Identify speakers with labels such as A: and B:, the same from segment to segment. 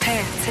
A: P3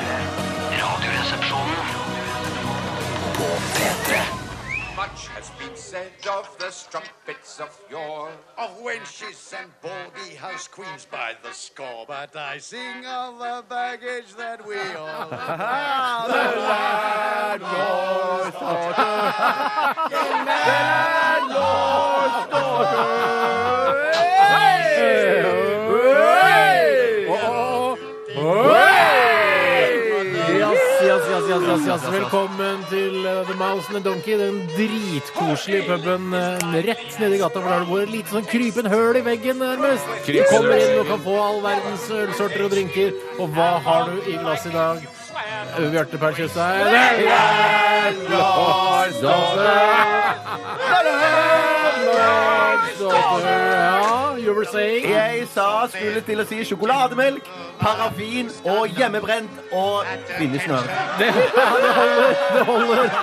B: P3. Radioresepsjonen på P3.
C: Much has been said of the strumpets of yore, of wenches and baldy house queens by the score. But I sing of the baggage that we all
D: Yes, yes, yes, yes, yes, yes. Velkommen til eh, The Mouse and the Donkey, den dritkoselige puben eh, rett nedi gata for der du bor. Et lite sånn krypen høl i veggen nærmest. Du kommer inn og kan få all verdens ølsorter og drinker. Og hva har du i glasset i dag? Eh, Bjarte Per Tjøstheim. Ja, you were saying?
E: Jeg sa skulle til å si sjokolademelk, parafin og hjemmebrent og bindesnør.
D: Det holder.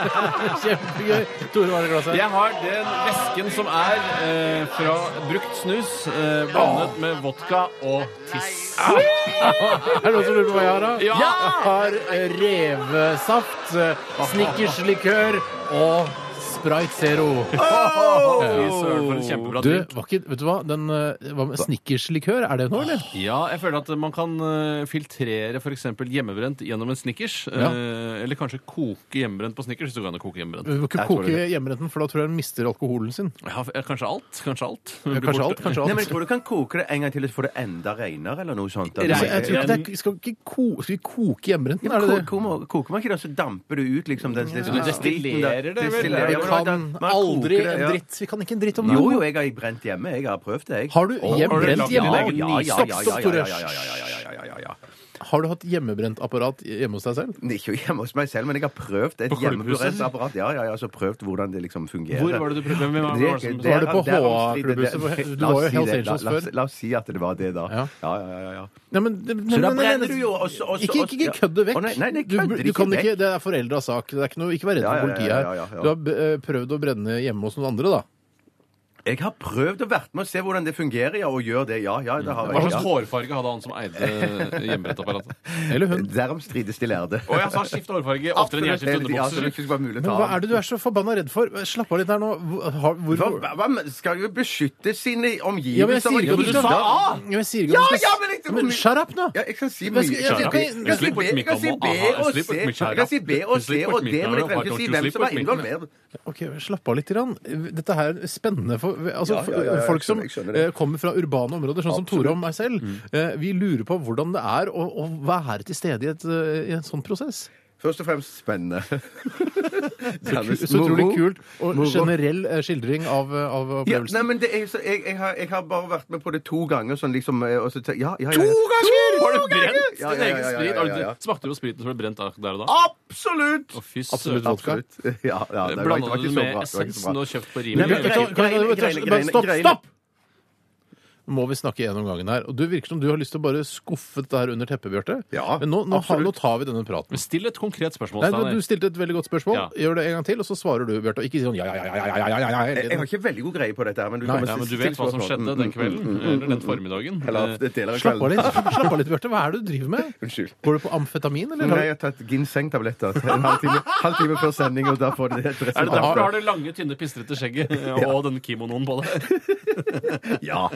D: Kjempegøy. Tore, hva er det i glasset?
F: Jeg har den vesken som er eh, fra brukt snus eh, blandet med vodka og tiss.
D: Er det noen som lurer på hva jeg har, da?
F: Ja!
D: Jeg har eh, revesaft, eh, snickerslikør og Sprite Zero.
F: Fy søren, for en kjempebra
D: Du,
F: drink.
D: var ikke, vet du hva? Den, eh, hva med snickerslikør, er det noe, eller?
F: Ja, jeg føler at man kan eh, filtrere f.eks. hjemmebrent gjennom en Snickers. eh,
D: Ja.
F: Eller kanskje koke hjemmebrent på Snickers. hvis du kan koke
E: Mm.
F: hjemmebrent.
D: Du må ikke
F: Jeg tror
D: koke hjemmerenten, for da tror jeg den mister alkoholen sin.
F: Ja, f- ja, kanskje alt. Kanskje alt. Blir
D: Kanskje
F: borte.
D: alt, kanskje
E: Nei, men jeg
D: alt.
E: tror du kan koke det en gang til, så får det enda reinere eller noe sånt.
D: Altså, Jeg tror ikke det er, skal, ikke ko, skal vi koke hjemmerenten? Er det det?
E: Koker man- koker man ikke det, så damper det ut liksom den liksom,
F: Du destillerer det vel?
E: Destillerer,
D: Vi
E: ja, men man-
D: kan
E: man
D: aldri
E: koker det,
D: en
E: ja.
D: dritt. Vi kan ikke en dritt om
E: Jo,
D: det.
E: jo, jeg har brent hjemme. Jeg har prøvd det, jeg.
D: Har du hjemmebrent
F: lagd din
D: hjemme?
F: egen
E: Ja, ja, ja,
D: Stopp,
E: ja,
D: stopp,
E: ja, ja,
D: Tore.
E: ja, ja, ja, ja, ja, ja, ja, ja.
D: Har du hatt hjemmebrent apparat hjemme hos deg selv?
E: Nei, Ikke hjemme hos meg selv, men jeg har prøvd et
F: På klubbhuset?
E: hjemmebrent Ja, ja, ja, så prøvd hvordan det liksom fungerer.
F: Hvor var det du prøvde? Hvem var det som-
D: det- var på
E: der omstridt-
D: HA-klubbhuset,
E: det-
D: for- altså, du
E: la oss
D: var jo
E: si
D: Hells
E: det,
D: Angels
E: la- la oss-
D: før.
E: La oss si at det var det, da.
D: Ja.
E: Ja, ja, ja, ja, ja.
D: Nei, men, nei,
E: Så da
D: nei, nei, nei,
E: brenner du jo også- også-
D: ikke, ikke, ikke kødd det vekk.
E: Å, nei, nei, nei,
D: du,
E: kødd det
D: du
E: ikke
D: kan
E: vekk.
D: ikke, det er foreldras sak. Det er ikke, noe, ikke vær redd
E: Ja,
D: for
E: ja,
D: politiet
E: ja,
D: her.
E: ja, ja, ja.
D: Du har eh, prøvd å brenne hjemme hos noen andre, da.
E: Jeg har prøvd å vært med og se hvordan det fungerer, ja, og gjør det. Ja, ja, det har
F: Hva
E: jeg.
F: slags
E: Ja.
F: hårfarge hadde han som eide hjemmebrentapparatet?
D: Eller hun.
E: Derom strides de lærde.
F: Å ja, så han skifter hårfarge oftere enn jeg skifter
E: Absolutt, ja, så det
F: underbukser.
E: ikke skulle være mulig å
D: Men
E: ta
D: hva
E: av.
D: er det du er så forbanna redd for? Slapp av litt her nå. Hvor, har- hvor,
E: Hva- hva- hva- Skal jo beskytte sine omgivelser.
D: ja, men jeg sier
E: og
D: ikke
E: ikke
D: at du
E: Ja,
D: skal
E: ja.
D: Ja, men Jeg sier ikke
E: Ja,
D: at du
E: ja,
D: skal
E: men ikke-
D: Shut up nå!
E: Ja, jeg kan si mye.
D: Men skal- jeg-
E: Jeg kan-
D: jeg- jeg-
E: jeg kan si
F: Sleep
E: B-
F: with me,
E: jeg kan si
F: come
E: B
F: on. Aha,
E: og
F: sleep
E: C.
F: with me,
E: Jeg kan si B og C
F: Sleep with
E: og
F: me.
E: D, men jeg
F: Why
E: trenger ikke
F: don't
E: si
F: you
E: hvem
F: sleep
E: som er
F: with me?
E: involvert.
D: Ok, Slapp av litt. Grann. Dette her er spennende for altså,
E: Ja, ja, ja, ja,
D: folk som
E: jeg skjønner det. Mm.
D: eh, kommer fra urbane områder, sånn som Tore og meg selv. Eh, Vi lurer på hvordan det er å, å være til stede i, et, eh, i en sånn prosess.
E: Først og fremst spennende.
D: Så utrolig kult. Og
E: Moro.
D: generell eh, skildring av, eh, av
E: Ja,
D: opplevelsen.
E: nei, men det er, så jeg, jeg, har, jeg har bare vært med på det to ganger. Sånn, liksom, eh, og så, te- ja, ja, ja, ja.
F: ganger! Har du brent din
E: Ja, ja, ja,
F: egen
E: ja, ja,
F: sprit?
E: ja, ja, ja.
F: Har du- Smakte du på spriten som ble brent der og da?
E: Absolutt!
F: Å, fy
D: Absolutt
F: søren.
D: vodka.
E: Absolutt. Ja, ja, det var- det
F: Blanda
E: var ikke
F: du det
E: så
F: med
E: bra, det var ikke så bra.
F: essensen og kjøpt på
E: Nei,
F: Rimi?
E: men-
D: Vet du hva- kan jeg-
E: greiene-
D: vet du hva-
E: greiene-
D: Stopp!
E: greiene-
D: Stopp! Nå må vi snakke gjennom gangen her. Og Du virker som du har lyst til å bare skuffe det her under teppet, Bjarte.
E: Ja,
D: Men nå, nå, har,
E: absolutt.
D: nå tar vi denne praten.
F: Men Still et konkret spørsmål.
D: Nei,
F: Steiner.
D: du, du stilte et veldig godt spørsmål.
F: Ja.
D: Gjør det en gang til, og så svarer du, Bjarte. Og ikke sånn ja, ja, ja, ja, ja, ja, ja, ja, hele
E: Jeg, jeg
D: tiden.
E: har ikke veldig god greie på dette her, men du
D: Nei,
E: kan
F: Ja,
E: bare
F: men
E: si-
F: du vet
E: si
F: hva som
E: spørsmål.
F: skjedde
E: Mm,
F: den
E: mm, mm,
F: kvelden?
E: mm,
F: Eller den formiddagen? Eh,
E: Eller det deler av
D: Slapp av
E: kvelden.
D: litt, slapp av litt Bjarte. Hva er det du driver med?
E: Unnskyld.
D: Går du på amfetamin, eller?
E: Nei, jeg har tatt ginsengtabletter en halvtime halv time før sending, og da får du det et
F: Er det
E: resultat.
F: derfor du har det lange, tynne, pistrete skjegget eh, og den kimonoen på deg?
E: Ja.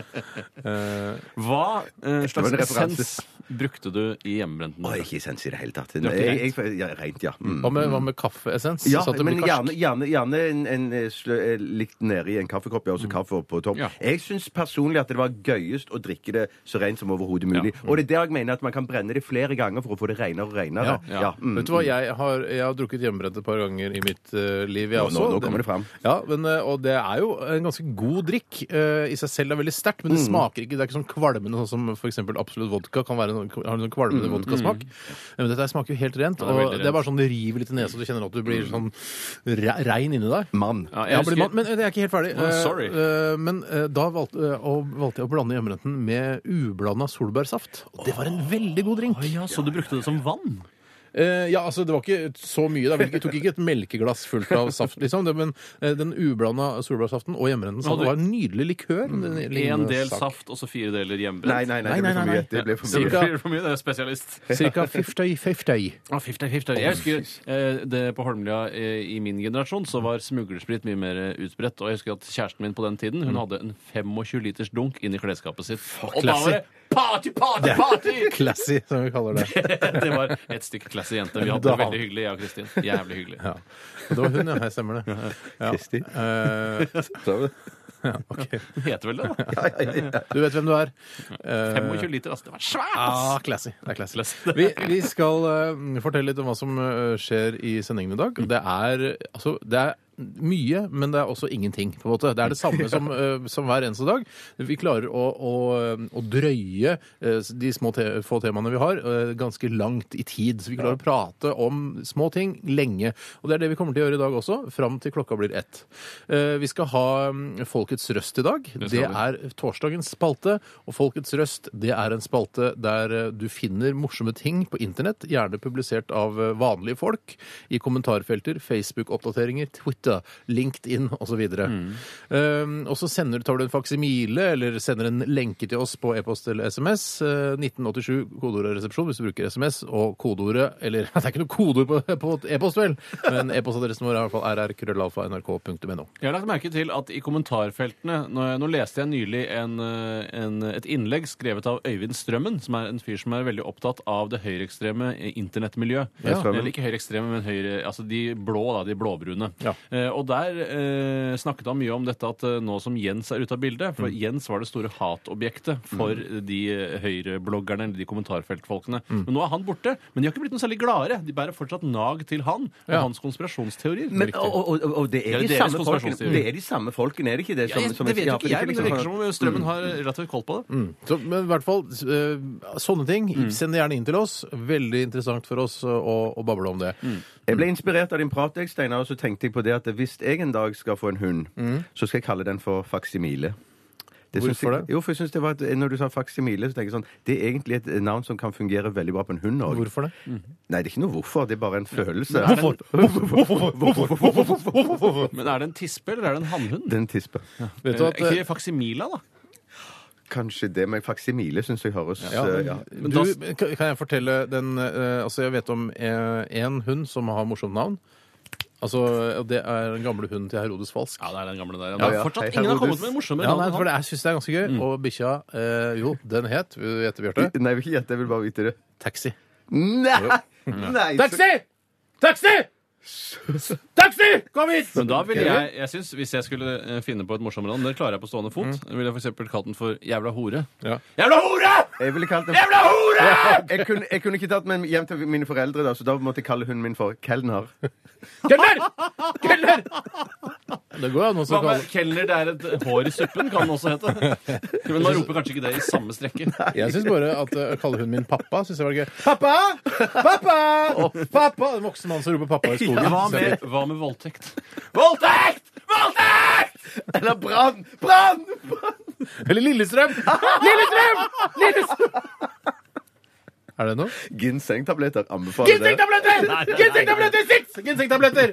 F: Hva eh,
E: var
F: slags
E: en referanse.
F: essens brukte du i hjemmebrenten?
E: Å, ikke sens i det hele tatt.
F: var ikke
E: Jeg, jeg, ja, rent, ja. Mm.
D: Hva med, hva med kaffeessens?
E: Ja,
D: Sånn at det
E: men
D: blir karsk?
E: gjerne, gjerne, gjerne en, en eh, slø, eh, litt nedi en kaffekopp, ja, og så kaffe opp på topp.
F: Mm. Ja.
E: Jeg syns personlig at det var gøyest å drikke det så rent som overhodet mulig.
F: Mm.
E: Og det er der jeg mener at man kan brenne det flere ganger for å få det renere og renere.
D: Ja.
F: Ja.
E: mm.
D: Vet du hva, jeg har, jeg har drukket hjemmebrent et par ganger i mitt eh, liv, jeg
E: Nå-
D: også.
E: nå- nå kommer det fram.
D: Ja, men, eh, og det er jo en ganske god drikk eh, i seg selv. Det er veldig sterkt, men det
F: Mm.
D: smaker ikke. Det er ikke sånn kvalmende, sånn som f.eks. absolutt vodka kan være, noe- har noen kvalmende vodkasmak. Men dette her smaker jo helt rent,
F: Mm, det er
D: og
F: veldig
D: det er
F: rent.
D: bare sånn det river litt i nesa, du kjenner at du blir sånn re rein inni deg.
E: Mann.
F: Ja, jeg
D: Ja, blir
F: husker-
D: mann, men jeg er ikke helt ferdig.
F: Å, sorry.
D: Eh, eh, men eh, da valgte, eh, og valgte jeg å blande hjemmebrenten med ublanda solbærsaft. Og det var en veldig god drink.
F: Ja, så du brukte det som vann?
D: Eh, ja, altså, det var ikke så mye. da. Vi tok ikke et melkeglass fullt av saft, liksom. Det, men eh, den ublanda solbærsaften og Mm, hjemmebrenten saften
F: Hadde-
D: var en nydelig likør.
F: En del saft og så fire deler hjemmebrent.
E: Nei, nei, nei, det
D: Nei,
E: blir for
D: nei, nei.
E: mye. Det blir for
F: Det
E: mye.
F: blir for mye, det er spesialist.
D: Ca. 50-50.
F: Ah, 50-50. Jeg husker eh, det på Holmlia eh, i min generasjon så var smuglersprit mye mer eh, utbredt. Og jeg husker at kjæresten min på den tiden hun hadde en 25 liters dunk inni klesskapet sitt. og da var det party, party, party!
D: Classy, som vi kaller det.
F: det var et stykk classy jente. Vi hadde det veldig hyggelig, jeg og Kristin. Jævlig hyggelig.
D: Ja. Og det var hun, ja. Jeg stemmer det. Ja.
E: Kristi.
D: Eh,
E: Sa du det?
D: ja, ok.
F: Hun heter vel det, da.
E: Ja, ja, ja.
D: Du vet hvem du er. Eh,
F: 25 liter, altså. Det var svært!
D: Ah,
F: ass!
D: classy. Det er classy.
F: Classy.
D: Vi, vi skal eh, fortelle litt om hva som eh, skjer i sendingen i dag.
F: Mm.
D: Det er, eh, altså, det er mye, men det er også ingenting. på en måte. Det er det samme som, eh, som hver eneste dag. Vi klarer å, å, eh, å drøye eh, de små te få temaene vi har, eh, ganske langt i tid. Så vi klarer å prate om små ting lenge. Og det er det vi kommer til å gjøre i dag også, fram til klokka blir ett. Eh, Vi skal ha mm, Folkets røst i dag. Det,
F: skal vi.
D: er er torsdagens spalte, og Folkets røst det er en spalte der eh, du finner morsomme ting på internett, gjerne publisert av eh, vanlige folk, i kommentarfelter, Facebook-oppdateringer, Twitter, LinkedIn osv. Um, og så sender, tar du en faksimile eller sender en lenke til oss på e-post eller SMS. eh, 1987 kodeordet resepsjon hvis du bruker SMS, og kodeordet Eller det er ikke noe kodeord på, på e-post, vel, men e-postadressen vår er i hvert fall rrkrøllalfa.nrk.no.
F: Jeg har lagt merke til at i kommentarfeltene nå, nå leste jeg nylig en, eh, en, et innlegg skrevet av Øyvind Strømmen, som er en fyr som er veldig opptatt av det høyreekstreme eh, internettmiljøet.
E: Ja.
F: Eller ikke høyreekstreme, men høyre, altså de blå, da, de blåbrune.
D: Ja.
F: Eh, og der eh, snakket han mye om dette at eh, nå som Jens er ute av bildet
D: Mm.
F: For Jens var det store hatobjektet for de eh, høyrebloggerne eller de kommentarfeltfolkene.
D: Mm.
F: Men nå er han borte. Men de har ikke blitt noe særlig gladere. De bærer fortsatt nag til han og
D: Ja.
F: hans konspirasjonsteorier.
E: Men, og, og, og- og det
F: Ja,
E: er de
F: det er
E: samme
F: deres
E: folkene,
F: konspirasjonsteori.
E: det er de samme folkene, er det ikke det?
F: Ja, jeg,
E: som- som-
F: det vet
E: ja,
F: jo
E: for
F: ikke jeg, men det
E: liksom
F: virker som om strømmen har relativt koll på det.
D: Mm. Så, men i hvert fall, eh, sånne ting. Send det gjerne inn til oss. Veldig interessant for oss eh, å, å bable om det.
E: Jeg ble inspirert av din prat, jeg, Steinar, og så tenkte jeg på det at hvis jeg en dag skal få en hund, så skal jeg kalle den for faksimile. Det syns
D: Hvorfor
E: jeg,
D: det?
E: Jo, for jeg synes det var et, Når du sa faksimile, så tenker jeg sånn Det er egentlig et navn som kan fungere veldig bra på en hund òg.
D: Hvorfor det?
E: Nei, det er ikke noe hvorfor. Det er bare en følelse.
D: Hvorfor?
F: Men er det en tispe eller er det en hannhund?
E: Den tisper.
D: Vet du
F: Eh,
D: at eh,
F: Ikke faksimila, da?
E: Kanskje det, men faksimile syns jeg høres
D: ja,
E: eh,
D: men,
E: ja.
D: du, kan kan jeg fortelle den eh, Altså, jeg vet om én hund som har morsomt navn. Altså, og Det er den gamle hunden til Herodes Falsk.
F: Ja, det er den gamle der.
E: Ja, ja.
F: Fortsatt
E: Hei,
F: ingen har
E: Herodes.
F: kommet med en morsommere
D: Ja,
F: navn
D: nei,
F: enn
D: for
F: han.
D: det, Jeg syns det er ganske gøy. Og bikkja eh, Jo, den het Vil du gjette, Bjarte?
E: Nei, jeg vil ikke gjette. Jeg vil bare vite det.
D: Taxi.
E: Nei! Nei!
D: Taxi! Taxi! Kom hit!
F: Men da ville jeg, jeg synes, Hvis jeg skulle eh, finne på et morsommere navn, det klarer jeg på stående fot, ville jeg for eksempel kalt den for Jævla hore.
D: Ja.
F: Jævla hore!
E: Jeg ville kalt den
F: Jævla hore!
E: jeg kunne, jeg kunne ikke tatt med hjem til mine foreldre, da, så da måtte jeg kalle hunden min for kelner.
D: Kelner! Kelner! Det går an å
F: Hva
D: kalle
F: med kelner, det er et hår i suppen, kan den også hete. Men man roper kanskje ikke det i samme strekke.
D: Jeg syns bare at eh, å kalle hunden min pappa synes jeg var gøy. Pappa! Pappa! Pappa! En voksen mann som roper pappa i skogen.
F: Hva
D: synes jeg er
F: med, hva med voldtekt? Voldtekt! Voldtekt!
E: Eller brann! Brann!
D: gøy. Eller Lillestrøm! Lillestrøm! Lillestrøm! Er det noe?
E: Ginsengtabletter anbefaler det.
F: nei, nei.
D: Ginsengtabletter! Sitt! Ginsengtabletter!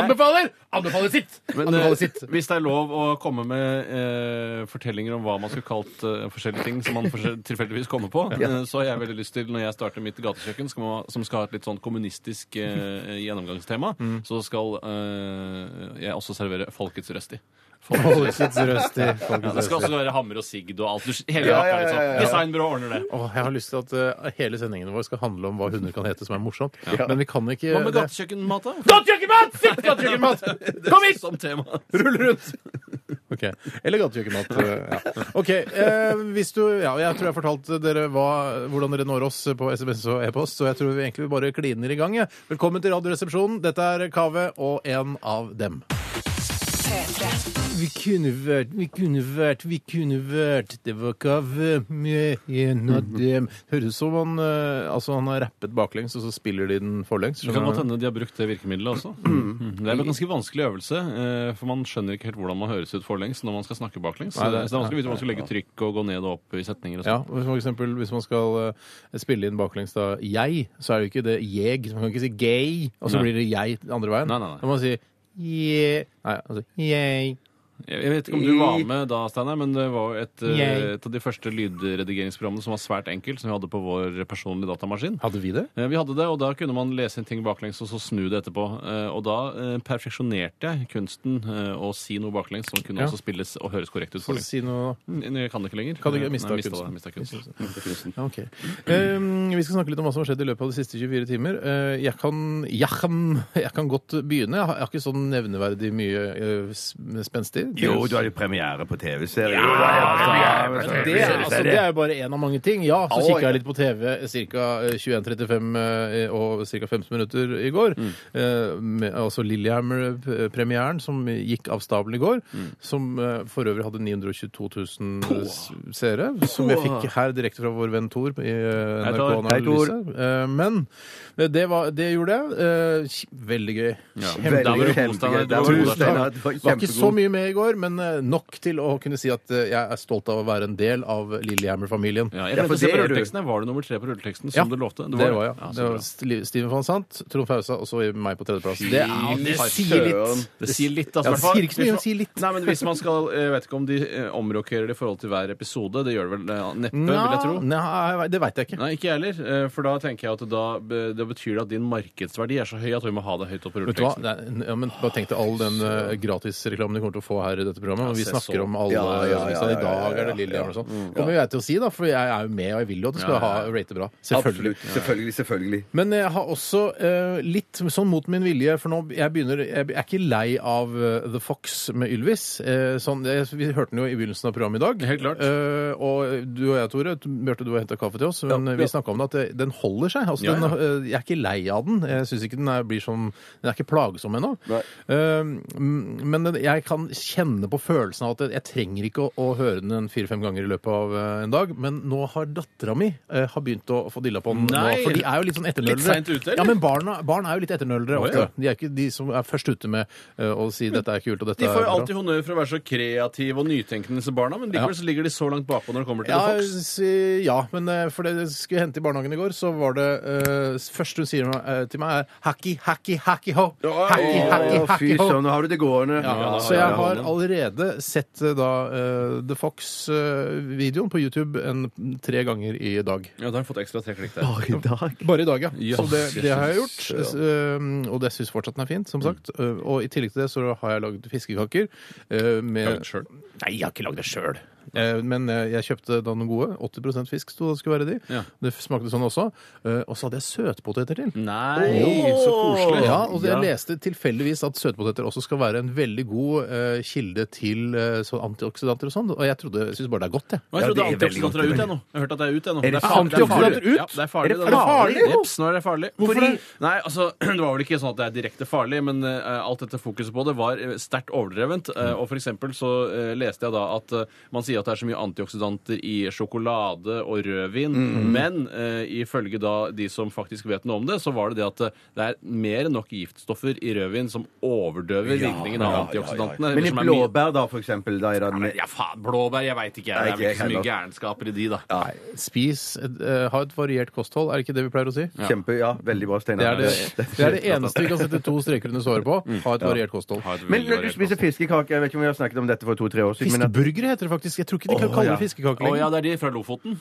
D: Anbefaler! Anbefaler sitt!
F: Men eh,
D: Anbefaler sitt.
F: hvis det er lov å komme med eh, fortellinger om hva man skulle kalt eh, forskjellige ting som man forskjell- tilfeldigvis kommer på, eh, så har jeg veldig lyst til, når jeg starter mitt gatekjøkken, skal man, som skal ha et litt sånn kommunistisk eh, gjennomgangstema, så skal eh, jeg også servere Folkets røst i. Folkets
D: Folket sitt røst i
F: ja, det
D: folkets
F: skal
D: røst.
F: også være Hammer og Sigd og alt. Du, s- hele
E: Ja,
F: jakka,
E: ja, ja,
F: liksom.
E: ja, ja.
F: Designbyrå ordner det.
D: Åh, jeg har lyst til at eh, hele sendingen vår skal handle om hva hunder kan hete som er morsomt. Men vi kan ikke
F: Hva med gatekjøkkenmat, da?
D: Gatekjøkkenmat! Sitt gatekjøkkenmat! Kom hit!
F: Som tema.
D: Rull rundt! Ok, Eller gatekjøkkenmat. eh, Ja. Ok, eh, hvis du, ja, Jeg tror jeg fortalte dere hva, hvordan dere når oss på SMS og e-post, så jeg tror vi egentlig bare kliner i gang. jeg. Velkommen til Radioresepsjonen. Dette er Kaveh og en av dem.
G: P3.
D: Vi kunne vært, vi kunne vært, vi kunne vært Det var ikke av med en av dem Høres som han eh, Altså, han har rappet baklengs, og så spiller de den forlengs.
F: Det kan godt
D: skjønner du?
F: hende de har brukt det virkemiddelet også.
D: Mm.
F: Det er en ganske vanskelig øvelse, eh, for man skjønner ikke helt hvordan man høres ut forlengs når man skal snakke baklengs. Så
D: Nei,
F: det
D: det-
F: så det er vanskelig å vite hvor man skal legge trykk og gå ned og opp i setninger og
D: Ja,
F: sånn.
D: og for eksempel hvis man skal eh, spille inn baklengs da jeg, så er det jo ikke det jeg. Man kan ikke si gay, og så
F: Nei.
D: blir det jeg andre veien.
F: Nei, nei, nei.
D: Da må man si je. Nei, altså jeg.
F: Jeg jeg vet ikke om du var med da, Steinar, men det var jo et, eh,
D: Jeg-
F: et av de første lydredigeringsprogrammene som var svært enkelt, som vi hadde på vår personlige datamaskin.
D: Hadde vi det?
F: Eh, Vi hadde det, og da kunne man lese inn ting baklengs og så snu det etterpå. Eh, Og da eh, perfeksjonerte jeg kunsten eh, å si noe baklengs som kunne
D: Ja.
F: også spilles og høres korrekt ut.
D: Så
F: forlengs.
D: si noe
F: N- Jeg kan det ikke lenger.
D: Kan du ikke?
F: Eh,
D: Mistet
F: nei, mistet
D: kunsten.
F: det, mistet kunsten.
D: Ja, ok. Ehm, vi skal snakke litt om hva som har skjedd i løpet av de siste 24 timer. Eh, jeg, kan, jeg, kan, jeg kan godt begynne. Jeg har, jeg har ikke sånn nevneverdig mye eh, s- spenstig.
E: Jo, du har jo premiere på TV-serie.
D: Men Det, er- altså, det er jo bare én av mange ting. Ja, så
E: Å,
D: kikka
E: ja.
D: jeg litt på eh, TV ca. 21.35 eh, og ca. 15 minutter i går. Eh, med, altså Lillehammer-premieren som gikk av stabelen i går. Som eh, for øvrig hadde 922 000 s- seere. Som jeg fikk her direkte fra vår venn Tor i eh,
F: Hei,
D: NRK
F: Tor.
E: Hei, Tor.
D: Analyse. Eh, men eh, det, var, det gjorde jeg. Eh, kj- veldig gøy.
F: Ja.
D: Kjempe-
E: Veldig
F: Der var du god,
E: kjempegøy.
F: Steinar. Du
E: Der
F: var
E: var du,
F: god der,
E: Steinar. Du var
D: var ikke så
E: kjempegod.
D: mye med i går, men eh, nok til å kunne si at eh, jeg er stolt av å være en del av Lillehammer-familien.
F: Ja, jeg
E: Ja,
F: glemte
E: for
F: å se
E: det
F: på
E: er du.
F: rulleteksten. Var du nummer tre på rulleteksten,
D: Ja,
F: som du lovte? Du
D: det var
F: det.
D: jeg.
F: Ja, så
D: det
F: bra.
D: var Sti- Steven van Sant, Trond Fausa og så meg på tredjeplass. Det, er, det sier litt.
F: Det sier litt,
D: Ja,
F: altså.
D: det sier ikke så mye, men det sier litt.
F: Nei, men hvis man skal Jeg vet ikke om de eh, omrokerer det i forhold til hver episode. Det gjør det vel eh, neppe, vil jeg tro.
D: Nei, det veit jeg ikke.
F: Nei, ikke jeg heller. eh, For da tenker jeg at da, be- det betyr det at din markedsverdi er så høy at vi må ha det høyt opp på
D: Vet du hva?
F: rulleteksten.
D: Nei, n- ja, men bare tenk deg all den eh, gratisreklamen du kommer til å få her i dette programmet. og vi
F: se
D: snakker
F: så.
D: om alle
E: Ja, ja, ja,
D: sånn, I
E: ja, ja,
D: dag er
E: ja, Mm.
D: det Lillehammer og
E: ja.
D: sånn. Kommer jo jeg til å si, da, for jeg er jo med, og jeg vil jo at du skal
F: Ja, ja, ja.
D: ha rate bra.
E: Absolutt. Selvfølgelig, selvfølgelig.
D: Men jeg har også eh, litt sånn mot min vilje, for nå jeg begynner Jeg er ikke lei av eh, The Fox med Ylvis. Eh, sånn, jeg, vi hørte den jo i begynnelsen av programmet i dag.
F: Helt klart.
D: Eh, og du og jeg, Tore, t- Bjarte, du har henta kaffe til oss, men
E: Ja, ja.
D: vi snakka om det at det, den holder seg. Altså,
F: Ja,
D: Den, eh, jeg er ikke lei av den. Jeg syns ikke den er, blir som Den er ikke plagsom ennå.
E: Nei.
D: Eh, m- men den, jeg kan kjenne på følelsen av at jeg, jeg trenger ikke å, å høre den en fire-fem ganger i løpet av eh, en dag. Men nå har dattera mi eh, har begynt å få dilla på den. Nå,
F: Nei.
D: for de er jo litt sånn etternølere.
F: Litt sent ute, eller?
D: Ja, men barna, barn er jo litt etternølere.
F: Å,
D: ofte.
F: ja.
D: De er ikke de som er først ute med eh, å si 'dette er kult' og 'dette
F: De får
D: er
F: jo
D: bra'.
F: alltid honnør for å være så kreative og nytenkende, disse barna, men likevel så ligger de så langt bakpå når det kommer til
D: ja,
F: The Fox.
D: si- ja, men eh, for det jeg skulle hente i barnehagen i går, så var det eh, første hun sier meg- eh, til meg, er 'hacky, hacky, hacky ho'. Hacky, hacky,
E: Å,
D: hacky
E: fy
D: ho.
E: søren, nå har du det gående.
D: Ja,
F: da
D: så jeg
F: har
D: har
F: jeg
D: allerede sett eh, da eh, The Fox-videoen på YouTube en, tre ganger i dag.
F: Ja, da har jeg fått ekstra tre klikk der.
E: I dag.
D: Bare i dag, ja.
F: Ja, Mm.
D: så det, det har jeg gjort.
F: Jesus,
D: Eh, og det syns fortsatt den er fint, som sagt. Eh, og i tillegg til det så har jeg lagd fiskekaker. eh, med
F: Lagd selv?
D: Nei, jeg har ikke lagd det sjøl. men eh, jeg kjøpte da noen gode. 80 fisk sto det skulle være de.
F: Ja.
D: Det smakte sånn også. Eh, og så hadde jeg søtpoteter til.
F: Mm. Nei, så koselig.
D: Ja, og jeg leste tilfeldigvis at søtpoteter også skal være en veldig god eh, kilde til eh, sånn antioksidanter og sånn. Og jeg trodde, jeg syns bare det er godt, jeg.
F: Og jeg
E: Ja,
F: trodde
E: det er veldig
F: antioksidanter er
E: godt.
F: ute ennå. Jeg har hørt at det er ute ennå.
E: Er det
F: farlig-
E: sant?
F: farlig.
D: Antioksidanter ut?
F: Ja, det er farlig.
D: Er det farlig?
F: Jeps, nå er det farlig.
D: Hvorfor
F: Fordi-
D: det?
F: Nei, altså, det var vel ikke sånn at det er direkte farlig, men eh, alt dette fokuset på det var eh, sterkt overdrevent.
E: Mm.
F: Eh, og for eksempel så eh, leste jeg da at eh, man sier at det er så mye antioksidanter i sjokolade og rødvin,
E: Mm.
F: men eh, ifølge da de som faktisk vet noe om det, så var det det at eh, det er mer enn nok giftstoffer i rødvin som overdøver virkningen av antioksidantene. eller
E: Men i
F: som er mye-
E: blåbær, da, for eksempel? Da er det
F: Nei, Ja, faen, blåbær, jeg veit ikke. jeg.
E: Nei,
F: Det er vel
E: ikke
F: ikke så mye
E: heller.
F: gærenskaper i de, da.
D: Nei, spis, eh, ha et variert kosthold, er det ikke det vi pleier å si?
E: Kjempe, ja, veldig bra,
D: Det
E: Steinar.
D: er det, det er det eneste vi kan sette to streker under svaret på. Ha et variert kosthold.
F: Ha et
E: Men
F: veldig
E: når du
F: variert
E: spiser
F: kosthold.
E: fiskekake Jeg vet ikke om vi har snakket om dette for to-tre år siden. Men at,
D: Fiskeburgere heter det faktisk. Jeg tror ikke de
E: Åh,
D: kaller
E: ja.
D: det fiskekake
F: Å ja,
D: lenger.
F: det er de fra Lofoten?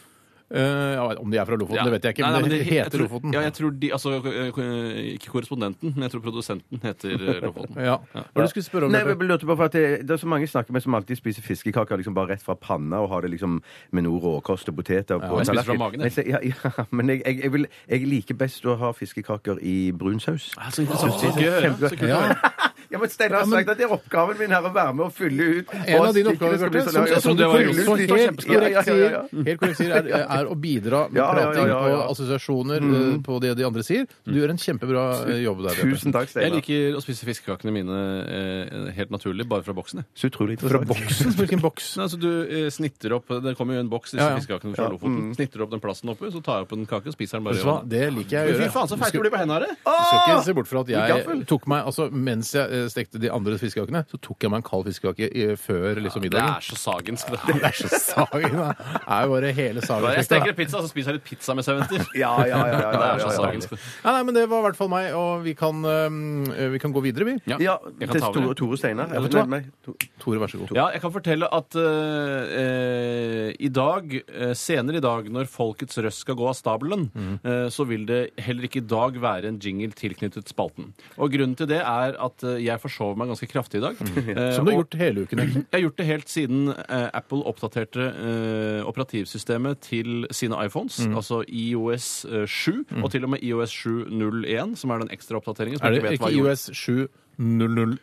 D: Eh, ja, om de er fra Lofoten,
F: Ja.
D: liksom? det vet jeg ikke. Men,
F: Nei, nei,
D: det
F: he- jeg
D: heter
F: tror-
D: Lofoten.
F: Ja, jeg tror de, altså, eh, eh, Ikke korrespondenten, men jeg tror produsenten heter eh, Lofoten.
D: Ja. Hva du skulle spørre om?
E: Nei,
D: Bjarte?
E: jeg lurte på for at det, det er så mange jeg snakker med som alltid spiser fiskekaker liksom bare rett fra panna og har det liksom med noe råkost og poteter på
F: men
E: en
F: spiser fra
E: tallerken.
F: magen,
E: Men jeg- ja, ja, men jeg, jeg, jeg, vil, jeg liker best å ha fiskekaker i brun saus.
F: Ah, Så interessant.
E: Åh,
F: Så gøy å høre. Så kult å høre.
E: Ja, men Steinar har sagt at det er oppgaven min her å være med og fylle ut.
D: En av
E: Og
D: dine
E: stikkene
D: oppgaver,
E: skal bli så
D: Bjarte, som,
E: lange.
D: som
F: det
D: du
F: var
D: helt
F: jo
E: Fylle ut
D: korrekt
E: stikkene kjempesnart.
D: sier,
E: Ja, ja, ja, ja.
D: helt korrekt sier er, er å bidra med
E: Ja, ja, ja, ja,
D: prating
E: ja.
D: og assosiasjoner eh, på det de andre sier. Du gjør en kjempebra eh, jobb der. Bjarte.
E: Tusen takk,
F: Jeg
E: Steinar.
F: liker å spise fiskekakene mine eh, helt naturlig, bare fra boksen. jeg.
E: Så utrolig
D: Fra
E: interessant.
D: boksen? Hvilken boks?
F: Nei, altså du eh, snitter opp, Det kommer jo en boks, disse
D: Ja, ja.
F: fiskekakene fra Lofoten. Snitter opp den plasten oppe, så tar jeg opp en kake og spiser den bare.
D: Vet du hva, det liker jeg å gjøre.
F: Fy faen, så feit du blir på hendene! her.
D: Du skal ikke se bort fra at jeg
E: gaffel.
D: tok meg, altså Mens jeg eh, stekte de andre fiskekakene, så tok jeg meg en kald fiskekake eh, før liksom
F: Det
D: middagen.
F: er så sagensk, det.
D: Det er så sagen, da. er jo bare hele sagen.
F: Jeg steker pizza, så spiser jeg litt pizza med seventer.
E: Ja, ja, ja. ja,
F: Det
E: ja,
F: er så
E: ja, ja.
F: sagensk. det.
D: Nei, nei, men det var i hvert fall meg, og vi kan, eh, vi kan gå videre, vi.
E: Ja,
F: jeg
E: til
F: kan ta over.
E: Tore, Tore Steinar.
D: Ja,
E: Eller
D: vet du hva?
E: nei, meg. To-
D: Tore, vær så god.
F: Ja, jeg kan fortelle at eh, eh, i dag, eh, senere i dag, når Folkets Røst skal gå av stabelen,
E: Mm.
F: eh, så vil det heller ikke i dag være en jingle tilknyttet spalten. Og grunnen til det er at eh, jeg forsov meg ganske kraftig i dag.
E: Mm.
F: Eh,
D: Som du
F: og-
D: har gjort hele uken, egentlig.
F: Jeg har gjort det helt siden eh, Apple oppdaterte eh, operativsystemet til sine iPhones,
D: Mm.
F: altså IOS eh, 7, og til og med IOS 701, som er den ekstra oppdateringen. som
D: Er
F: jeg
D: det
F: vet hva
D: ikke
F: gjorde.
D: IOS 7001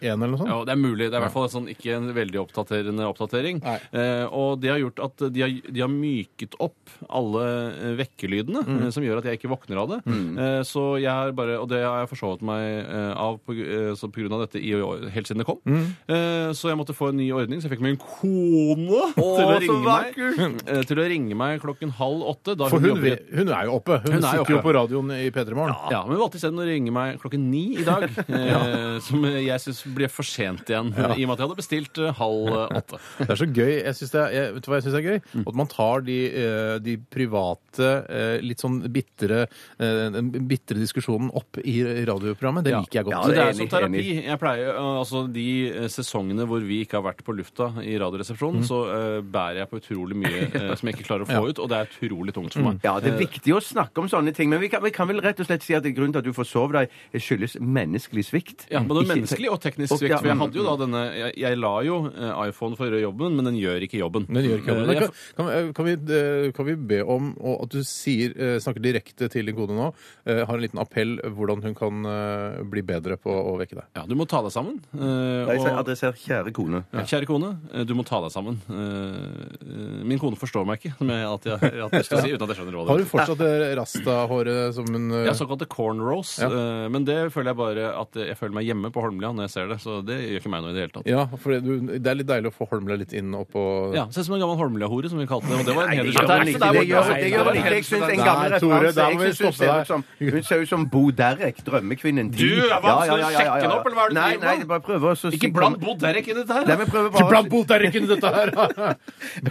D: eller noe sånt?
F: Ja, det er mulig. Det er i hvert fall en sånn, ikke en veldig oppdaterende oppdatering.
D: Nei.
F: Eh, og det har gjort at de har, de har myket opp alle eh, vekkelydene,
D: Mm.
F: eh, som gjør at jeg ikke våkner av det. Eh, så jeg har bare, Og det har jeg forsovet meg eh, av på, eh, så på grunn av dette i, helt siden det kom.
D: Mm.
F: Eh, så jeg måtte få en ny ordning, så jeg fikk meg en kone til, å
E: så
F: ringe meg, eh, til å ringe meg klokken halv åtte. Da
D: For hun,
F: jobber i et
D: vet- hun er jo oppe. Hun,
F: Hun er
D: sitter
F: oppe.
D: jo på radioen i P3 Morgen.
F: ja, men hun valgte isteden å ringe meg klokken ni i dag. eh, som jeg syns ble for sent igjen, i og med at jeg hadde bestilt eh, halv eh, åtte.
D: Det er så gøy. Jeg synes det er, jeg, vet du hva jeg syns er gøy?
F: Mm.
D: At man tar de, eh, de private, eh, litt sånn bitre, eh, den bitre diskusjonen opp i radioprogrammet. Det
F: Ja.
D: liker jeg
E: Ja,
D: godt.
F: Så
E: det
F: det
E: er
F: er som
E: enig,
F: terapi. Jeg pleier, eh, altså De eh, sesongene hvor vi ikke har vært på lufta i Radioresepsjonen,
E: Mhm.
F: så eh, bærer jeg på utrolig mye eh, som jeg ikke klarer å få ut, og det er utrolig tungt for meg.
E: Mm. Ja, Det er viktig å snakke om sånne ting, men vi kan, vi kan vel rett og slett si at grunnen til at du forsov deg, eh, skyldes menneskelig svikt.
F: Ja, men det er
E: Ikke-
F: menneskelig og teknisk
E: Og-
F: svikt.
E: ja,
F: For jeg
E: mm,
F: hadde jo da denne Jeg, jeg la jo eh, iPhone for å gjøre jobben, men den gjør ikke jobben.
D: Men gjør ikke jobben.
F: Eh,
D: Men
F: jeg-
D: kan, kan, vi- kan, vi, eh, kan vi be om og at du sier, eh, snakker direkte til din kone nå? eh, Har en liten appell hvordan hun kan eh, bli bedre på å vekke deg.
F: Ja, du må ta deg sammen. eh,
E: Jeg sier-
F: og-
E: adresser kjære kone.
F: Ja. Kjære kone, eh, du må ta deg sammen. Eh, eh, Min kone forstår meg ikke, som jeg alltid har alltid lyst til å si. uten at jeg skjønner hva
D: Har
F: det
D: hun
F: er.
D: fortsatt det rastahåret som hun eh,
F: Jeg har såkalte cornrows,
D: Ja.
F: eh, men det føler jeg bare at jeg føler meg hjemme på Holmlia når jeg ser det. Så det gjør ikke meg noe i det hele tatt.
D: Ja, for det, du, det er litt deilig å få Holmlia litt inn oppå
F: Ja, Ser ut som en gammel Holmlia-hore, som vi kalte det. Og det var en
E: Nei, det
F: hedersjobb.
E: gjør hun ikke. Det gjør hun- det gjør hun ikke. Jeg syns en gammel
D: Nei, Tore,
E: referanse
D: da må
E: jeg
D: vi
E: synes hun
D: stoppe
E: ser
D: der.
E: ut som, Hun ser ut som Bo Derek, drømmekvinnen.
F: Du, er vanskelig å sjekke den opp, eller hva er det du
E: Nei,
F: driver
E: nei,
F: med?
E: bare prøve å så
F: Ikke
E: sikre-
F: bland Bo Derek inn i dette her!
E: Nei, men prøve bare å-
D: Bo Derek inn i dette her!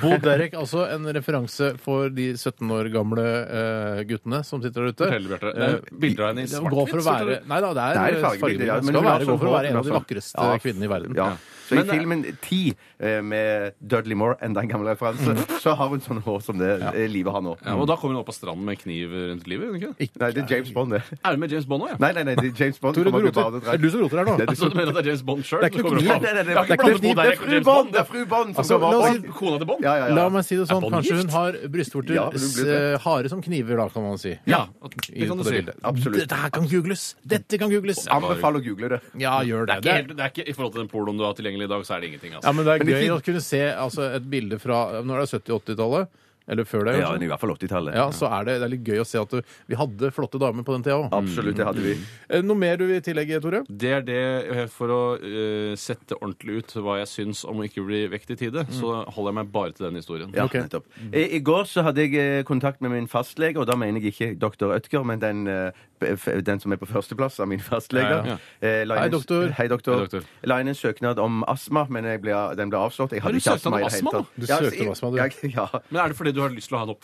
D: Bo Derek, altså en referanse for de 17 år gamle eh, guttene som sitter der ute.
F: Fortell, Bjarte. Det er bilder av henne i
D: Eh, gå for å
F: svart-hvitt,
D: være,
F: selvfølgelig.
D: Nei da,
E: Det
D: det er,
E: er fargebilder,
D: fargebilder.
E: ja,
D: Det
E: men hun
D: skal
E: har
D: være, gå
E: sånn
D: for å være en av
E: våpen,
D: de
E: altså.
D: vakreste
E: Ja.
D: kvinnene i verden.
E: Ja. Så i
F: Men-
E: filmen Ti eh, med Dudley Moore, enda en gammel referanse, så har hun sånn hår som det eh, livet har nå.
F: Mm. Ja, og da kommer hun opp på stranden med en kniv rundt livet? gjør hun Ikke? det?
E: Nei, det er James Bond, det.
F: Er hun med James Bond òg, ja?
E: Nei, nei, nei, det er James Bond.
D: Tore,
E: kommer
D: du
E: opp i
D: roter.
E: badedrakt.
D: Er det du som roter her nå?
E: Det er du
F: Altså,
E: som-
F: du mener at det er James Bond sjøl?
D: Det er ikke noe
E: Nei, nei, nei, det er- det er
D: blandet
E: ikke-
D: Bo
E: Det er fru Bond! Det er fru Bond som
D: Altså,
E: kommer
D: la
E: opp.
D: oss
E: Og-
D: si-
F: Kona til Bond?
E: Ja, ja, ja.
D: La meg si det sånn,
F: Er Bond
D: kanskje hun
F: gift?
D: har brystvorter
E: Ja, hun blir
D: eh, harde som kniver, da, kan man si.
F: Ja,
D: I-
F: det kan
D: på det
F: du si.
D: bildet.
E: Absolutt.
D: Dette her kan googles! Dette kan googles!
E: Anbefaler å google det.
D: Ja, gjør det.
F: Det er, ikke, helt- det er ikke, I forhold til den pornoen du har tilgjengelig i dag, så er det ingenting.
D: Ja,
F: altså.
D: men det er
E: Men det
D: gøy
E: fin-
D: å kunne se altså, et bilde fra Når det er 70-80-tallet, eller før det,
E: Ja,
D: kanskje?
E: i hvert fall 80-tallet.
D: ja, så er det, det er litt gøy å se at du, vi hadde flotte damer på den tida òg.
E: Absolutt, det hadde
D: Mm.
E: vi.
D: Eh, Noe mer du vil tillegge, Tore?
F: Det er det eh, For å eh, sette ordentlig ut hva jeg syns om å ikke bli vekt i tide, så holder jeg meg bare til den historien.
E: Ja,
D: Ok.
E: nettopp. I, I går så hadde jeg eh, kontakt med min fastlege, og da mener jeg ikke doktor Ødger, men den, eh, f- den som er på førsteplass av mine fastleger.
D: Ja,
E: Eh, la inn
D: Hei,
E: en s-
D: doktor.
E: Hei, doktor.
F: Hei, doktor.
E: La inn en søknad om astma, men jeg ble, den ble avslått. Jeg hadde
F: du
E: ikke
F: søkte om
E: astma i det hele tatt.
F: astma,
D: da? Du
E: Ja,
D: søkte om
E: jeg-
D: astma, du.
E: jeg- Ja,
F: Men er det fordi du har lyst til å ha en opp...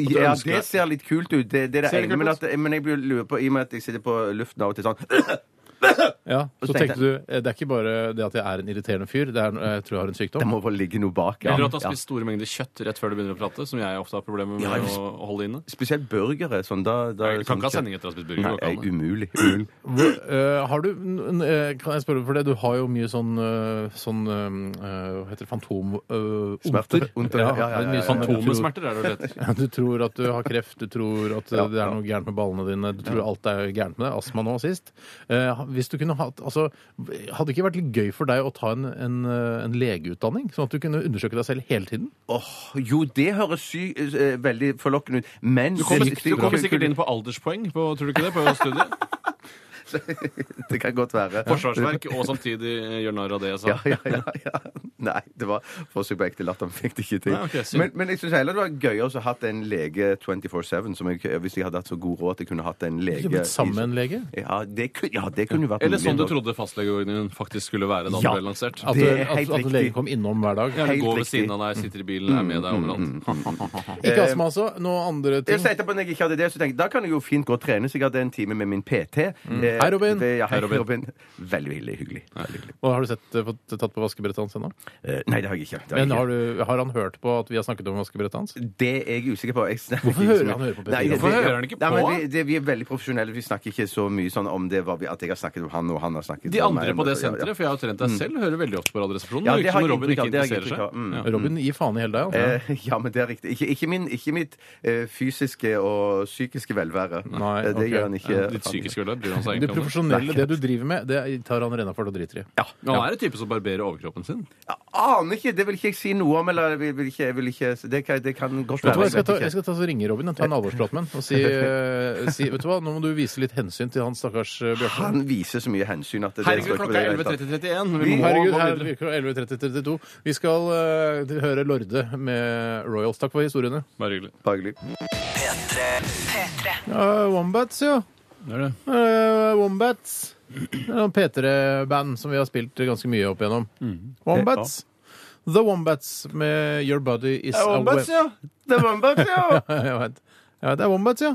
E: ja,
F: ønsker
E: det
F: deg-
E: ser litt kult ut. Det, det er det
F: Ser det
E: ene,
F: kult
E: men,
F: ut?
E: at, men jeg blir lurer på, i og med at jeg sitter på luften av og til sånn
D: Ja, Så
E: tenkte
D: tenkte du eh, det er ikke bare det at jeg er en irriterende fyr, det er, eh, jeg tror jeg har en
E: Det
D: sykdom.
E: må vel ligge noe bak.
F: Eller at du har spist store mengder kjøtt rett før du begynner å prate, som jeg ofte har problemer med
E: Ja, jeg-
F: å å holde inne.
E: Spesielt burgere. Sånn, da, da,
F: Jeg kan ikke ha
E: sånn-
F: sending etter å ha spist burger.
E: Nei,
F: går ikke an, det.
E: umulig. umulig.
D: Eh, har du, n- n- eh, kan jeg spørre for det, du har jo mye sånn, eh, sånn eh, hva heter det, fantom... eh,
E: Smerter.
D: onter.
E: Onter, ja,
D: Ja,
E: ja, ja,
D: mye
E: ja,
D: sånn du tror-
F: Fantomesmerter er det det heter.
D: Ja, du tror at du har kreft, du tror at eh, det er noe gærent med ballene dine, du tror alt er gærent med deg. Astma nå sist. Eh, hvis du kunne hatt altså, Hadde det ikke vært litt gøy for deg å ta en, en, eh, en legeutdanning? Sånn at du kunne undersøke deg selv hele tiden?
E: Åh, jo, det høres sy eh, veldig forlokkende ut, men
F: Du kommer, du kommer sikkert inn på alderspoeng, på, tror du ikke det, på studiet?
E: Det kan godt være.
F: Forsvarsverk, og samtidig eh, gjør narr av det jeg sa.
E: Ja, ja, ja, ja. Nei, det var forsøk på ekte latter. men Fikk det ikke til.
F: Nei, ok, synd.
E: men, men jeg syns heller det var gøyere å ha hatt en lege 24-7, som jeg, hvis jeg hadde hatt så god råd at jeg kunne hatt en
D: Du
E: lege
D: kunne blitt sammen med en lege?
E: Ja, det, ku- ja, det kunne jo vært
F: Eller
E: mulig
F: sånn du
E: en dag.
F: trodde fastlegeordningen faktisk skulle være da den
E: Ja.
F: ble lansert.
D: At,
E: Det er
D: at,
E: helt
D: at
E: riktig.
D: legen kom innom hver dag?
F: Gjerne
E: helt
F: gå ved
E: riktig. Mm,
F: siden av deg, sitter i bilen, er med deg overalt.
D: Ikke astma, altså? Noe andre
E: Jeg
D: ting?
E: sa etterpå når jeg ikke hadde det, så tenkte jeg da kan jeg jo fint gå og trene. Så jeg hadde en time med min PT. Eh,
D: Hei, Robin.
E: det- Ja, hei,
F: Hei, Robin.
E: Robin. Veldig, veldig hyggelig. Veldig hyggelig.
D: Og har du sett, eh, fått tatt på vaskebrettet hans ennå?
E: Eh, nei, det har jeg ikke. Det har jeg
D: Men
E: ikke.
D: har, du, har han hørt på at vi har snakket om vaskebrettet hans?
E: Det er jeg usikker på. Jeg snakker
D: Hvorfor
E: ikke så
D: hører
E: mye.
D: han hører på P4?
E: Nei, det-
F: Hvorfor hører han ikke
E: Nei, men
F: på?
E: vi, det, vi er veldig profesjonelle. Vi snakker ikke så mye sånn om det hva vi, at jeg har snakket om han og han har snakket
F: De
E: om meg.
F: andre på det senteret,
E: Ja, Mm.
F: for jeg har jo trent deg selv, hører veldig ofte på Radioresepsjonen.
E: Ja,
F: Det
E: det
F: virker
E: har
F: som
E: jeg
F: Robin
E: inntrykk
F: ikke
E: av, det har jeg
F: interesserer
E: inntrykk av, mm.
F: seg. Ja.
D: Robin, gi faen i hele deg.
E: ja.
D: Altså.
E: Eh, ja, men det er riktig. Ikke, ikke, min, ikke mitt eh, fysiske og psykiske velvære.
D: Nei,
E: Eh, det
D: ok.
E: gjør han ikke.
F: Litt psykisk vel, bryr han seg
D: Det
F: egentlig om det.
D: profesjonelle, det du driver med, det tar han renna for og driter i.
E: Ja.
F: Men Han er en type som barberer overkroppen sin.
E: Jeg aner ikke. Det vil ikke jeg si noe om. Eller jeg vil, vil ikke, jeg vil ikke det, kan, det kan godt
D: Vet du hva,
E: være.
D: jeg skal, ta,
E: vet
D: jeg
E: ikke.
D: skal ta så ringe Robin og ta en alvorsprat med han og si, eh, si Vet du hva, nå må du vise litt hensyn til han stakkars eh, Bjarte.
E: Han viser så mye hensyn at det,
F: Herregud,
E: det står ikke på
F: klokka
E: det
F: er
E: i det hele tatt.
F: 11.30-31. Vi må
D: Herregud,
F: gå
D: her
F: videre.
D: virker det 11.30-32. Vi skal eh, høre Lorde med Royals. Takk for historiene.
F: Bare hyggelig.
E: Bare hyggelig.
B: P3.
D: Ja, Wombats, ja.
F: Det er det.
D: Eh, Wombats. Det er noen P3-band som vi har spilt ganske mye opp igjennom.
F: Mm.
D: Wombats. The Wombats med Your Body Is
E: Det er
D: A
E: Wombats, ja! Det er Wombats, ja!
D: jeg vet. Jeg vet, det er Wombats, ja.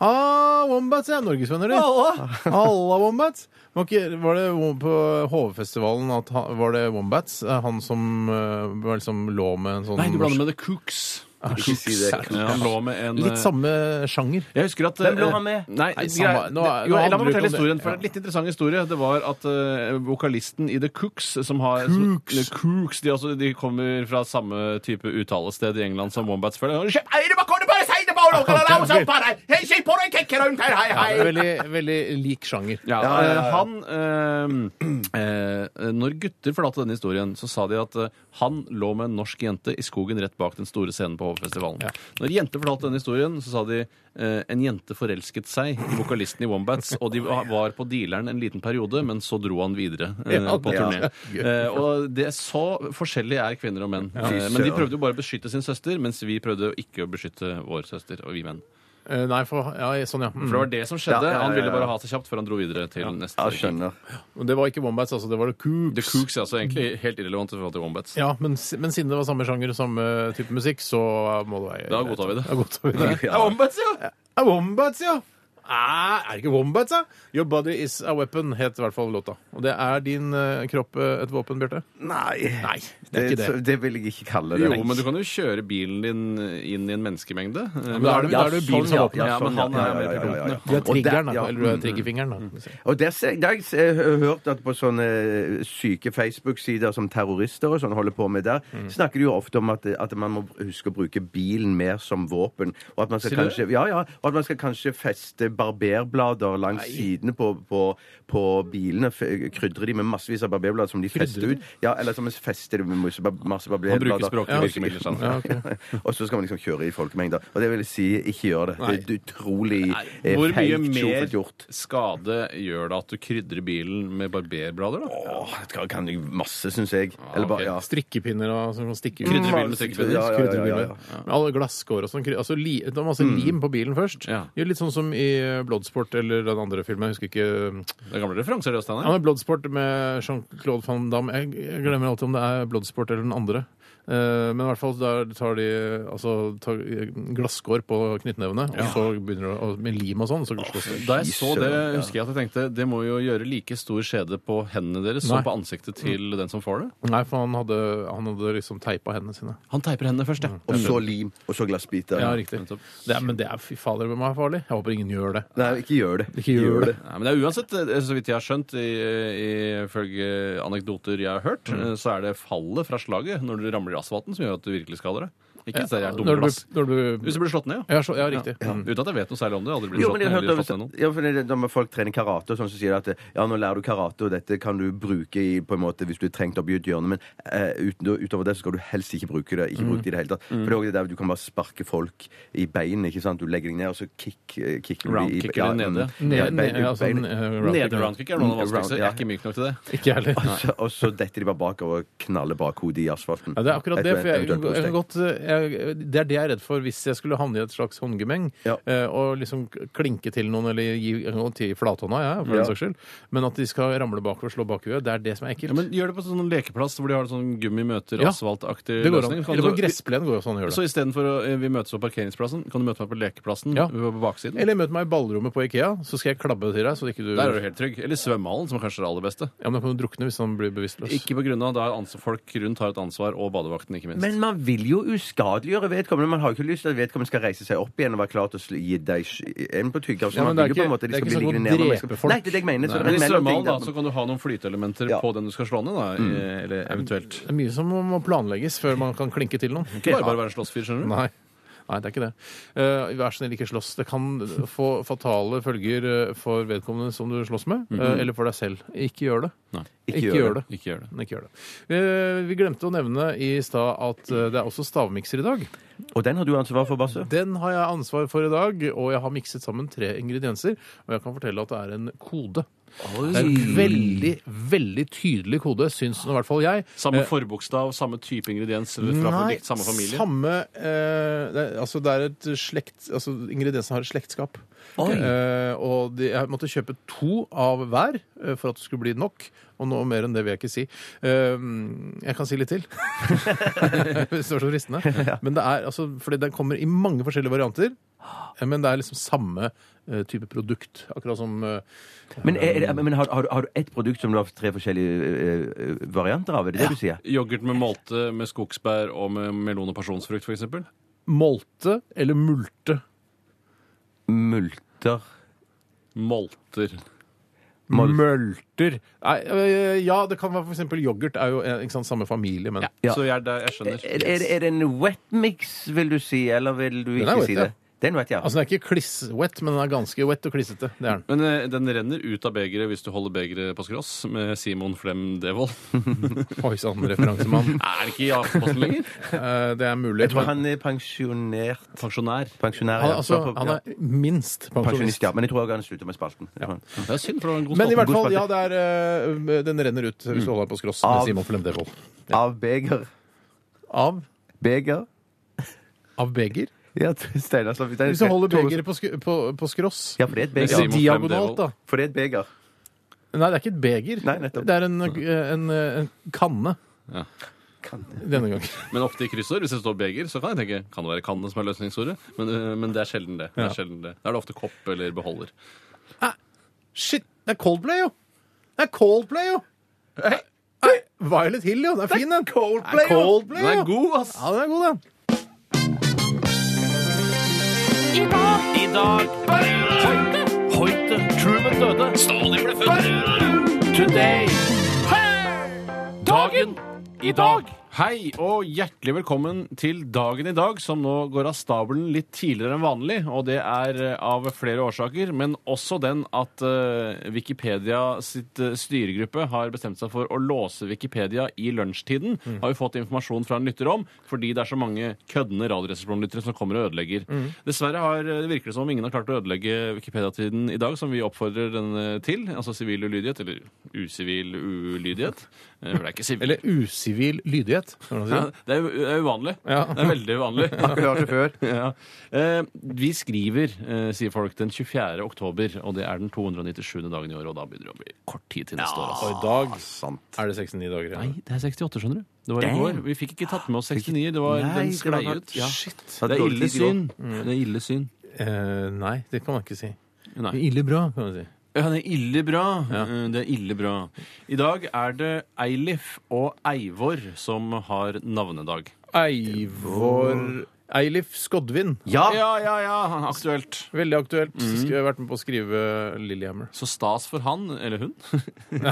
D: Ah, Wombats, ja. Norgesvenner, de. Halla, Wombats. Var, ikke, var det wo- på HV-festivalen at han, var det Wombats? eh, Han som eh, var liksom lå med en sånn
F: Nei, du blander med The Cooks.
E: Ikke si det.
F: Ja, han lå med en eh,
D: Litt samme sjanger.
F: Jeg husker at
E: Hvem lå
F: eh,
E: han med?
F: Nei,
D: Nei,
F: grei-
D: samme- nå er- nå
F: det- jo,
D: handler
F: La meg
D: det
F: fortelle
D: ikke om
F: historien,
D: det.
F: for det er en litt interessant historie. Det var at eh, vokalisten i The Cooks som har Cooks. Cooks de, er også, de kommer fra samme type uttalested i England som Wombats føler jeg. Shit, hei, det var kone bare si det bare, og la oss opp her. Hei, se på deg, kekke rundt her, hei, hei.
D: Veldig, veldig lik sjanger.
F: Ja, eh, Han eh, eh, Når gutter forlatte denne historien, så sa de at eh, han lå med en norsk jente i skogen rett bak den store scenen på Hovefestivalen. Når jenter forlatte denne historien, så sa de eh, en jente forelsket seg i vokalisten i Wombats, og de var var på dealeren en liten periode, men så dro han videre eh,
D: Ja,
F: på
D: det-
F: turné. Eh, og det er så forskjellig er kvinner og menn. Eh, men de prøvde jo bare å beskytte sin søster, mens vi prøvde jo ikke å beskytte vår søster og vi menn.
D: Eh, Nei, for ja, sånn, ja. Mm.
F: For det var det som skjedde.
E: Ja, ja, ja,
F: Han ville
E: ja.
F: bare ha seg kjapt før han dro videre til neste
E: Ja, skjønner.
D: Men Det var ikke Wombats, altså. Det var The Coops.
F: The Cooks er altså egentlig helt irrelevant i forhold til Wombats.
D: Ja, men, s- men siden det var samme sjanger og samme type musikk, så må det være
F: Da godtar vi det.
D: Da godtar vi det.
E: Ja.
F: Wombats, ja!
D: Ja, Wombats, ja! Ah, er det ikke Wombats, da? Your body is a weapon, het i hvert fall låta. Og det er din eh, kropp eh, et våpen, Bjarte?
E: Nei.
D: Nei, det er ikke det.
E: så- det vil jeg ikke kalle det.
F: Jo, men du kan jo kjøre bilen din inn i en menneskemengde. Men
D: da er det- da er det jo
E: sånn,
D: bilen som
F: ja,
D: åpner. Sånn,
F: Ja, men han er med
E: ja, ja, ja.
D: Du er
E: Og der-
D: triggeren, da.
E: ja,
D: Eller du er
E: mm,
D: triggerfingeren, da.
E: Og der, ser- der har jeg s- hørt at på sånne eh, syke Facebook-sider som terrorister og sånn holder på med der,
F: Mm.
E: snakker de jo ofte om at, at man må huske å bruke bilen mer som våpen. Og at man skal,
F: Sier du
E: kanskje, ja, ja, og at man skal kanskje feste barberblader langs sidene på, på, på bilene. f- Krydre de med massevis av barberblader som de fester ut. Ja, eller som fester de med masse bar- masse
F: Han
E: barberblader.
F: bruker språklige
E: Ja.
F: virkemidler. sant?
D: Ja, ok.
E: og så skal man liksom kjøre i folkemengder. Og det vil jeg si, ikke gjør det. Det er utrolig
F: Nei,
E: eh,
F: Hvor mye
E: feigt
F: mer
E: sjofelt gjort.
F: skade gjør det at du krydrer bilen med barberblader, da?
E: Åh, det kan- kan jeg masse, syns jeg. Eller bare,
F: ok.
E: ja.
D: Strikkepinner og som kan stikke ut.
F: Krydre bilen med
E: masse-
F: strikkepinner.
E: ja, ja, ja, ja.
D: Men Alle glasskår og sånn. kry- Altså, li, det var masse lim på bilen først.
F: Ja.
D: Gjør Litt sånn som i Bloodsport eller den andre filmen. Jeg husker ikke
F: Det er gamle referanser, det,
D: Ja,
F: Steinar.
D: men Bloodsport med Jean-Claude Van Damme jeg, jeg glemmer alltid om det er Bloodsport eller den andre. Eh, men i hvert fall der tar de altså, tar glasskår på knyttnevene, og så begynner det å- med lim og sånn. Så glasskår.
F: Da jeg så
E: Fy
F: det,
E: søren, ja.
F: husker jeg at jeg tenkte det må jo gjøre like stor skjede på hendene deres som
D: Nei.
F: på ansiktet
E: Mm.
F: til den som får det.
D: Nei, for han hadde, han hadde liksom teipa hendene sine.
F: Han teiper hendene først, ja.
E: Mm. Og så lim, og så glassbiter.
D: Ja, riktig. Det er, men det er fy fader hvem er farlig. Jeg håper ingen gjør det.
E: Nei, ikke gjør det.
D: Ikke gjør det.
F: Nei, men det er uansett, eh, så vidt jeg har Mm. eh, skjønt, i- ifølge anekdoter jeg har hørt, eh, så er det fallet fra slaget når du ramler i asfalten, som gjør at du virkelig skader deg. Ikke hvis det er dumme
D: Når du,
F: glass.
D: når du
F: Hvis du blir slått ned, ja.
D: ja, så, ja, riktig.
F: Mm. Uten at jeg vet noe særlig om det. Jeg har Aldri blitt
E: Jo, men
F: slått
E: jeg
F: ned
E: har
F: eller
E: hørt
F: slått ned
E: om,
F: noen.
E: ja, for det- Når folk trener karate, og sånn, så sier de at ja, nå lærer du karate, og dette kan du bruke i, på en måte, hvis du er trengt opp i et hjørne, men eh, uten, utover det så skal du helst ikke bruke det. Ikke bruke det i det hele tatt. For det er også det der du kan bare sparke folk i beinet. ikke sant? Du legger deg ned, og så kick, eh, kicker du de i
F: Roundkicker de nede.
E: nede. Ja,
D: Ned,
E: bein-
D: ned, ja,
E: bein-
D: sånn, eh, roundkick.
F: Nederroundkick er noen av de vanskeligste. Jeg
E: Ja.
F: er ikke myk nok til det.
D: Ikke jeg heller.
E: Og så- Altså, Og så detter de bare bakover og knaller bakhodet i asfalten.
D: Ja, det er akkurat det.
E: Etter
D: For jeg,
E: eventuelt
D: jeg kan
E: hosteng.
D: godt, jeg, det er det jeg er redd for hvis jeg skulle havne i et slags håndgemeng.
E: Ja.
D: eh, Og liksom klinke til noen, eller gi og til flathånda, ja, for
E: Ja.
D: den saks skyld. Men at de skal ramle bakover og slå bakhuet, det er det som er ekkelt.
F: Ja, men gjør det på sånn lekeplass hvor de har sånn gummi møter
D: Ja.
F: asfaltaktig
D: det går an.
F: løsning. Kan
D: Eller på
F: du-
D: gressplen går sånn, det også an å gjøre
F: Så
D: det.
F: istedenfor å eh, vi møtes på parkeringsplassen, kan du møte meg på lekeplassen
D: Ja.
F: på baksiden?
D: Eller møt meg i ballrommet på Ikea, så skal jeg klabbe til deg. Så ikke du
F: Der er du helt trygg. Eller svømmehallen, som er kanskje det aller beste.
D: Ja, men Da kan du drukne hvis han blir bevisstløs.
F: Ikke på grunn av da ans- folk rundt har et ansvar, og badevakten, ikke minst.
E: Men man vil jo uskadeliggjøre vedkommende. Man har jo ikke lyst til at vedkommende skal reise seg opp igjen og være klar til å sl- gi deg sk- en på tygga. Så
D: Ja, men
E: man
D: det
E: vil jo
D: er
E: på
D: ikke-
E: en måte de
D: det er
E: skal bli
D: ikke sånn
E: liggende
D: å
E: ned. når man
D: drepe
E: skal-
D: folk.
E: Nei, det er det jeg mener. Så
F: Nei,
E: det er
F: men I
E: en mellomting
F: svømmehallen da,
D: altså-
E: der.
F: så kan du ha noen flyteelementer
E: Ja.
F: på den du skal slå ned, da, eh, eller eventuelt.
D: Det er mye som må planlegges før man kan klinke til noen.
F: Ikke bare, bare være en slåssfyr, skjønner du.
D: Nei. Nei, det er ikke det. Eh, vær så snill, ikke slåss. Det kan få fatale følger eh, for vedkommende som du slåss med, eh, eller for deg selv. Ikke gjør det.
F: Nei.
D: Ikke, gjør det.
F: Ikke gjør det.
D: Ikke gjør det. Eh, vi glemte å nevne i stad at eh, det er også stavmikser i dag.
E: Og den har du ansvar for, Basse.
D: Den har jeg ansvar for i dag, og jeg har mikset sammen tre ingredienser. Og jeg kan fortelle at det er en kode. Det er en veldig, veldig tydelig kode, syns nå i hvert fall jeg.
F: Samme forbokstav, samme type ingrediens eller fra
D: Nei,
F: likt samme familie.
D: samme, eh, det, er- altså det er et slekt altså Ingrediensene har et slektskap. Eh, og de, jeg måtte kjøpe to av hver eh, for at det skulle bli nok. Og noe mer enn det vil jeg ikke si. Eh, jeg kan si litt til. Hvis det var så fristende. Men det er, altså, fordi den kommer i mange forskjellige varianter. eh, Men det er liksom samme eh, type produkt. Akkurat som eh,
E: Men, er, er, men har, har, du- har du ett produkt som du har tre forskjellige eh, eh, varianter av? Er det det du sier?
F: Yoghurt med molte, med skogsbær og med melon og pasjonsfrukt, f.eks.
D: molte eller multe.
E: Multer
F: Molter.
E: Mol-
D: Mølter. Nei, øh, ja, det kan være for eksempel yoghurt. er jo eh, ikke sant, samme familie, men
E: Ja.
F: Så jeg, er der, jeg skjønner.
E: er, er, er det en wet mix, vil du si, eller vil du
D: Den er
E: ikke
D: wet,
E: si
D: ja.
E: det? Den vet jeg.
D: Altså, Den er ikke kliss-wet, men den er ganske wet og klissete. Det er den.
F: Men eh, den renner ut av begeret hvis du holder begeret på skross med Simon Flem Devold.
D: Oi sann, referansemann.
F: Er det ikke i Aftenposten lenger?
D: Eh, det er mulig.
E: jeg tror han er pensjonert.
F: Pensjonær.
E: Pensjonær, ja.
D: Han er, altså,
E: Så på-
D: han
E: ja.
D: er minst pensjonist.
E: Pensjonist, ja. Men jeg tror også han slutter med spalten. Jeg tror han-
F: Det er synd, for det var en god
D: Men i
F: spalte.
D: hvert fall, ja, det er, eh, den renner ut hvis du holder den på skross med
E: Mm. Av-
D: Simon Flemdevold.
E: Av beger.
D: Av,
E: Beger?
D: av beger?
E: Ja, Steinar slapp ut.
D: Hvis du holder begeret på, sk- på, på skross
E: Ja, for det er et beger.
F: Simon Flem
D: Diagonalt, da.
F: Devold.
E: For det er et beger.
D: Nei, det er ikke et beger.
E: Nei, nettopp.
D: Det er en, eh, en, eh, en kanne.
F: Ja.
D: Denne gangen.
F: Men ofte i kryssord, hvis det står beger, så kan jeg tenke kan det være kanne som er løsningsordet. Men, eh, men det er sjelden det. det, er sjelden det. Da er det ofte kopp eller beholder.
D: Shit, det er Coldplay, jo! Det er Coldplay, jo! Nei, Violet Hill, jo! Den er fin, den. Coldplay,
E: jo.
D: Coldplay,
F: Den er
D: jo!
F: god, ass!
D: Ja, den er god, den.
F: I dag Hoite! Hoite! Truman døde. Stalin ble født. Today. Dagen i dag. Hei og hjertelig velkommen til dagen i dag, som nå går av stabelen litt tidligere enn vanlig. Og det er eh, av flere årsaker, men også den at eh, Wikipedia sitt eh, styregruppe har bestemt seg for å låse Wikipedia i lunsjtiden. Har vi fått informasjon fra en lytter om, fordi det er så mange køddende Radioresepsjon-lyttere som kommer og ødelegger. Dessverre har, eh, det virker det som om ingen har klart å ødelegge Wikipedia-tiden i dag, som vi oppfordrer den eh, til. Altså sivil ulydighet, eller usivil ulydighet. Eh, For det er ikke sivil.
D: Eller usivil lydighet. kan man si.
F: Ja, det er, det er uvanlig.
D: Ja.
F: Det er veldig uvanlig.
E: Akkurat det før.
F: ja. eh, vi skriver, eh, sier folk, den 24. oktober, og det er den 297. dagen i år, og da begynner det å bli kort tid til neste år. Altså.
D: Og i dag er det 69 dager
F: Nei,
D: igjen.
F: det er 68, skjønner du. Det var i går. Vi fikk ikke tatt med oss 69. Det var,
E: Nei,
F: den
E: det
F: sklei
E: var-
F: ut.
E: ja.
F: Shit.
E: Hadde
F: Det er
E: dårlig
F: ille
E: tid i går.
F: synd. Det er ille synd.
D: Eh, nei, det kan man ikke si.
F: Nei.
D: Ille bra, kan man si.
F: Ja, det er ille bra. Eh, Det er ille bra. I dag er det Eilif og Eivor som har navnedag.
D: Eivor Eilif Skodvin.
E: Ja!
F: Ja, ja, ja, aktuelt.
D: Veldig aktuelt. Sk- Vært med på å skrive Lillehammer.
F: Så stas for han, eller hun,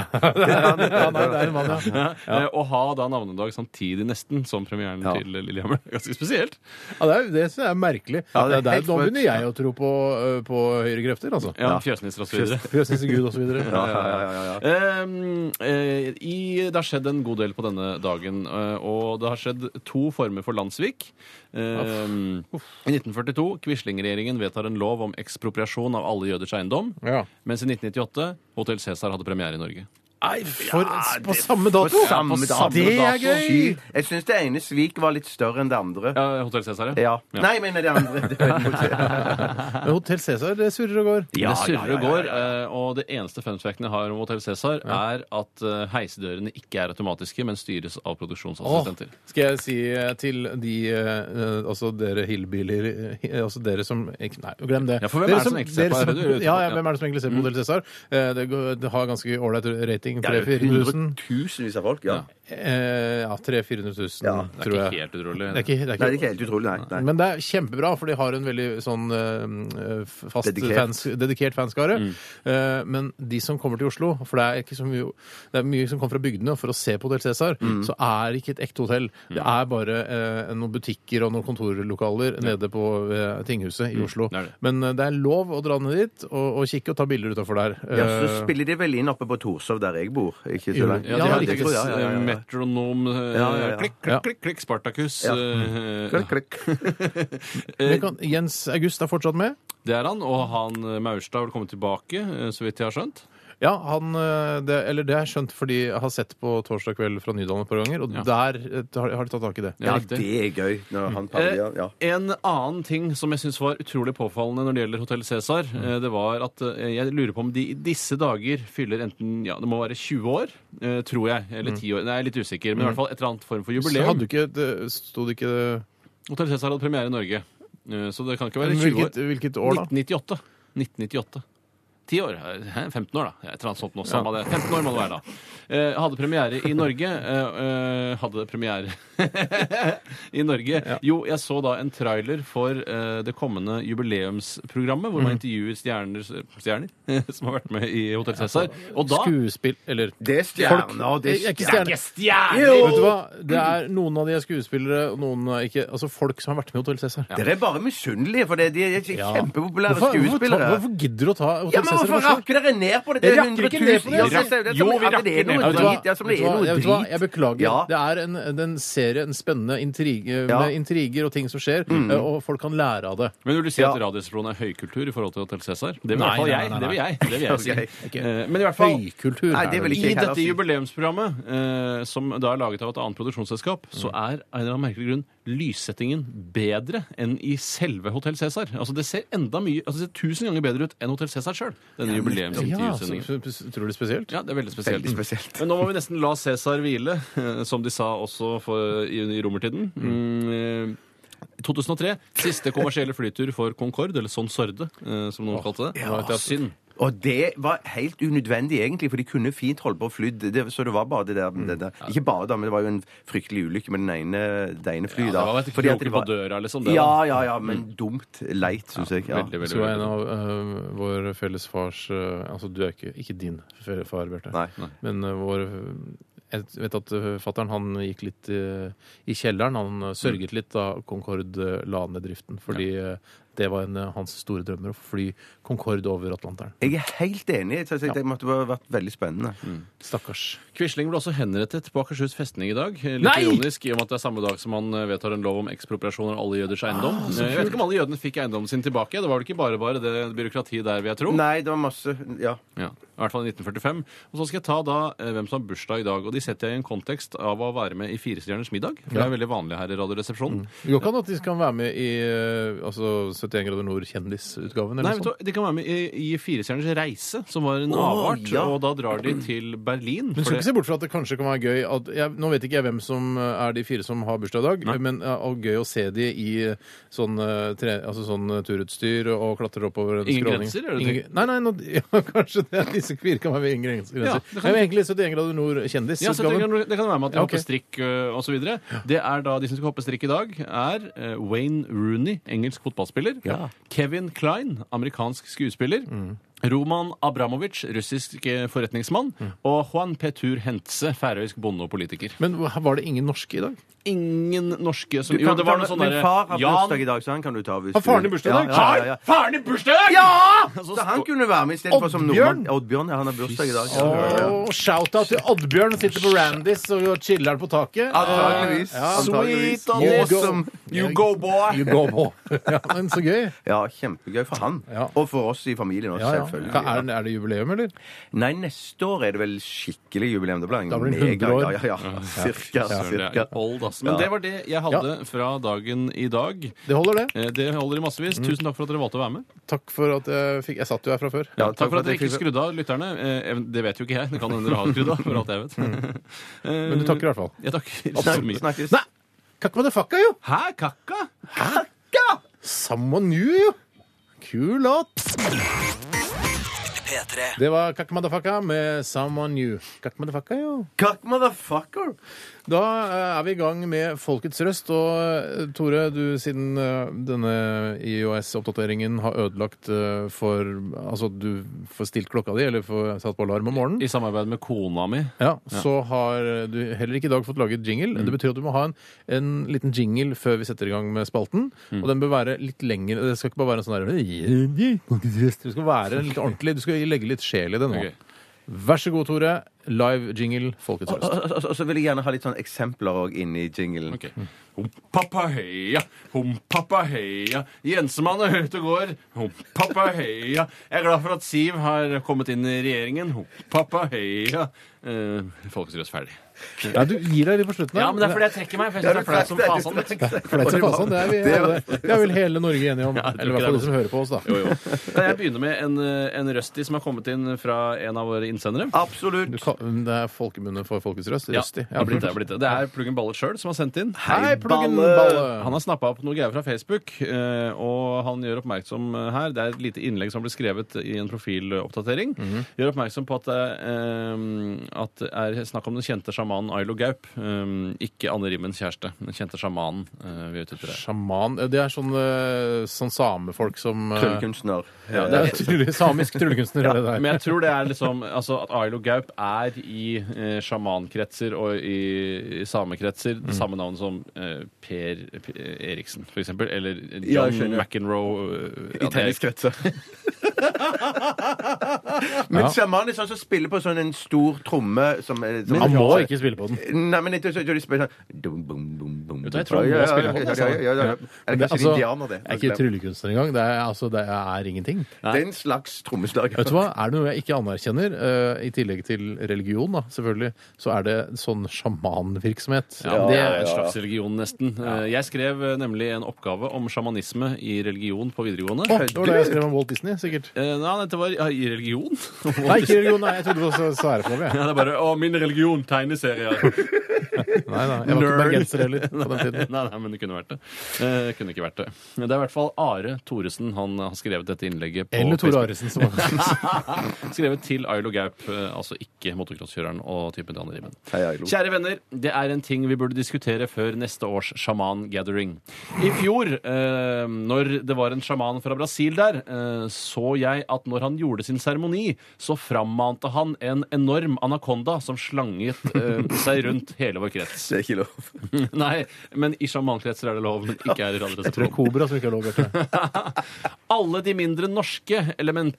D: Ja, nei, det er en mann, ja.
F: eh, å ha da navnedag samtidig nesten som premieren til Lillehammer. Ganske spesielt.
D: ja det, er, det synes jeg er merkelig.
E: Ja,
D: det
E: det er
D: er der,
E: helt
D: nå
E: sjukt.
D: begynner jeg å tro på, øh, på høyere krefter, altså.
F: Ja, Fjøsnisser og så videre.
D: Fjøsnes Gud og så videre.
E: Ja, ja, ja, ja, ja.
F: Ehm, eh, i, det har skjedd en god del på denne dagen, eh, og det har skjedd to former for landssvik. Ehm, I 1942 Quisling-regjeringen vedtar en lov om ekspropriasjon av alle jøders eiendom.
D: Ja.
F: Mens i 1998 Hotell Cæsar hadde premiere i Norge.
D: Nei, for, på samme dato!
E: På samme
D: Ja, på
E: dato.
D: Det er gøy!
E: Sykt. Jeg syns det ene svik var litt større enn det andre.
F: Ja, Hotel Cæsar,
E: Ja. Nei, jeg mener det andre. Det var imot det.
D: Men Hotell Cæsar det surrer og går.
E: Ja,
F: det surrer
E: ja,
F: og
E: ja,
F: går, eh, og det eneste funfacten jeg har om Hotell Cæsar, er at eh, heisedørene ikke er automatiske, men styres av
D: Åh,
F: produksjonsassistenter.
D: skal jeg si eh, til de eh, Altså dere hillbiler eh, Altså dere som ikke- Nei, glem det.
F: Ja, for hvem
D: dere
F: er det som egentlig
D: dere
F: ser på- Mm.
D: som-
F: det er det du-
D: Ja, ja,
F: ja.
D: hvem er det som egentlig ser på Hotell Cæsar? Eh, Det, går- det har ganske ålreit rating.
E: Ja, det er
D: 3000-4000.
E: Hundretusenvis av folk, ja.
D: Eh, Ja, 300 000,
E: Ja,
F: Det er
D: tror
F: ikke
D: jeg.
F: helt utrolig.
D: Det er ikke, det
E: Nei, det
D: er
E: er
D: ikke
E: ikke helt utrolig, nei. nei.
D: men det er kjempebra, for de har en veldig sånn eh, eh, fast
E: Dedikert.
D: Fans, dedikert fanskare.
F: Mm.
D: Eh, men de som kommer til Oslo, for det er ikke så mye Det er mye som kommer fra bygdene for å se på Hotell Cæsar,
F: Mm.
D: så er det ikke et ekte hotell. Det er bare eh, noen butikker og noen kontorlokaler nede på eh, tinghuset i Oslo.
F: Mm. det er det.
D: Men eh, det er lov å dra ned dit og, og kikke og ta bilder utafor der.
E: Ja, så
D: Eh,
E: spiller de vel inn oppe på Torshov, der jeg bor. Ikke så
D: Jo,
E: langt.
D: ja,
F: Ja,
D: det
F: de
D: er
F: hadde
D: riktig.
F: ikke
E: Ja, ja, ja, ja.
F: metronom eh,
E: Ja, ja, ja.
F: Klikk,
D: Ja.
F: klikk, klikk, klikk, Spartacus.
E: Ja.
F: eh,
E: Klikk, klikk.
D: Eh, men kan, Jens August er fortsatt med.
F: Det er han. Og han eh, Maurstad vil komme tilbake, eh, så vidt jeg har skjønt.
D: Ja, han, eh, det, eller det har jeg skjønt fordi jeg har sett på Torsdag kveld fra Nydalen et par ganger, og
F: Ja.
D: der eh, har har de tatt tak i det.
F: Det er
E: Ja,
F: riktig.
E: det er gøy. Når han
F: Eh,
E: parodier, ja.
F: En annen ting som jeg syns var utrolig påfallende når det gjelder Hotell Cæsar,
D: Mm.
F: eh, det var at eh, jeg lurer på om de i disse dager fyller enten ja, det må være 20 år, eh, tror jeg, eller 10 år, nei, jeg er litt usikker, men i hvert fall et eller annet form for
D: Mm. Så hadde
F: jubileum.
D: du ikke, det- stod det ikke
F: Hotell Cæsar hadde premiere i Norge, eh, så det kan ikke være 20
D: hvilket,
F: år.
D: hvilket år, da?
F: 1998. 1998. 10 år? Hæ, 15 år, da. Et eller annet sånt nå. Samme det. 15 år må det være, da. Eh, hadde premiere i Norge. Eh, eh, hadde premiere i Norge. Jo, jeg så da en trailer for eh, det kommende jubileumsprogrammet, hvor
D: Mm.
F: man intervjuer stjerner, stjerner som har vært med i Hotell Cæsar. Og da
D: Skuespill Eller
E: Det er stjerner. Det
D: Jeg er
E: er
D: ikke
E: stjerner.
D: stjerne.
E: Jo!
D: Vet du hva? Det er Noen av de er skuespillere, og noen er ikke Altså folk som har vært med i Hotell Cæsar.
E: Dere er bare misunnelige, for det er- de er
D: Ja.
E: kjempepopulære
D: Hvorfor-
E: skuespillere.
D: Hvorfor, ta- hvorfor gidder du å ta
E: Ja, men
D: Hotell Cæsar?
E: hvorfor
D: i forsvar?
E: rakker dere ned på det? Det
D: Jeg
E: er
D: rakker ikke ned på det,
E: 100 000. Ja,
D: altså.
E: det er
F: Jo,
E: som-
F: vi
E: ja, det er
F: rakker ned
E: noe
F: på
D: Ja, vet du hva?
E: drit. Ja, som det
D: Vet du
E: er
D: hva?
E: noe
D: Jeg vet du hva?
E: drit.
D: Jeg beklager.
E: Ja.
D: Det er en, den serie, en spennende intrige
E: Ja. Mm.
D: med intriger og ting som skjer, eh, og folk kan lære av det.
F: Men vil du si at
E: Ja.
F: Radioresepsjonen er høykultur i forhold til Hotell Cæsar? Det vil i
D: Nei,
F: hvert fall
D: nei,
F: jeg.
D: nei,
F: Det vil jeg. Det vil jeg.
E: Ok.
F: ikke. Eh, Men i hvert fall
D: Høykultur.
E: Nei,
D: er
E: det vil
D: vel
E: ikke
F: I
E: jeg heller
F: dette
E: si.
F: jubileumsprogrammet, eh, som da er laget av et annet produksjonsselskap,
E: Mm.
F: så er av en eller annen merkelig grunn lyssettingen bedre enn i selve Hotell Cæsar. Altså, det ser enda mye altså, det ser tusen ganger bedre ut enn Hotell Cæsar sjøl, denne
D: Ja, så,
F: jubileumsintervjusendingen.
D: så, så, tror du det er spesielt?
F: Ja, det er veldig spesielt.
E: altså.
F: Mm.
E: Veldig spesielt.
F: Men nå må vi nesten la Cæsar hvile, eh, som de sa også for, i, i romertiden. Mm. eh, 2003. Siste kommersielle flytur for Concorde, eller Son Sorde, eh, som noen kalte det. Det
E: altså,
F: var Synd.
E: Og det var helt unødvendig, egentlig, for de kunne fint holde på å fly. Det, så det var bare det der, det der. Ikke bare da, men det var jo en fryktelig ulykke med den ene, det ene flyet.
F: Ja, det var et
E: Fordi at
F: kroker på døra, liksom. Det,
E: Ja, ja, ja, men dumt. Leit, syns jeg. Ja.
F: Veldig, veldig,
D: Så
F: veldig.
D: en av eh, vår felles fars eh, Altså, du er ikke, ikke din fe- far, Bjarte.
E: Nei.
D: Men eh, vår Jeg vet at uh, fattern han gikk litt eh, i kjelleren. Han eh, sørget litt da Concorde eh, la ned driften, fordi eh, det var en av hans store drømmer å få fly Concorde over Atlanteren.
E: Jeg er helt enig. Så jeg, det måtte ha vært veldig spennende.
D: Mm. Stakkars.
F: Quisling ble også henrettet på Akershus festning i dag. Litt
D: Nei!
F: ironisk, i og med at det er samme dag som han eh, vedtar en lov om ekspropriasjon av alle jøders eiendom.
E: Ah,
F: jeg vet ikke om alle jødene fikk eiendommen sin tilbake. Det var vel ikke bare bare det byråkratiet der, vil jeg tro.
E: Mm. Nei, det var masse Ja.
F: Ja, I hvert fall i 1945. Og så skal jeg ta da eh, hvem som har bursdag i dag. Og de setter jeg i en kontekst av å være med i
E: Mm.
F: Firestjerners middag. For det er veldig vanlig her i Radioresepsjonen.
D: Det går ikke an at de kan være med i eh, altså, 71 grader nord-kjendisutgaven?
F: Nei,
D: eller noe
F: vet du,
D: sånt?
F: hva, De kan være med i, i Firestjerners reise, som var en
E: Å,
F: avart.
E: ja.
F: Og da drar de til Berlin.
D: Men
F: for
D: skal
F: det-
D: ikke se bort fra at det kanskje kan være gøy at, jeg, Nå vet ikke jeg hvem som eh, er de fire som har bursdag i dag, men eh, og gøy å se de i sånn, eh, tre, altså sånn eh, turutstyr og, og klatre oppover en
F: Ingen
D: skråning.
F: grenser, er det
D: Ingen- Nei, nei, nå, ja, kanskje det er disse fire kan være med ingen grens-
F: Ja,
D: grenser.
F: det kan-
D: jeg vil egentlig 71 grader nord-kjendis.
F: Ja, så det, kan, det kan være med at de
D: Ja, ok.
F: hopper strikk øh, osv. Det er da de som skal hoppe strikk i dag, er eh, Wayne Rooney, engelsk fotballspiller.
E: Ja. Mm.
F: Kevin Klein, amerikansk skuespiller. Roman Abramovic, russisk eh, forretningsmann.
E: Mm.
F: Og Juan Petur Hentze, færøysk bonde og politiker.
D: Men var det ingen norske i dag?
F: Ingen norske som
E: Du kan
F: Jo, det var
E: ta-
F: noe sånn
E: Min far har
F: derre
E: bursdag
F: Jan
E: i dag, så han kan du ta hvis
D: Har faren
E: du-
D: din bursdag i dag?
E: Ja, ja, ja, ja.
F: Faren i bursdag! Ja! Så,
E: Så han
F: stå-
E: kunne være med istedenfor som nordmann.
D: Oddbjørn?
E: Oddbjørn, ja, han har bursdag i dag. Ja, ja.
D: Oh, Shout-out til Oddbjørn. Sitter på Randis og chiller'n på taket.
E: Antageligvis.
D: Ja,
E: Antageligvis.
F: Sweet and
E: awesome.
D: You go, boy! You go, boy. Ja, men så gøy.
E: Ja, kjempegøy for han.
D: Ja.
E: Og for oss i familien også,
D: Ja, ja.
E: selvfølgelig.
D: Hva, er, det- er det jubileum, eller?
E: Nei, neste år er det vel skikkelig jubileum. Det blir en
D: Da blir det
E: mega-
D: 100
E: Ja,
D: år.
E: ja, ja. Cirka.
F: Søren, det
E: cirka.
F: er old, ass. Men
E: Ja.
F: det var det jeg hadde fra dagen i dag.
D: Det holder, det.
F: Eh, Det holder i massevis.
E: Mm.
F: Tusen takk for at dere valgte å være med.
D: Takk for at jeg fikk Jeg satt jo her fra før.
F: Ja,
E: takk
F: takk for at dere
E: jeg
F: ikke
E: fikk-
F: skrudde av lytterne. Eh, ev- Det vet jo ikke jeg. Det kan hende dere har skrudd av. for alt jeg vet.
D: Men du takker i hvert fall.
F: Jeg takker så
E: Snak-
F: mye.
E: Snakkes.
D: Nei! Kakk motherfucka, jo!
F: Hæ, kakka?
D: Someone new, jo! Kul låt!
B: P3.
D: Det var Kakk motherfucka med Someone new. Kakk motherfucka, jo.
E: Cock motherfucker!
D: Da eh, er vi i gang med Folkets røst. Og eh, Tore, du siden eh, denne IOS-oppdateringen har ødelagt eh, for Altså at du får stilt klokka di, eller får satt på alarm om morgenen,
F: I samarbeid med kona mi.
D: ja, Mm. så har du heller ikke i dag fått laget jingle. Det betyr at du må ha en, en liten jingle før vi setter i gang med spalten. Og den bør være litt lengre. Det skal ikke bare være en sånn der Folkets røst. Det skal være litt ordentlig. Du skal legge litt sjel i det nå.
F: Ok.
D: Vær så god, Tore. Live jingle Folkets
E: Og
D: røst.
E: og- og- og så vil jeg gjerne ha litt sånn eksempler òg inni jinglen.
F: Ok. Hom pappa heia, hom pappa heia, Jensemann er høyt og går. Hom pappa heia. Jeg er glad for at Siv har kommet inn i regjeringen. Hom pappa heia. Eh, Folkets Røst ferdig.
D: Nei, du gir deg litt på slutten. her.
F: Ja, men det er fordi jeg trekker meg. for jeg synes det er flaut som fasen.
D: Flaut som fasen, det er vi
E: Det
D: alle. Det er vel hele Norge enige om.
F: det er
D: Eller i
F: ikke
D: hvert fall
F: det.
D: de som hører på oss, da.
F: Jo, jo. Kan jeg begynne med en, eh, en røsti som har kommet inn fra en av våre innsendere?
D: Du
E: Absolutt.
D: kan, det er folkemunne for folkets røst. Røsti.
F: Ja, det, er blitt det, det, er blitt det. det er Pluggen Ballet sjøl som har sendt inn.
D: Hei, pluggen
E: Balle.
D: balle!
F: Han har snappa opp noe greier fra Facebook, eh, og han gjør oppmerksom eh, her Det er et lite innlegg som ble skrevet i en profiloppdatering. Gjør oppmerksom på at det, eh, at det er snakk om den kjente sjamanen Ailo Gaup. eh, ikke Anne Rimmens kjæreste. Den kjente sjamanen eh, vi er ute etter. her.
D: Sjaman Det er sånn, eh, sånn samefolk som eh,
E: Tryllekunstner.
F: Ja,
D: det
F: det
D: er trylle- Samisk tryllekunstner er det der.
F: Men jeg tror det er liksom altså at Ailo Gaup er i eh, sjamankretser og i, i samekretser det samme navn som eh, Per, P- Eriksen, for eksempel. Eller
E: Ja, jeg
F: John
E: skjønner.
F: McEnroe. eh,
E: I
F: ja, det er-
E: tenniskretser. Men sjaman er sånn som spiller på sånn en stor tromme som, er- som
D: Han må ikke spille på den.
E: Nei, men ikke så så de spiller sånn dum, bum, bum, bum,
F: du, jeg tror han må
E: Ja, ja,
F: spille på den,
E: ja,
F: altså.
E: ja, ja, ja, ja. Er det
D: Det-
E: kanskje
D: altså,
E: indianer, det?
D: jeg er ikke tryllekunstner engang. Det er, altså, det er ingenting.
E: Det er en slags trommeslag.
D: Vet du hva? Er det noe jeg ikke anerkjenner, eh, i tillegg til religion, da, selvfølgelig, så er det sånn sjamanvirksomhet.
F: Ja, men Det er en slags religion, nesten. Eh, Jeg skrev eh, nemlig en oppgave om sjamanisme i religion på videregående.
D: Å, det var det jeg skrev om Walt Disney, sikkert.
F: Eh, Nei, dette var ja, i religion.
D: Nei, ikke religion. Nei, jeg trodde det var særflom. Jeg.
F: Ja, det er bare 'Å, min religion, tegneserier'.
D: Nei, nei, jeg var ikke
F: Nerd.
D: bergenser heller på den
F: nei,
D: tiden.
F: nei, men det kunne vært det. Eh, kunne ikke vært det. Men det er i hvert fall Are Thoresen. Han har skrevet dette innlegget på
D: Eller Tore
F: Facebook.
D: Aresen, som var
F: Skrevet til Ailo Gaup, eh, altså ikke motocrosskjøreren og typen til Anne Rimmen.
E: Hei, Ailo.
F: Kjære venner, det er en ting vi burde diskutere før neste års sjaman-gathering. I fjor, eh, når det var en sjaman fra Brasil der, eh, så jeg at når han gjorde sin seremoni, så frammante han en enorm anakonda som slanget eh, seg rundt hele vår krets.
E: Det er ikke lov.
F: Nei, men i sjamankretser er det lov, men ikke her i
D: Tror det er
F: Radioresepsjonen.
D: Kobra som ikke har lov, Bjarte.
F: Alle de mindre norske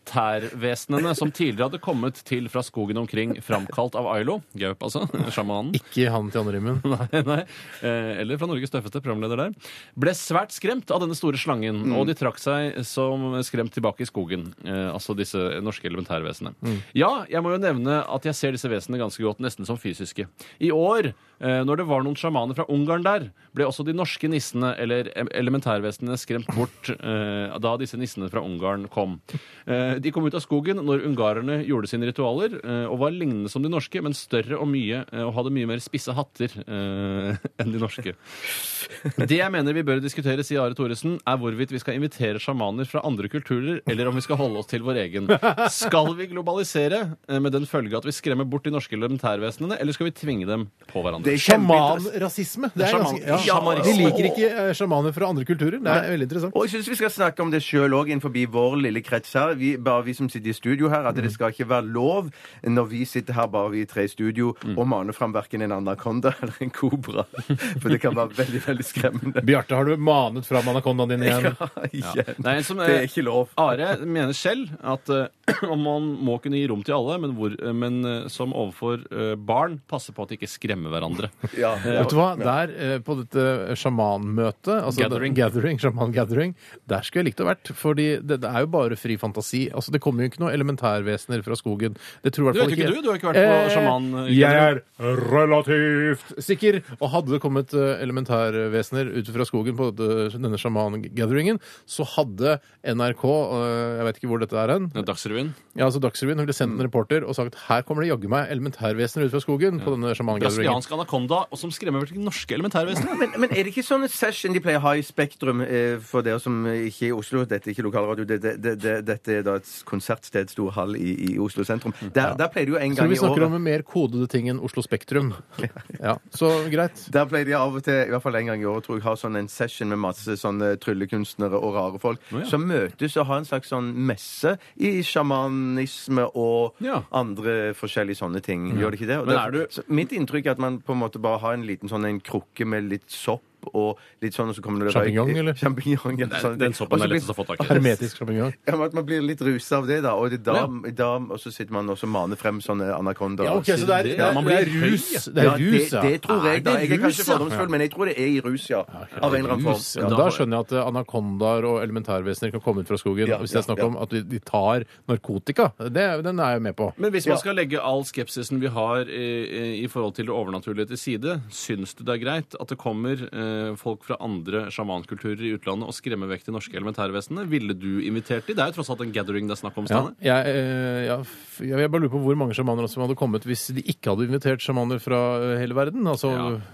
F: elementærvesenene som tidligere hadde kommet til fra skogen omkring, framkalt av Ailo, Gaup altså, sjamanen,
D: Ikke han til Anne Rimmen.
F: nei, nei, eh, eller fra Norges tøffeste programleder der, ble svært skremt av denne store slangen,
D: Mm.
F: og de trakk seg som skremt tilbake i skogen, eh, altså disse norske
D: Mm.
F: elementærvesenene. Ja, jeg må jo nevne at jeg ser disse vesenene ganske godt, nesten som fysiske. I år Eh, Når det var noen sjamaner fra Ungarn der, ble også de norske nissene eller em- elementærvesenene skremt bort eh, da disse nissene fra Ungarn kom. Eh, De kom ut av skogen når ungarerne gjorde sine ritualer, eh, og var lignende som de norske, men større og mye, eh, og hadde mye mer spisse hatter eh, enn de norske. Det jeg mener vi bør diskutere, sier Are Thoresen, er hvorvidt vi skal invitere sjamaner fra andre kulturer, eller om vi skal holde oss til vår egen. Skal vi globalisere eh, med den følge at vi skremmer bort de norske elementærvesenene, eller skal vi tvinge dem på hverandre?
E: er kjempeinteressant.
D: Sjamanrasisme. Det er
F: Sjaman-
D: ganske, ja.
E: Sjamanisme.
D: De liker ikke eh, sjamaner fra andre kulturer. Det er veldig interessant.
E: Og jeg syns vi skal snakke om det sjøl òg innenfor vår lille krets her. Vi, bare vi som sitter i studio her,
D: Mhm.
E: at det skal ikke være lov når vi sitter her bare vi tre i studio
D: Mm.
E: og maner fram verken en anakonda eller en kobra. For det kan være veldig, veldig skremmende.
D: Bjarte, har du manet fram anakondaen din igjen?
E: Ja, igjen.
F: Nei, som, eh,
E: Det er ikke lov.
F: Are mener selv at eh, om man må kunne gi rom til alle, men, hvor, eh, men eh, som overfor eh, barn, passe på at de ikke skremmer hverandre.
E: Ja.
D: Vet du hva? Der, eh, på dette sjamanmøtet, altså
F: Gathering.
D: gathering. gathering, sjaman-gathering, der skulle jeg likt å vært. Fordi det, det er jo bare fri fantasi. Altså, det kommer jo ikke noen elementærvesener fra skogen. Det tror jeg i
F: Det
D: hvert
F: vet
D: fall
F: ikke
D: ikke. Eh,
F: du, du har ikke vært på sjaman-
D: Jeg er relativt sikker. Og hadde det kommet eh, elementærvesener ut fra skogen på det- denne sjaman-gatheringen, så hadde NRK, eh, jeg vet ikke hvor dette er hen,
F: Dagsrevyen.
D: ja, altså Dagsrevyen ville sendt en reporter og sagt her kommer det jaggu meg elementærvesener ut fra skogen på denne sjaman-gatheringen.
F: Brasiliansk anakonda, og som skremmer vel ikke norske elementærvesener?
E: Men, men er det ikke sånn session de pleier å ha i Spektrum eh, for dere som ikke er i Oslo? Dette er ikke lokalradio, det, det, det, det, dette er da et konsertsted, stor hall i, i Oslo sentrum. Der, der pleier de jo en gang
D: Så Mm. vi
E: i året
D: snakker om en mer kodede ting enn Oslo Spektrum. Ja, Så greit.
E: Der pleier de av og til, i hvert fall en gang i året, tror jeg, ha sånn en session med masse sånne tryllekunstnere og rare folk som møtes og har en slags sånn messe i sjamanisme og
F: Ja.
E: andre forskjellige sånne ting. Gjør det ikke det? Og
F: Men
E: derfor-
F: er du-
E: så mitt inntrykk er at man på en måte bare har en liten sånn en krukke med litt sopp og litt sånn, og så kommer det
D: Champignon, eller?
E: Champignon, eller sånne
F: Den
E: ting.
F: soppen
E: Og så
F: er
E: blir-
F: lettest å få tak i.
D: Hermetisk sjampinjong.
E: ja, men at man blir litt rusa av det, da. Og, det, da,
F: Ja.
E: da. og så sitter man også og maner frem sånne anakondaer.
D: Ja, ok, så det er, det
F: Ja,
D: er,
F: man
D: det
F: blir
D: er rus.
F: høy.
D: Det er
E: Ja,
D: rus,
E: det,
D: ja.
E: det tror jeg,
D: Er
E: da.
D: det
E: Jeg er
D: rus,
E: kanskje
D: ja?
E: fordomsfull, men jeg tror det er i rus, ja. Av en eller annen
F: rus,
D: Ja,
E: form.
D: da skjønner jeg at eh, anakondaer og elementærvesener kan komme ut fra skogen.
E: Ja,
D: hvis det er
E: ja,
D: snakk
E: ja.
D: om at de- de tar narkotika. Det, den er jeg med på.
F: Men hvis
E: Ja.
F: man skal legge all skepsisen vi har eh, i forhold til det overnaturlige til side, syns du det er greit at det kommer eh, folk fra andre sjamankulturer i utlandet og skremmer vekk de norske elementærvesenene? Ville du invitert de? Det er jo tross alt en gathering det er snakk om.
D: Ja,
F: Steinar.
D: jeg, eh, ja, f- jeg, jeg bare lurer på hvor mange sjamaner som hadde kommet hvis de ikke hadde invitert sjamaner fra eh, hele verden. Altså,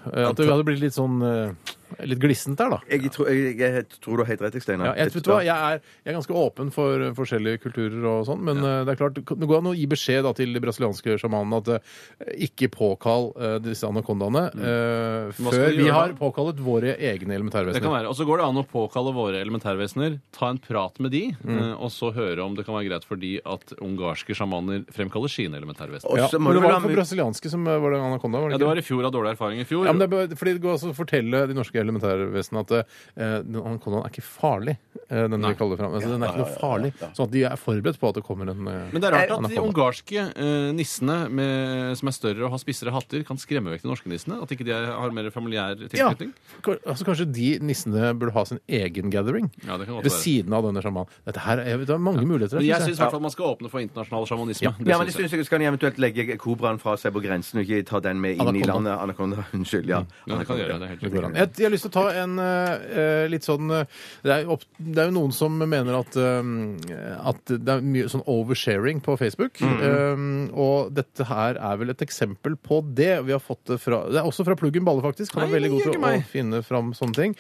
D: eh, At det hadde blitt litt sånn eh, Litt glissent der, da.
E: Jeg tror, jeg, jeg tror du har helt rett, jeg, Steinar.
D: Ja, jeg, vet du hva? Jeg, er, jeg er ganske åpen for eh, forskjellige kulturer og sånn, men eh, det er klart, det går an å gi beskjed da, til de brasilianske sjamanene at eh, ikke påkall eh, disse anakondaene eh,
F: Mm. skal
D: før
F: de
D: vi
F: gjøre
D: har
F: da?
D: påkallet våre egne
F: Det kan
D: elementærvesener.
F: være. Og så går det an å påkalle våre elementærvesener, ta en prat med de,
D: Mm.
F: eh, og så høre om det kan være greit for de at ungarske sjamaner fremkaller sine elementærvesener.
E: Og
D: Ja,
E: så må
D: men
E: du
D: det
E: vel
D: var
E: ha
D: for
E: med
D: brasilianske som eh, var det anakonda? Var
F: Ja,
D: det
F: Det
D: ikke?
F: var i fjor av dårlig erfaring i fjor.
D: Ja, men det er bare- fordi det går altså å fortelle de norske elementærvesenene at eh, den anakondaen er ikke farlig. eh, Den vi kaller fram. Altså, den er ikke noe farlig. Sånn at de er forberedt på at det kommer en eh,
F: Men det er rart at de
D: anakonda.
F: ungarske eh, nissene med, som er større og har spissere hatter, kan skremme vekk de norske nissene? At ikke de er- har mer familiær
D: Ja,
F: tilknytning?
D: ka- altså Kanskje de nissene burde ha sin egen gathering?
F: Ja, det kan godt
D: Ved
F: være.
D: siden av denne sjamanen. Dette her er, det er mange muligheter.
F: Men
D: her,
F: jeg
D: synes jeg.
F: syns i hvert fall man skal åpne for internasjonal sjamanisme.
E: ja, men jeg synes jeg skal eventuelt legge kobraen fra seg på grensen og ikke ta den med inn i
D: Anakonda. Mm.
E: landet. Anakonda, unnskyld. Ja.
F: Ja, det kan gjøre, det er helt
D: Det går
F: riktig.
D: an. Jeg, jeg har lyst til å ta en eh, eh, litt sånn eh, det, er jo opp, det er jo noen som mener at, eh, at det er mye sånn oversharing på Facebook.
F: Mm.
D: Eh, og dette her er vel et eksempel på det. Vi har fått det fra Det er også fra Pluggen Balle, faktisk. Han er
F: Nei,
D: veldig god
F: jøgge
D: til å,
F: meg.
D: å finne fram sånne ting.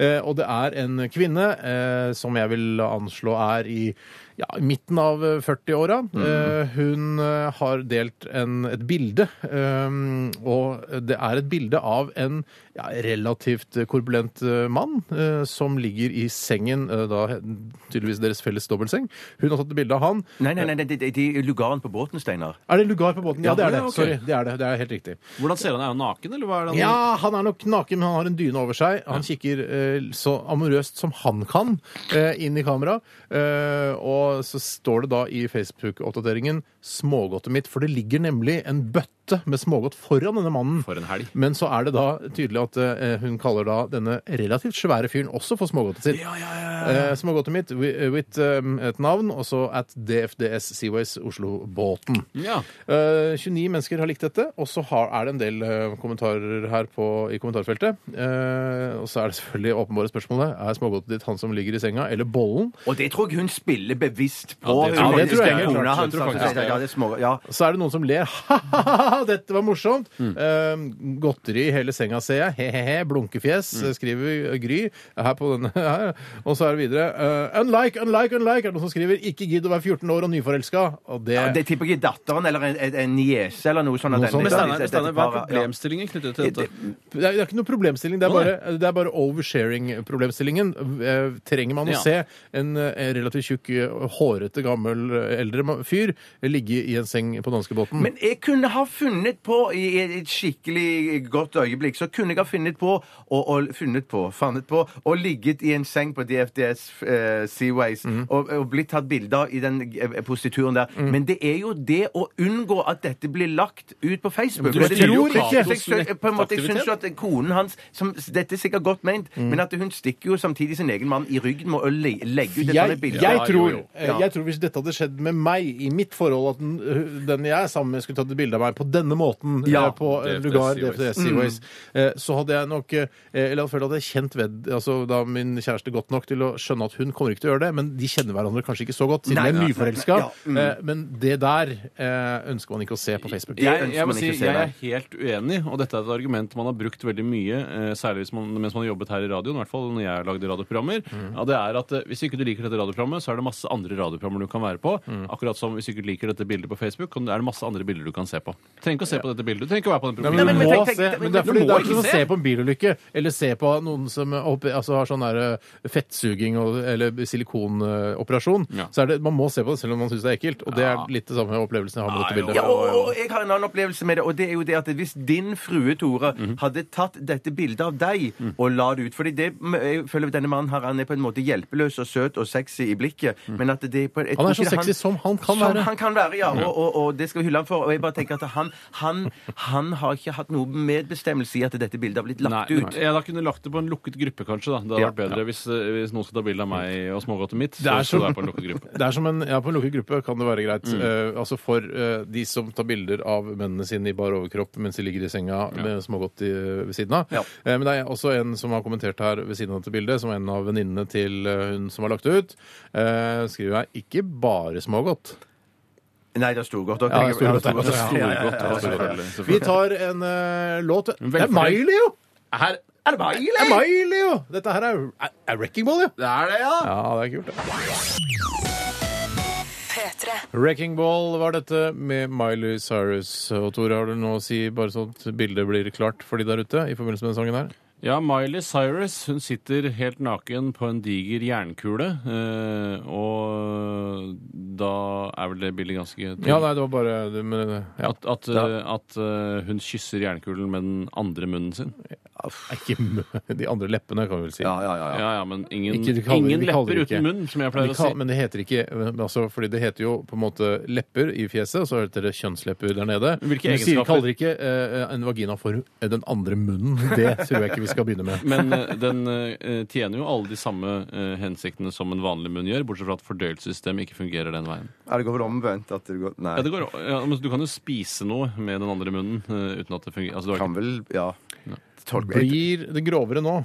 D: Eh, og det er en kvinne eh, som jeg vil anslå er i ja, i midten av eh, 40-åra. Eh, hun eh, har delt en, et bilde, eh, og det er et bilde av en ja, relativt korpulent eh, mann eh, som ligger i sengen, eh, da tydeligvis deres felles dobbeltseng. Hun har tatt et bilde av han.
E: Nei, nei, nei, nei, det det er lugaren på båten, Steinar.
D: Er det lugar på båten? Ja, det er det.
F: Ja, ok.
D: Sorry. Det er det. Det er helt riktig.
F: Hvordan ser han? Er han naken, eller hva er det han
D: Ja, han er nok naken, men han har en dyne over seg. Han kikker eh, så amorøst som han kan eh, inn i kamera. Eh, og så står det da i Facebook-oppdateringen smågodtet mitt, for det ligger nemlig en bøtte med smågodt foran denne mannen.
F: For en helg.
D: Men så er det da tydelig at eh, hun kaller da denne relativt svære fyren også for smågodtet sitt. Eh, smågodtet mitt wi- with um, et navn, og så at DFDS Seaways Oslo-båten.
F: Ja.
D: Eh, 29 mennesker har likt dette, og så har, er det en del eh, kommentarer her på, i kommentarfeltet. Eh, og så er det selvfølgelig åpenbare spørsmålet. Er smågodtet ditt han som ligger i senga, eller bollen?
E: Og det tror jeg hun spiller bevisst på.
F: Ja, det tror jeg.
E: Hun faktisk er
D: Ja, det tror jeg helt
E: kona
D: klart.
E: hans,
D: Det tror jeg
E: altså.
D: faktisk.
E: Ja, det er små- ja.
D: Så er det noen som ler. Ha-ha-ha, dette var morsomt! Eh, godteri i hele senga, ser jeg. He-he-he, blunkefjes, eh, skriver Gry her på denne her. Og så er det videre eh, Unlike, unlike, unlike! Er det noen som skriver 'Ikke gidd å være 14 år og nyforelska'? Og det,
E: Ja, det tipper jeg er datteren eller en, en, en niese eller noe sånt. at
D: Noe
E: den-
D: sånt.
F: Men
E: dette-
F: Steinar,
E: dette
F: Steinar, hva er
E: paret- ja.
F: problemstillingen knyttet til dette?
D: det, er, det er ikke noen problemstilling. Det er
F: Nei.
D: bare, det er bare oversharing-problemstillingen. Eh, Trenger man å
F: Ja.
D: se en eh, relativt tjukk, eh, hårete, gammel, eh, eldre ma- fyr ligge i en seng på danskebåten?
E: Men jeg kunne ha funnet på, i i et skikkelig godt øyeblikk, så kunne jeg ha funnet på og, og funnet på, funnet på, og ligget i en seng på DFDS eh, Seaways
D: Mm.
E: og, og blitt tatt bilder i den eh, prostituren der. Men det er jo det å unngå at dette blir lagt ut på Facebook.
D: du
E: Og det
D: tror
E: blir jo
D: ikke-
E: Katos Så jeg, på en måte, jeg synes jo at konen hans, som, dette er sikkert godt ment,
D: Mm.
E: men at hun stikker jo samtidig sin egen mann i ryggen med å le, legge ut et
D: Jeg,
E: sånt bilde.
D: jeg, tror,
F: jo.
D: eh, jeg tror hvis dette hadde skjedd med meg i mitt forhold, at den, eh, den jeg er sammen med, skulle tatt et bilde av meg på denne måten
E: Ja.
D: eh, på eh,
F: DFDS
D: Lugar
F: Seaways.
D: DFDS
E: Mm.
D: Seaways, eh, så hadde jeg nok eh, Eller jeg følt at jeg kjent ved, altså, da min kjæreste godt nok til å skjønne at hun kommer ikke til å gjøre det, men de kjenner hverandre kanskje ikke så godt, siden
E: Nei,
D: de
E: nei,
D: er
E: nei,
D: nyforelska.
E: nei, ja, mm.
D: eh, men det der eh, ønsker man ikke å se på Facebook.
F: Jeg,
E: ønsker
F: jeg, må
E: man
F: si,
E: ikke å se,
F: jeg er
E: nei.
F: helt uenig, og dette er et argument man har brukt veldig mye, eh, særlig hvis man, mens man har jobbet her i radioen, i hvert fall når jeg lagde radioprogrammer.
E: Mm.
F: Ja, det er at eh, Hvis ikke du liker dette radioprogrammet, så er det masse andre radioprogrammer du kan være på.
E: Mm.
F: Akkurat som hvis ikke du liker dette bildet på Facebook, kan- er det masse andre bilder du kan se på. Du trenger ikke å se på dette bildet. Du trenger ikke å være på den
D: Nei, men,
E: men
F: profilen.
D: du må
E: tenk- tenk-
D: se,
E: tenk-
D: men det er
E: du
D: fordi
E: må
D: det er ikke
E: ikke
D: noe å
E: se.
D: se på en bilulykke eller se på noen som er oppe, altså, har sånn der, eh, fettsuging og, eller silikonoperasjon.
F: Ja.
D: Så er det, man må se på det selv om man syns det er ekkelt. Og det er litt det samme opplevelsen jeg har med dette
F: Ja,
D: bildet.
E: Ja, og, og, og jeg har en annen opplevelse med det, og det er jo det at hvis din frue Tore hadde tatt dette bildet av deg og la det ut Fordi det, jeg føler denne mannen her, han er på en måte hjelpeløs og søt og sexy i blikket, men at det er på jeg
D: Han er
E: tror
D: så
E: ikke det-
D: sexy som han kan
E: som
D: være.
E: han kan være, ja, og, og, og det skal vi hylle ham for. Og jeg bare tenker at han, han, han har ikke hatt noe medbestemmelse i at dette bildet har blitt lagt
F: Nei,
E: ut.
F: Jeg da kunne lagt det på en lukket gruppe, kanskje. da. Det hadde vært bedre hvis, eh, hvis noen skal ta bilde av meg og smågodtet mitt.
D: Det er
F: så, så
D: som-
F: det er på en lukket gruppe.
D: Det er som en, ja, På en lukket gruppe kan det være greit.
F: Mm.
D: Eh, altså For eh, de som tar bilder av mennene sine i bar overkropp mens de ligger i senga med smågodt i, ved siden av.
E: Ja.
D: Eh, men det er også en som har kommentert her ved siden av dette bildet, som er en av venninnene til eh, hun som har lagt det ut. Eh, skriver jeg 'ikke bare smågodt'.
E: Nei, det er storgodt.
D: Ja, det er storgodt,
E: Ja,
D: ja.
E: storgodt. Ja, ja, ja, ja, ja, ja.
F: altså, Selvfølgelig,
D: Vi
F: selvfølgelig.
D: tar en eh, låt. Det er
F: Velfornøyd.
D: Miley, jo!
F: Her
E: Er det bare
D: Det er
E: ille?
D: Miley, jo! Dette her er, er, er Wrecking Ball, jo.
F: det er det, ja!
D: Ja, det er kult. det.
A: P3.
D: Wrecking Ball var dette med Miley Cyrus. Og Tore, har du noe å si, bare sånn at bildet blir klart for de der ute? i forbindelse med den sangen her?
F: Ja, Miley Cyrus hun sitter helt naken på en diger jernkule. eh, og da er vel det bildet ganske tydelig.
D: Ja, nei, det var bare det- men, ja.
F: At, at, eh, at eh, hun kysser jernkulen med den andre munnen sin.
D: Ikke mø- De andre leppene, kan vi vel si.
E: Ja, ja, ja.
F: Ja,
E: ja.
F: ja, men ingen,
D: Ikke- de kaller-
F: ingen
D: de kaller
F: lepper
D: det ikke.
F: uten munn, som jeg
D: Men
F: pleier
D: det
F: å si.
D: kan- men det heter ikke men altså, Fordi det heter jo på en måte lepper i fjeset, og så heter det kjønnslepper der nede.
F: Hvilke
D: Men de sier-
F: egenskaper?
D: kaller ikke eh, en vagina for den andre munnen. Det tror jeg ikke vi skal begynne med.
F: Men eh, den eh, tjener jo alle de samme eh, hensiktene som en vanlig munn gjør, bortsett fra at fordøyelsessystemet ikke fungerer den veien.
E: Ja, det går vel omvendt at det går Nei.
F: Ja, det går, ja, men du kan jo spise noe med den andre munnen eh, uten at det fungerer. Altså, du har
E: Kan vel Ja. Tolk-
D: Blir det grovere nå?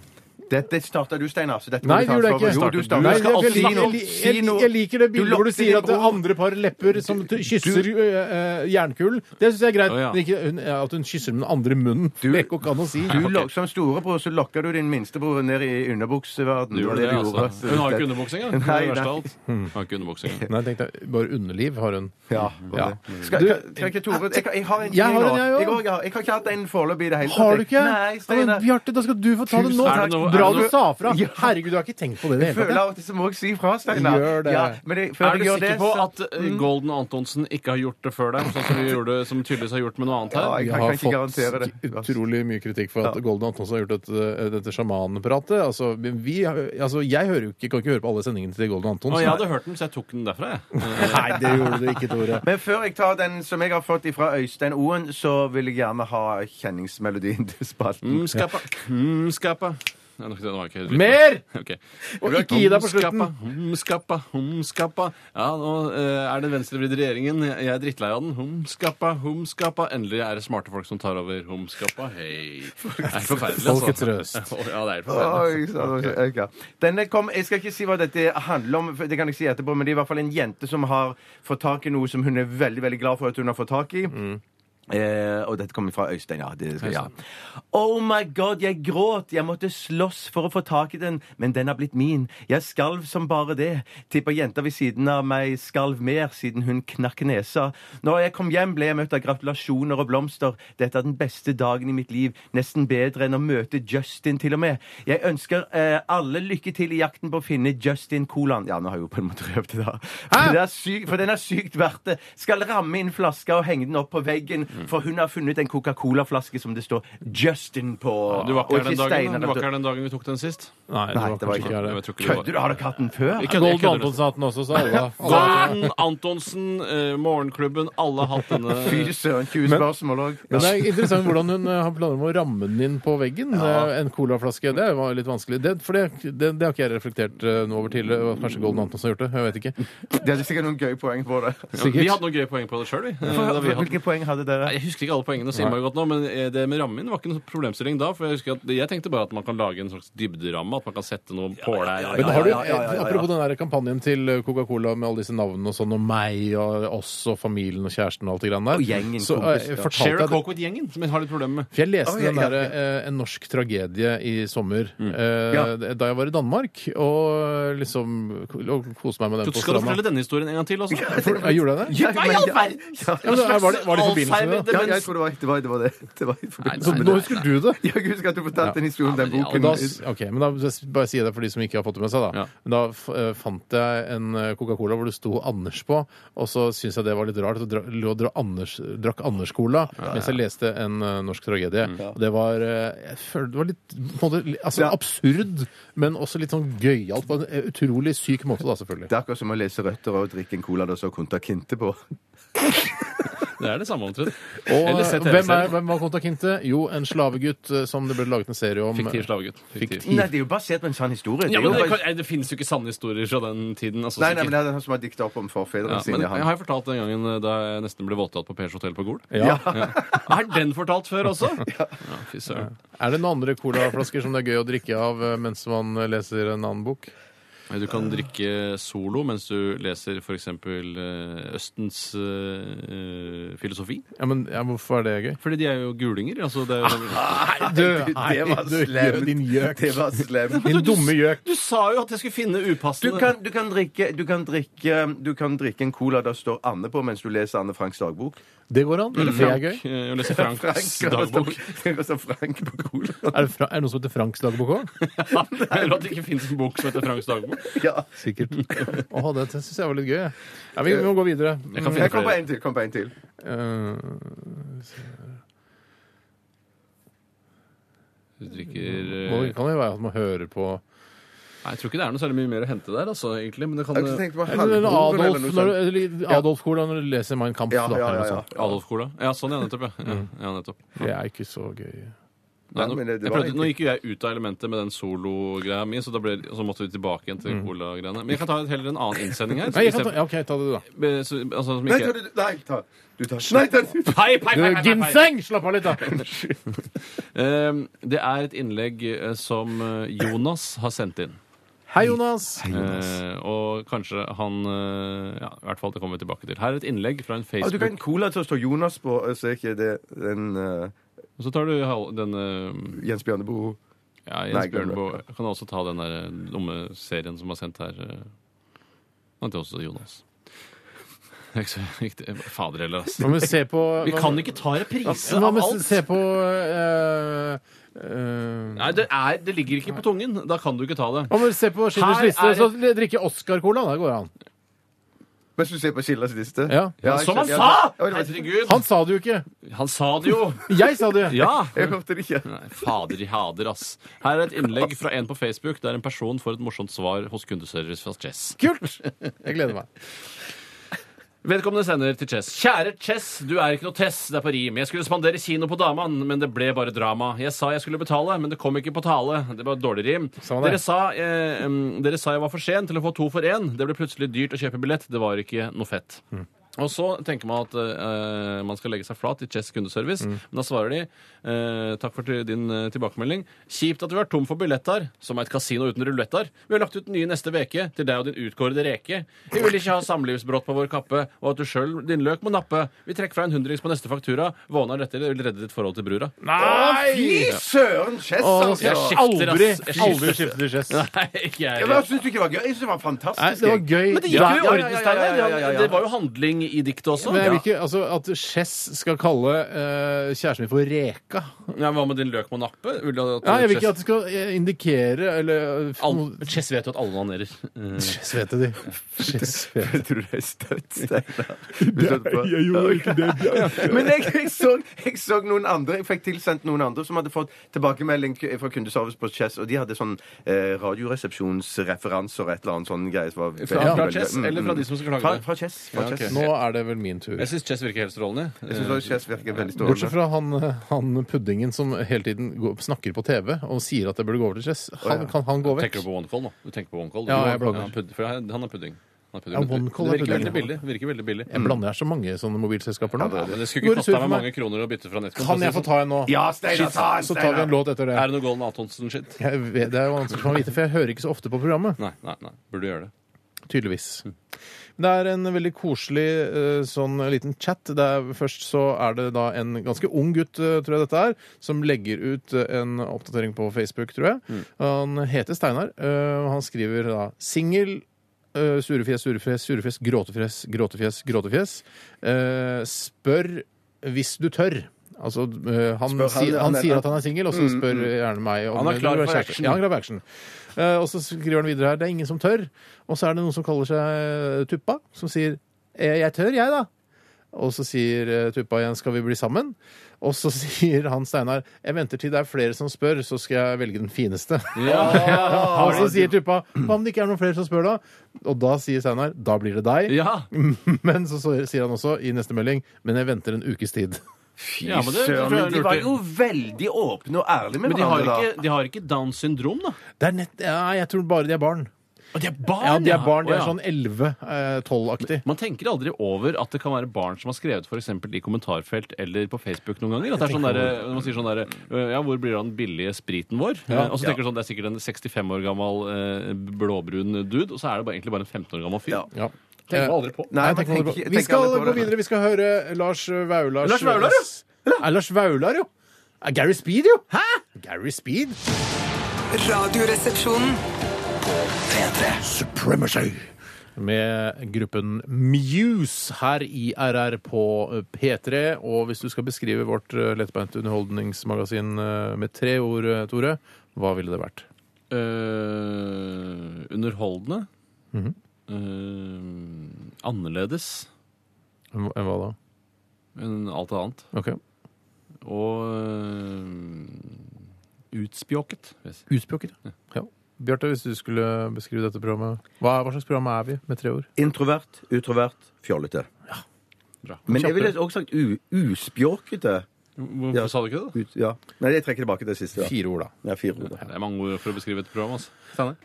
E: Dette starta du, Steinar. så dette må
D: Nei,
E: du
D: det
E: ta
D: gjorde jeg
E: ansvar
D: ikke.
E: for. Jo, du startet.
D: Nei,
E: Du skal
D: jeg,
E: alltid
D: jeg,
E: si noe.
D: jeg,
E: Si
D: jeg,
E: noe.
D: jeg liker det
E: Du
D: bildet hvor du
E: lokker
D: sier at
E: din
D: det
E: bror.
D: andre par lepper som t- kysser ø, ø, jernkulen. Det syns jeg er greit.
F: Å, ja.
D: Men ikke hun, ja, at hun kysser med den andre munnen. Det går ikke an å si.
E: Du lok- Som storebror så lokker du din minstebror ned i underbukseverdenen.
F: Du gjorde det, altså. Hun har jo ikke underbukse engang. Det er det
E: Nei,
F: verste av
E: nei.
F: alt. Hun har ikke underbukse engang.
D: Nei, tenkte jeg, bare underliv har hun.
E: Ja,
D: Ja.
E: Skal,
D: Du-
E: kan- kan ikke Tore Jeg, jeg har en
D: Jeg har en,
E: nå.
D: jeg også.
E: Jeg, har- jeg har ikke hatt en foreløpig i det hele tatt.
D: Har du ikke?
E: Nei,
D: Ja, men
E: Steinar.
D: Bjarte, da skal du få ta det nå.
F: Er det noe,
D: Bra
E: Er
D: du
E: det noe-
D: sa fra!
E: Ja.
D: Herregud, du har ikke tenkt på det i det hele
E: Føler
D: tatt.
E: av og til så må jeg si fra, Steinar.
D: Gjør det.
E: Ja, men jeg, før
F: Er
E: jeg
F: du
E: gjør
F: sikker
E: det,
F: på
E: så- Mm.
F: at eh, Golden Antonsen ikke har gjort det før deg? Sånn som, vi gjorde, som tydeligvis har gjort med noe annet
E: Ja,
F: her?
E: jeg
D: Jeg
E: kan,
D: har
E: kan ikke garantere det.
D: fått utrolig mye kritikk for at
E: Ja.
D: Golden Antonsen har gjort dette, dette sjamanpratet. Altså, vi, altså, jeg hører jo ikke, kan ikke høre på alle sendingene til Golden
F: Og jeg
D: Antonsen.
F: hadde hørt den, så jeg tok den derfra, jeg.
D: Nei, det gjorde du ikke, Tore.
E: Men før jeg tar den som jeg har fått fra Øystein Oen, så vil jeg gjerne ha kjenningsmelodien til spalten.
F: Mm, skappa. Mm, skappa. Nei, nok det, det var ikke helt riktig.
D: Mer!
F: Ok.
D: Og ikke gi deg på slutten.
F: Skappa, hum, skappa, hum, skappa. Ja, nå eh, er det venstrevridde regjeringen. Jeg jeg er drittlei av den. Hum, skappa, hum, skappa. Endelig er det smarte folk som tar over. Hum, skappa, hei. Det er forferdelig, altså.
D: Folkets røst.
F: Ja, det er forferdelig.
E: Oi, så- ok. Denne kom, jeg skal ikke si hva dette handler om, for det kan jeg si etterpå, men det er i hvert fall en jente som har fått tak i noe som hun er veldig veldig glad for at hun har fått tak i. Eh, og dette kommer fra Mm. Øystein, ja. Det, ja. Oh my god, jeg gråt! Jeg måtte slåss for å få tak i den, men den har blitt min. Jeg skalv som bare det. Tipper jenta ved siden av meg skalv mer siden hun knakk nesa. Når jeg kom hjem, ble jeg møtt av gratulasjoner og blomster. Dette er den beste dagen i mitt liv. Nesten bedre enn å møte Justin, til og med. Jeg ønsker eh, alle lykke til i jakten på å finne Justin Kolan. Ja, nå har jeg jo på en måte røvd det, da. For, det er sykt, for den er sykt verdt det. Skal ramme inn flaska og henge den opp på veggen,
F: Mm.
E: for hun har funnet en Coca-Cola-flaske som det står Justin på.
F: Du var ikke
E: og
F: her den dagen,
E: Steinar,
F: da. du var ikke
E: vet
F: her den dagen vi tok den sist?
D: Nei, det var kanskje ikke
F: Jeg
D: det.
F: tror
E: du.
F: ikke det var-
E: Kødder du? Har dere hatt den før?
F: Jeg kødder,
D: Golden
F: jeg kødder.
D: Antonsen har hatt den også, så alle, alle
F: Golden Antonsen, eh, Morgenklubben, alle har hatt denne
E: Fy søren, 20 spørsmål òg.
D: Men det er interessant hvordan hun eh, har planer om å ramme den inn på veggen. Eh, En colaflaske. Det var litt vanskelig. Det, for det, det, det har ikke jeg reflektert eh, noe over tidligere. og Kanskje Golden Antonsen har gjort det. Jeg vet ikke.
E: Det er sikkert noen gøye poeng på det.
F: Vi hadde noen gøye poeng på det sjøl, vi. eh, da vi hadde-
E: Hvilke poeng hadde dere?
F: Nei, Jeg husker ikke alle poengene så innmari godt nå, men eh, det med rammen var ikke noen problemstilling da. For jeg husker at jeg tenkte bare at man kan lage en slags dybderamme, at man kan sette noe påle her.
D: Men har du,
E: ja, ja, ja, ja.
D: Apropos den der kampanjen til eh, Coca-Cola med alle disse navnene og sånn, og meg og oss og familien og kjæresten og alt det grann der,
E: Og gjengen,
D: så eh,
E: kompis, ja.
D: fortalte
F: Share a
D: jeg det.
F: coke with gjengen, som jeg har litt problemer med.
D: For jeg leste
E: Å, ja,
D: den
E: ja, Mm.
D: der, eh, En norsk tragedie i sommer
E: Ja.
D: eh, da jeg var i Danmark, og liksom og koste meg med den
F: Du
D: på
F: skal du
D: stranda.
F: fortelle denne historien en gang til altså. også?
D: For- jeg Gjorde jeg det?
E: Ja, men- ja,
D: Ja, men, det- var, det, var det i forbindelse med det?
E: ja, jeg tror det var, det var, det var det. det, var i forbindelse
D: Så,
E: med
D: nå
E: det.
D: husker du det?
E: Jeg husker at du fortalte en historie om den
F: men ja,
E: boken.
D: Da, s- ok, men da s- bare sier jeg det for de som ikke har fått det med seg. Da,
F: Ja.
D: Men da f eh, fant jeg en eh, Coca-Cola hvor det sto Anders på, og så syntes jeg det var litt rart. Så dra, lå og dra Anders, drakk Anders-cola mens jeg leste en eh, norsk tragedie. Og det var eh, jeg føler det var litt på en måte, li- altså,
E: Ja.
D: absurd, men også litt sånn gøyalt på en eh, utrolig syk måte, da, selvfølgelig.
E: Det er akkurat som å lese røtter og drikke en cola det står Kunta Kinte på.
F: Det er det samme omtrent.
D: Og
F: Eller
D: eh,
F: se
D: hvem, er,
F: TV-serien.
D: hvem var Konta Kinte? Jo, en slavegutt eh, som det ble laget en serie om.
F: Fiktiv slavegutt. Fiktiv.
E: Nei, det er jo basert på en sann historie.
F: Ja,
E: det, er
F: men det,
E: jo
F: kan,
E: bare...
F: nei, det finnes jo ikke sanne historier fra den tiden. Altså,
E: Nei, nei,
F: sikkert.
E: men det er han som har dikta opp om forfedrene
F: ja, men
E: sine.
F: jeg
E: Han.
F: har jeg fortalt den gangen eh, da jeg nesten ble voldtatt på Pers hotell på Gol?
D: Ja.
F: Ja. Er den fortalt før også? Ja, fy søren.
D: Er det noen andre colaflasker som det er gøy å drikke av eh, mens man eh, leser en annen bok?
F: Du kan drikke solo mens du leser f.eks. Østens eh, filosofi.
D: Ja, men ja, Hvorfor er det gøy?
F: Fordi de er jo gulinger. Altså det er jo...
D: Du,
E: Det var
D: du,
E: slemt.
D: Din gjøk.
E: Det var slemt.
D: Din dumme gjøk.
F: Du sa jo at jeg skulle finne
E: Du
F: upassende
E: kan, du, kan drikke, du, kan drikke, du kan drikke en cola der står Anne på mens du leser Anne Franks dagbok.
D: Det går an. Det er gøy.
F: eh, å lese Franks
E: og
F: dagbok.
E: Det står Frank på colaen.
D: Er det, fra, er det noe som heter Franks dagbok òg?
F: Eller at det ikke fins en bok som heter Franks dagbok.
E: Ja.
D: Sikkert. Å, det det syns jeg var litt gøy. jeg. Ja, vi, vi må gå videre. Eh,
F: Jeg kan
E: Jeg
F: finne
E: kom på
F: flere.
E: en til. Kom på en til.
F: Du drikker
D: Eh,
F: eh,
D: må, kan det jo være at man hører på
F: Nei, Jeg tror ikke det er noe særlig mye mer å hente der, altså, egentlig. Men det
E: Jeg
F: kan
E: har ikke
F: eh,
E: tenkt på
D: Eller
E: halvbroren eller
D: Adolf,
E: noe
D: når,
E: sånt.
D: eller Adolf Cola når du leser Mein Kampf.
E: Ja,
D: da,
E: ja,
D: eller noe
E: ja,
D: sånt.
F: Adolf Cola. Ja, sånn, ja. Nettopp. Ja, ja, ja nettopp.
D: Det er ikke så gøy.
F: Nei,
E: Nei,
F: nå,
E: men det- det
F: jeg
E: var
F: prøvde,
E: egentlig-
F: nå gikk jo jeg ut av elementet med den solo-greia mi, så, da ble, så måtte vi tilbake igjen
E: Mm.
F: til cola-greiene. Men jeg kan ta heller en annen innsending her. Så
D: Nei, jeg kan ta,
F: istedenfor-
D: ja, OK, ta det, du, da.
F: eh, så, altså, som
E: Nei, ta
F: ikke...
E: du- Nei, ta Du tar Nei, ta du.
F: Hei, hei, hei,
D: Du,
F: hei, hei, hei.
D: Ginseng! Slapp av litt, da.
F: Eh, Det er et innlegg eh, som eh, Jonas har sendt inn.
D: Hei, Jonas.
F: Eh, og kanskje han eh, Ja, i hvert fall det kommer vi tilbake til. Her er et innlegg fra en
E: Ah, du kan
F: Facebook.
E: cola til å stå Jonas på, så er ikke det den eh,
F: Og så tar du hal- den eh,
E: Jens Bjørneboe.
F: Ja,
E: Nei,
F: Jens
E: glem det.
F: Bjørneboe. Kan også ta den der eh, dumme serien som er sendt her. eh, Og til også Jonas. Det er ikke så viktig. Fader heller, ass.
D: Hva med å se på
F: Vi kan ikke ta reprise
D: Hva
F: av
D: med å
F: alt.
D: se på eh, eh,
F: Nei, det, er, det ligger ikke på tungen. Da kan du ikke ta det.
D: Hva med å se på Schindlers
F: Her
D: liste
F: er-
D: så drikke Oscar-cola? Det går an.
E: Mens du ser på Schillers liste?
D: Ja.
E: jeg
F: Som han
E: skjønner.
F: sa!
E: Ja, det var-
F: Herregud!
D: Han sa det jo ikke!
F: Han sa det jo!
D: Jeg sa det!
F: Ja!
E: Jeg hørte det ikke.
F: Nei, Fader i hader, ass. Her er et innlegg fra en på Facebook der en person får et morsomt svar hos kundeservice fra Chess.
D: Kult! Jeg gleder meg.
F: Vedkommende sender til Chess. Kjære Chess, du er ikke noe Tess, det er på rim. Jeg skulle spandere kino på dama, men det ble bare drama. Jeg sa jeg skulle betale, men det kom ikke på tale. Det var dårlig rim.
D: Samme det.
F: Dere sa, eh, em, dere sa jeg var for sen til å få to for én. Det ble plutselig dyrt å kjøpe billett. Det var ikke noe fett.
E: Mm.
F: Og så tenker man at eh, man skal legge seg flat i Chess kundeservice,
E: Mm.
F: men da svarer de eh, takk for til- din eh, tilbakemelding. Kjipt at vi var tom for billetter, som er et kasino uten ruletter. Vi har lagt ut nye neste veke til deg og din utkårede reke. Vi vil ikke ha samlivsbrått på vår kappe, og at du sjøl din løk må nappe. Vi trekker fra en hundrings på neste faktura. Vånar dette vil redde ditt forhold til brura.
E: Fy søren! Chess, altså!
F: jeg skifter,
D: Aldri,
F: ass. Jeg skifter.
D: aldri skifte til Chess.
F: Nei, ikke
E: Ja,
F: jeg
E: men Jeg syns du ikke det var gøy. Jeg synes det var
D: Nei,
E: fantastisk.
D: det var
E: jeg.
D: gøy.
F: Men det gikk jo i
E: Ja, ja, ja,
F: orden,
E: ja,
F: Steinar.
E: ja, ja, ja, ja.
F: Det var jo handling i diktet også.
D: Men jeg vil
F: Ja.
D: ikke, altså, At Chess skal kalle eh, kjæresten min for Reka
F: Ja, Hva med din løk må nappe? Vil du at-
D: Ja, Jeg vil ikke at det skal eh, indikere eller eh,
F: Alle- Chess vet jo at alle onanerer. Eh,
D: Chess vet det, de. Chess vet det.
E: Jeg tror det er støtt, Steinar. Hvis du hører på.
D: ikke det.
E: Men jeg, jeg, så, jeg så noen andre Jeg fikk tilsendt noen andre som hadde fått tilbakemelding k- fra kundeservice på Chess, og de hadde sånn eh, radioresepsjonsreferanser og et eller annet sånn greie. som var veldig,
F: Fra, fra
E: veldig-
F: Chess,
E: mm,
F: eller fra
E: mm.
F: de som skal
E: Fra,
F: klage? det?
E: fra Chess. Fra
F: Ja, ok.
E: Chess.
D: Nå er det vel min tur.
F: Jeg syns Chess virker helt strålende. Eh,
E: Jeg synes også Chess virker veldig
D: Bortsett
E: strålende.
D: fra han, eh, han puddingen som hele tiden går, snakker på TV og sier at jeg burde gå over til Chess. Han, Kan han gå vekk?
F: Tenker du på OneCall nå? Du tenker på OneCall?
D: Ja,
F: Du-
D: jeg blander.
F: han pud- for han han er pudding. Han er pudding.
D: Ja, OneCall er
F: det virker
D: pudding.
F: veldig billig. Det virker veldig billig.
D: Jeg blander her så mange sånne mobilselskaper nå.
F: Ja, men det skulle
D: Går
F: ikke
D: det
F: kosta
D: sur for
F: meg
D: meg?
F: mange kroner å bytte fra Netcom.
D: Kan jeg få ta en nå?
E: Ja, Steinar, ta en,
D: Så tar vi en
E: Steinar!
D: låt etter det.
F: Er det noe Golden Antonsen-shit?
D: Jeg vet, det er jo vanskelig for meg å vite, for jeg hører ikke så ofte på programmet.
F: Nei, nei, nei. Burde gjøre det.
D: Tydeligvis. Det er en veldig koselig eh, sånn liten chat. Det er, først så er det da en ganske ung gutt, eh, tror jeg dette er, som legger ut eh, en oppdatering på Facebook, tror jeg.
E: Mm.
D: Han heter Steinar, eh, og han skriver da 'singel'. eh, surefjes, surefjes, surefjes, gråtefjes, gråtefjes, gråtefjes. Eh, spør hvis du tør. Altså, eh, han,
E: Spør han-
D: sier, han,
E: han er- Mm,
D: sier at han er singel, og så spør gjerne meg om
F: Han er
D: du
F: klar
D: vil være
F: for
D: kjæreste.
F: action.
D: Ja, han er klar for action. Eh, og så skriver han videre her det er ingen som tør. Og så er det noen som kaller seg eh, Tuppa, som sier «Eh, 'jeg tør, jeg, da'. Og så sier eh, Tuppa igjen 'skal vi bli sammen'? Og så sier han Steinar 'jeg venter til det er flere som spør, så skal jeg velge den fineste'. og så sier Tuppa 'hva om det ikke er noen flere som spør, da?' Og da sier Steinar 'da blir det deg'.
F: Ja,
D: Men så, så sier han også i neste melding 'men jeg venter en ukes tid'.
E: Fy
F: Ja, men
E: søren,
F: det- det tror jeg
E: men de
F: lurte.
E: var jo veldig åpne og ærlige med
F: Men de har
E: hverandre. da.
F: ikke, de har ikke Downs syndrom, da.
D: Det er nett, ja, jeg tror bare de er barn.
F: Og de er barn!
D: Ja, De er barn, de
F: Å,
D: er
F: ja.
D: sånn 11-12-aktig.
F: Man tenker aldri over at det kan være barn som har skrevet for eksempel i kommentarfelt eller på Facebook noen ganger. At det er sånn der, når man sier sånn der, øh, ja, hvor blir det av den billige spriten vår? Eh, Og så tenker du sånn, det er sikkert en 65 år gammel eh, blåbrun dude, og så er det bare, egentlig bare en 15 år gammel fyr.
E: Ja.
D: Ja.
F: Tenker man
D: Eh,
F: aldri på.
E: Nei,
D: Nei,
E: man
D: tenk
E: tenker
D: på det.
E: ikke-
D: Vi
E: tenker
D: skal
E: aldri på
D: gå
E: det.
D: videre. Vi skal høre Lars Vaular
F: Lars Vaular, ja?
D: Nei, Lars Vaular, jo! Eh, Gary Speed, jo! Hæ? Gary Speed?
A: Radioresepsjonen.
B: P3
D: Supremacy! Med gruppen Muse her i RR på P3. Og hvis du skal beskrive vårt eh, lettbeinte underholdningsmagasin eh, med tre ord, eh, Tore, hva ville det vært?
F: Eh, underholdende.
E: Mhm.
F: Eh, annerledes
D: Hva hva da?
F: enn alt annet.
D: Ok.
F: Og eh, utspjåket. vil jeg si.
D: Utspjåket. Ja. Bjarte, hvis du skulle beskrive dette programmet, hva, hva slags program er vi med tre ord?
E: Introvert, utrovert, fjollete.
F: Bra.
E: Men jeg ville også sagt u uspjåkete.
F: Hvorfor
E: Ja.
F: sa du ikke det? da?
E: Ut, ja. Nei, jeg trekker tilbake det siste. Ja.
D: Fire ord, da.
E: Ja, fire ord.
F: Det er mange ord for å beskrive et program. altså. Steinar?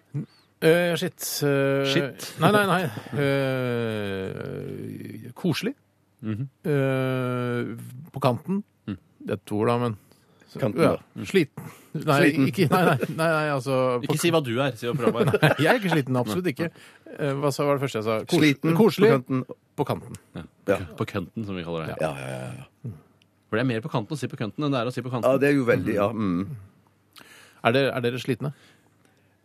D: Eh, shit. Eh,
F: Shit.
D: Nei, nei, nei. Eh, koselig. Eh, på kanten. Det er to ord, da, men
E: Kanten,
D: ja.
E: da.
D: Sliten. Nei,
E: Sliten.
D: Ikke, nei, nei, nei, nei, altså på-
F: Ikke si hva du er, si hva programmet er.
D: Jeg er ikke sliten. Absolutt ikke. Eh, hva sa- var det første jeg sa? Kos-
E: Sliten,
D: Koselig
E: på kanten.
D: på kanten.
E: Ja.
F: På kønten, som vi kaller det. her.
E: Ja, ja, ja, ja.
F: For det er mer på kanten å si på kønten enn det er å si på kanten.
E: ja, det er jo veldig ja. Mm.
D: Er dere, er dere slitne?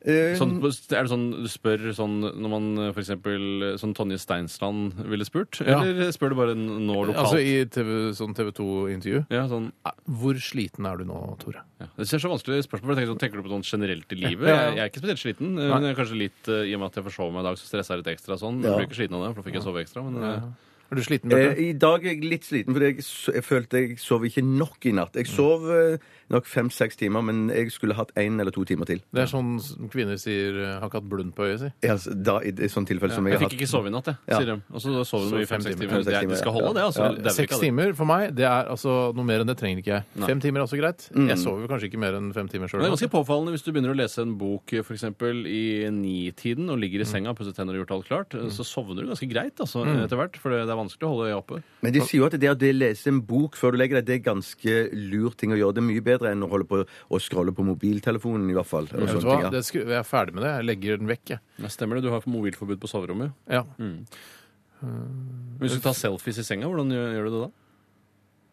E: Eh,
F: Sånn, er det sånn du spør sånn når man f.eks. sånn Tonje Steinsland ville spurt?
D: Ja.
F: Eller spør du bare n- nå lokalt?
D: Altså i TV, sånn TV 2-intervju.
F: ja, sånn,
D: Hvor sliten er du nå, Tore?
F: ja. Det er så vanskelig spørsmål. for Jeg tenker, sånn, tenker du på sånn generelt i livet?
D: Ja, ja, ja.
F: Jeg, jeg er ikke spesielt sliten, eh, men jeg er kanskje litt eh, i og med at jeg forsov meg i dag, så stressa jeg litt ekstra. sånn. Jeg ble ikke sliten av det, for da fikk jeg sove ekstra. men... eh,
D: Er du sliten,
E: Eh,
D: Bjarte?
E: I dag er jeg litt sliten, fordi jeg, s- jeg følte jeg sov ikke nok i natt. Jeg sov eh, nok fem-seks timer, men jeg skulle hatt én eller to timer til.
D: Det er sånn s- kvinner sier eh, 'har ikke hatt blund på øyet', si.
E: Ja, altså, da, I et sånt tilfelle som
F: Jeg
E: jeg har
F: fikk
E: hatt.
F: ikke sove i natt, jeg,
E: Ja.
F: sier de. Og så sover de i fem-seks timer.
E: fem-seks
F: Det, er-
E: timer,
F: det skal
E: ja.
F: holde, det. altså.
E: Ja.
F: Det er vel ikke
D: Seks
F: det.
D: timer for meg, det er altså noe mer enn det trenger ikke jeg. Fem timer er også greit. Jeg sover kanskje ikke mer enn fem timer
F: Men
D: sjøl.
F: Mm. Det er ganske påfallende hvis du begynner å lese en bok for eksempel, i nitiden og ligger i senga og pusset tenner og gjort alt klart, så sovner du ganske greit altså, etter hvert, for det det er vanskelig å holde øya oppe.
E: Men de sier jo at det å lese en bok før du legger deg, det er ganske lur ting å gjøre. Det er mye bedre enn å holde på å scrolle på mobiltelefonen, i hvert fall. Og
D: Vet
E: sånne
D: du hva?
E: ting, ja.
D: Det skru, jeg er ferdig med det. Jeg legger den vekk, jeg.
F: Ja, stemmer det, du har mobilforbud på soverommet.
D: Ja.
F: Mm. Men Hvis du tar selfies i senga, hvordan gjør, gjør du det da?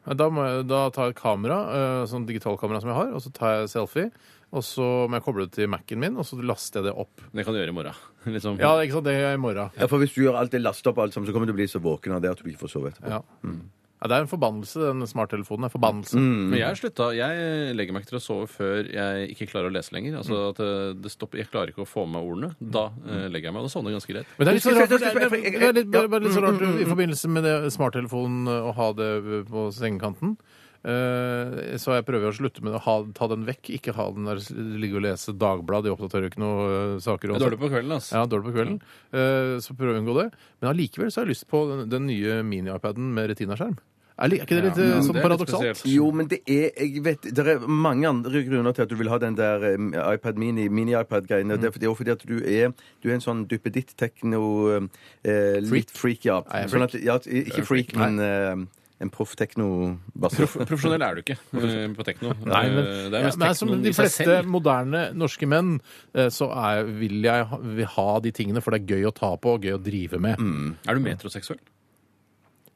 D: Men Da, må jeg, da tar jeg et kamera, eh, sånn digitalkamera som jeg har, og så tar jeg selfie. Og så må jeg koble det til Mac-en min, og så laster jeg det opp.
F: Det kan du gjøre i morgen. Liksom.
D: Ja, ikke sant? Det gjør jeg i morgen.
E: ja, for hvis du gjør alt det, laster opp alt sammen, så kommer du til å bli så våken av det at du ikke får sove etterpå.
D: Ja.
F: Mm.
D: Ja, det er en forbannelse, den smarttelefonen. er Forbannelse.
F: Men jeg, har sluttet- jeg legger meg ikke til å sove før jeg ikke klarer å lese lenger. Altså at eh, det stopper, Jeg klarer ikke å få med meg ordene. Da eh, legger jeg meg, og da sovner jeg ganske greit.
D: Men det er litt så
E: Skal jeg-
D: rart, det
E: skal jeg-
D: er,
E: skal jeg- mm,
D: det er litt, bare, bare litt så rart i forbindelse med det smarttelefonen eh, å ha det på sengekanten. Eh, så jeg prøver å slutte med å ha, ta den vekk, ikke ha den der ligge og lese Dagblad, de oppdaterer jo ikke noe eh, saker.
F: Det er dårlig på kvelden, altså.
D: Ja, dårlig på kvelden. Eh, så prøver jeg å unngå det. Men allikevel så har jeg lyst på den, den nye mini-iPaden med retinaskjerm. Er, li- er ikke det litt
F: Ja,
D: eh, sånn
F: men det er litt
D: paradoksalt?
F: spesielt.
E: Jo, men det er jeg vet, Det er mange andre grunner til at du vil ha den der eh, iPad Mini,
D: Mm.
E: mini-iPad-greiene. Det er fordi- det er fordi at du er, du er en sånn duppeditt-tekno eh, Litt freak, ja.
D: Er jeg
E: Sånn at, ja ikke freak, men eh, en proff tekno-basse.
F: Prof profesjonell er du ikke eh, på tekno.
D: Nei, men,
F: Eh, det
D: ja,
F: er mest
D: men som
F: teknoen
D: de
F: i seg
D: fleste
F: selv.
D: moderne norske menn, eh, så er, vil jeg ha, vil ha de tingene, for det er gøy å ta på og gøy å drive med.
F: Mm. Er du metroseksuell?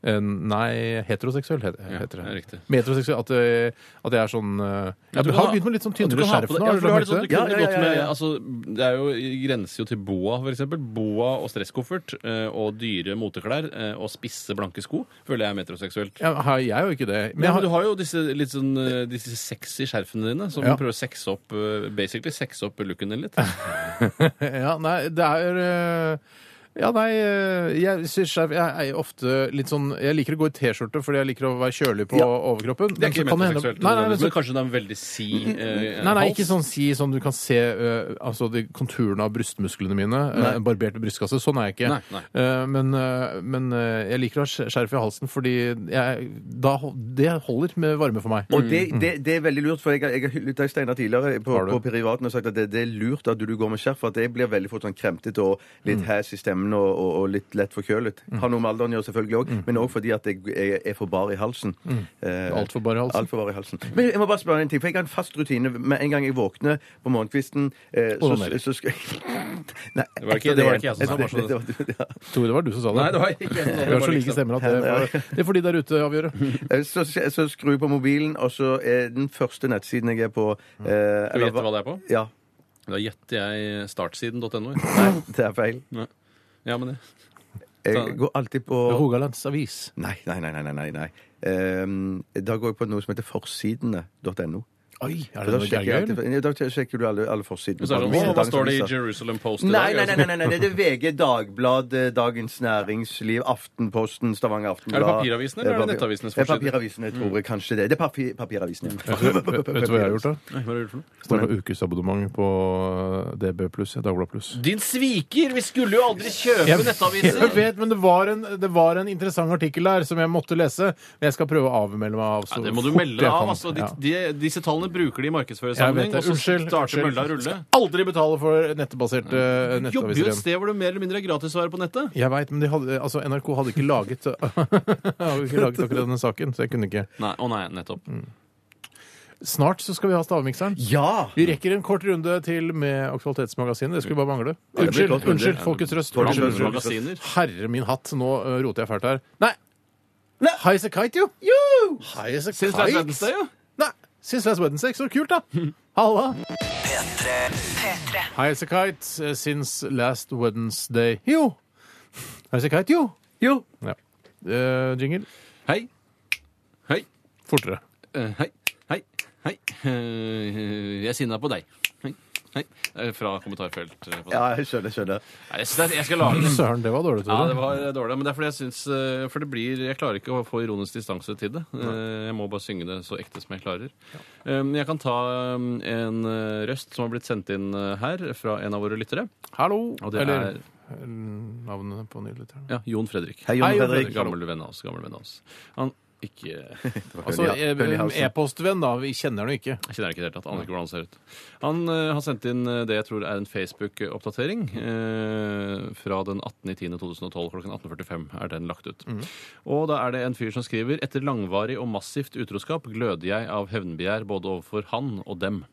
D: Eh, Nei, heteroseksuell het-
F: Ja,
D: heter
F: det er
D: det.
F: riktig.
D: Metroseksuell, at, eh, at jeg er sånn eh, Jeg
F: du kan
D: har
F: ha-
D: begynt med litt sånn
F: At du
D: tynnere
F: kan ha
D: skjerf
F: på
D: nå. har
F: det- Ja,
D: du
F: for du
D: lagt
F: har det sånn,
D: merke til
F: du
D: det?
E: Ja,
F: kunne
E: ja, ja,
F: gått med
E: ja, ja.
F: altså, Det er jo grenser jo til boa, for eksempel. Boa og stresskoffert eh, og dyre moteklær eh, og spisse, blanke sko føler jeg er metroseksuelt.
D: Ja, har jeg er jo ikke det. Men
F: Men,
D: jeg har,
F: du har jo disse litt sånn eh, disse sexy skjerfene dine som
D: Ja.
F: prøver å sexe opp eh, basically sexe opp looken din litt.
D: Ja, nei, det er øh, Ja, nei, øh, jeg syns jeg, jeg er ofte litt sånn Jeg liker å gå i T-skjorte fordi jeg liker å være kjølig på
E: Ja.
D: overkroppen.
F: Det er
D: men
F: ikke
D: så kan hende-
F: metroseksuelt,
D: Nei, nei, men
F: men
D: så,
F: kanskje det er en veldig si
D: nei,
F: eh,
D: nei,
F: hals.
D: ikke sånn si sånn du kan se øh, altså de konturene av brystmusklene mine. Uh, barberte brystkasse. Sånn er jeg ikke.
F: Nei, nei.
D: Eh, men øh, men øh, jeg liker å ha skj- skjerf i halsen fordi jeg, da, hol- det holder med varme for meg.
E: Og det,
F: Mm,
E: det, det er veldig lurt, for jeg, har- jeg har hyllet deg, Steinar, tidligere på,
D: Har du?
E: på privaten og sagt at det, det er lurt at du, du går med skjerf, for at jeg blir veldig fort sånn kremtete og litt
F: Mm.
E: hæs i stemmen og, og, og litt lett forkjølet. Har noe med alderen å gjøre, selvfølgelig
F: Mm.
E: òg, men òg fordi at jeg, jeg er for bar i halsen. Eh,
D: Alt for bar i halsen.
E: alt for bar i halsen. Men jeg må bare spørre en ting, for jeg har en fast rutine. Med en gang jeg våkner på morgenkvisten eh, så,
D: Onanerer.
E: så skal Nei,
F: var ikke- det var ikke jeg som sa det, bare så-
E: det var- det var-
D: Tore, det var du som sa det.
F: Nei, det var ikke jeg som sa det,
D: Vi har
F: bare
D: så like
F: liksom.
D: stemmer at det, var, det er fordi der ute avgjør det.
E: Eh, Så, så skrur jeg på mobilen, og så er den første nettsiden jeg er på eh,
F: Skal vi
E: eller
F: gjette Mm. hva det er på?
E: Ja.
F: Da gjetter jeg startsiden.no.
E: Nei, det er feil.
F: Ja, men det.
E: Jeg går alltid på
D: Rogalands Avis.
E: Nei, nei, nei. nei, nei, nei, nei. Ehm, da går jeg på noe som heter forsidene.no.
D: Oi,
E: For
D: er det
E: Da
D: noe
E: sjekker, jeg
D: gærgøy?
E: alltid, ja, da sjekker du alle, alle forsidene.
F: Men så er
E: på alle
F: det sånn,
E: mine
F: «Å, Hva står det i
E: dagsaviser».
F: Jerusalem Post i
E: Nei,
F: dag?
E: nei, nei, nei, nei, nei, det er VG, Dagbladet, eh, Dagens Næringsliv, Aftenposten, Stavanger Aftenblad
F: Er det papiravisene, eller er det
E: Det
F: nettavisenes
E: er
F: forsider?
E: Papiravisene, tror jeg kanskje det. Det er papi- papiravisene. ja.
D: Mm. Vet du hva jeg har gjort, da?
F: Nei, hva er det du gjør for noe?
D: Står på ukesabonnement på DB pluss, ja, Dagbladet pluss.
F: Din sviker! Vi skulle jo aldri kjøpe
D: Jeg vet, men det var, en, det var en interessant artikkel der som jeg måtte lese. Men jeg skal prøve å avmelde meg av så
F: Ja, det må du
D: fort
F: melde
D: jeg
F: deg av.
D: kan.
F: Altså,
D: Ja.
F: de, de, disse tallene bruker de i
D: Jeg vet
F: markedsføringssammenheng.
D: det.
F: Og så
D: Unnskyld,
F: starter
D: unnskyld.
F: mølla å rulle. Mm.
D: Aldri betale for nettbaserte eh,
F: Du jobber jo
D: nettaviser
F: et
D: igjen.
F: sted hvor det mer eller mindre er gratis å være på nettet.
D: Jeg veit, men de hadde, altså, NRK hadde ikke laget Hadde ikke laget akkurat denne saken, så jeg kunne ikke.
F: Nei, å nei, nettopp.
D: Mm. Snart så skal vi ha stavmikseren.
E: Ja!
D: Vi rerekker en kort runde til med Aktualitetsmagasinet. Det skulle bare mangle.
E: det blir
D: Unnskyld,
E: kort runde.
D: unnskyld Folkets Røst.
E: Folkets Røst.
D: Unnskyld, Folkets Røst.
F: Magasiner.
D: Herre min hatt, nå øh, roter jeg fælt her. Nei! High as a kite, jo! High as a
F: Since last
D: kite?
F: Wednesday, ja.
D: Nei, Since last Wednesday. Så kult, da! Halla!
B: P3.
D: Highasakite øh, since last Wednesday. Jo! Highasakite, jo!
F: Jo.
D: Ja. Eh, jingle.
F: Hei. Hei.
D: Fortere.
F: Eh, hei. Hei. Hei. Eh, jeg er sinna på deg. Hei. Hei. Eh, Fra kommentarfelt. eh, på-
E: Ja, jeg skjønner, jeg skjønner.
F: Nei, Jeg, synes det er- jeg skal lage den.
D: Søren, det var dårlig,
F: Ja,
D: Tore.
F: det var dårlig, men det er fordi jeg syns eh, For det blir Jeg klarer ikke å få ironisk distanse til det. Eh, Jeg må bare synge det så ekte som jeg klarer. Eh, men Jeg kan ta eh, en eh, røst som har blitt sendt inn eh, her fra en av våre lyttere.
D: Hallo!
F: Og det
D: Eller
F: er
D: navnet på nylytteren.
F: ja, Jon Fredrik.
E: Hei, Jon
D: Hei, Jon
E: Fredrik.
F: Gammel venn av oss. Gammel venn av oss. Han ikke Jeg
D: Altså
E: Høl i- høl i
D: eh,
E: halsen.
D: e-postvenn, da. Vi kjenner den jo ikke.
F: kjenner ikke i det hele tatt. Aner ikke hvordan han ser ut. Han eh, har sendt inn eh, det jeg tror er en Facebook-oppdatering eh, fra den 18.10.2012 klokken 18.45 er den lagt ut. Og da er det en fyr som skriver etter langvarig og massivt utroskap gløder jeg av hevnbegjær både overfor han og dem.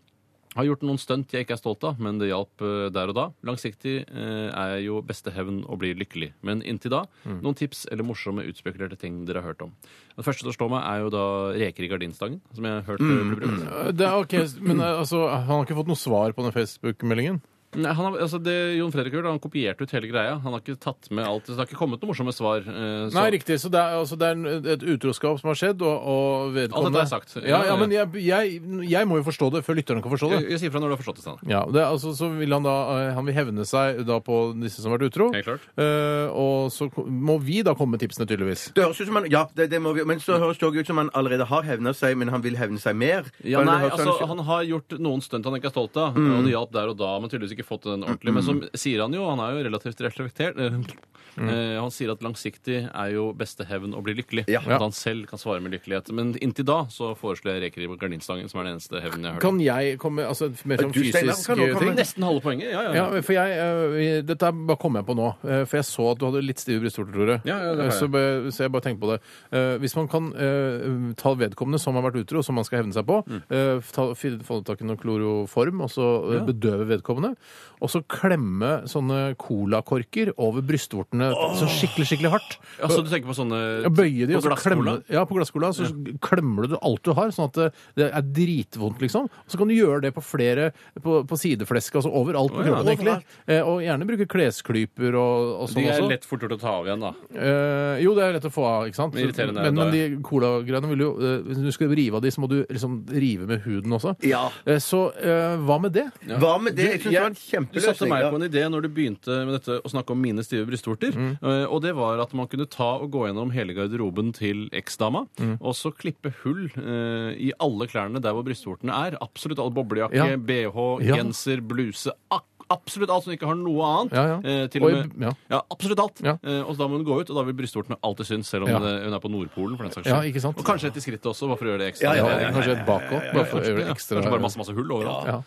F: Har gjort noen stunt jeg ikke er stolt av, men det hjalp eh, der og da. Langsiktig eh, er jo beste hevn å bli lykkelig. Men inntil da, noen tips eller morsomme utspekulerte ting dere har hørt om. Det første som slår meg, er jo da reker i gardinstangen, som jeg har hørt eh, bli brukt.
D: Eh, Det er ok, men eh, altså, han har ikke fått noe svar på den Facebook-meldingen?
F: Nei, han har, altså det, Jon Fredrik Uhl, han kopierte ut hele greia. Han har ikke tatt med alt. Så det har ikke kommet noen morsomme svar. eh, så-
D: Nei, riktig. Så det er, altså, det er en- et utroskap som har skjedd, og, og vedkommende
F: Alt dette er sagt.
D: Ja, ja, men jeg, jeg, jeg må jo forstå det før lytterne kan forstå det.
F: Jeg, jeg sier fra når du har forstått det. Sånn.
D: Ja, det, er altså, så vil han da eh, Han vil hevne seg da på disse som har vært utro.
F: Helt klart.
D: Eh, og så ko- må vi da komme med tipsene, tydeligvis.
E: Det høres ut som han, ja, det, det må vi, men så høres det også ut som han allerede har hevna seg, men han vil hevne seg mer.
F: Ja,
E: Men det
F: nei,
E: høres sånn-
F: altså Han har gjort noen stunt han ikke er stolt av,
D: Mm.
F: og det hjalp der og da, men tydeligvis ikke fått den ordentlig. Men som sier han jo, han er jo relativt reflektert. eh,
D: Mm.
F: eh, Han sier at langsiktig er jo beste hevn å bli lykkelig.
E: Ja.
F: At han selv kan svare med lykkelighet. Men inntil da så foreslår jeg reker i gardinstangen, som er den eneste hevnen jeg har hørt.
D: Kan jeg komme altså, mer sånn
E: Du, Steinar,
D: fysisk
E: kan du
D: eh,
E: komme?
D: ting?
F: Nesten halve poenget. Ja, ja.
D: Ja, for jeg, eh, dette er bare kom jeg på nå, eh, for jeg så at du hadde litt stive brystvorter, Tore. Eh,
F: Ja, ja, det har jeg.
D: så, bare- så jeg bare tenkte på det. Eh, Hvis man kan eh, ta vedkommende som har vært utro, som man skal hevne seg på,
F: Mm.
D: eh, ta, fi- få tak i noe kloroform, og så eh, bedøve vedkommende, og så klemme sånne colakorker over brystvortene sånn skikkelig, skikkelig hardt.
F: Altså, du tenker på sånne
D: Ja, Bøye de,
F: på
D: og så
F: glasscola?
D: klemme, ja, på glassskola. Så klemmer du alt du har, sånn at det- det er dritvondt, liksom. Og så kan du gjøre det på flere på, på sideflesket, altså overalt på
F: Å, ja.
D: kroppen, egentlig. Eh, Og gjerne bruke klesklyper og, og sånn
F: De er
D: også.
F: lett fort gjort å ta av igjen, da.
D: Eh, jo, det er lett å få av, ikke sant?
F: Men irriterende er
D: men,
F: det da,
D: men de colagreiene vil jo eh, Hvis du skal rive av de, så må du liksom rive med huden også.
E: Ja.
D: Eh, så eh, hva med det?
E: Hva med det? Jeg syns det var en
F: Du satte
E: kjempeløsning.
F: meg
E: ja.
F: på en idé når du begynte med dette å snakke om mine stive brystvorter.
D: Mm.
F: eh, Og det var at man kunne ta og gå gjennom hele garderoben til eksdama,
D: Mm.
F: og så klippe hull eh, i alle klærne der hvor brystvortene er. Absolutt alle boblejakke,
D: Ja.
F: bh,
D: Ja.
F: genser, bluse. ak- Absolutt alt som ikke har noe annet.
D: Ja, ja.
F: eh, Til
D: Og
F: og
D: i-
F: med,
D: ja.
F: ja. absolutt alt.
D: Ja.
F: Eh, Og så da må hun gå ut, og da vil brystvortene alltid synes, selv om
D: Ja.
F: det- hun er på Nordpolen. for den saks
D: Ja,
F: skyld.
D: ikke sant?
F: Og kanskje et i skrittet også, bare for å gjøre det ekstra.
D: Ja, kanskje et bakåt, bare for å gjøre det ekstra.
F: Kanskje bare masse, masse hull overalt.
D: Ja.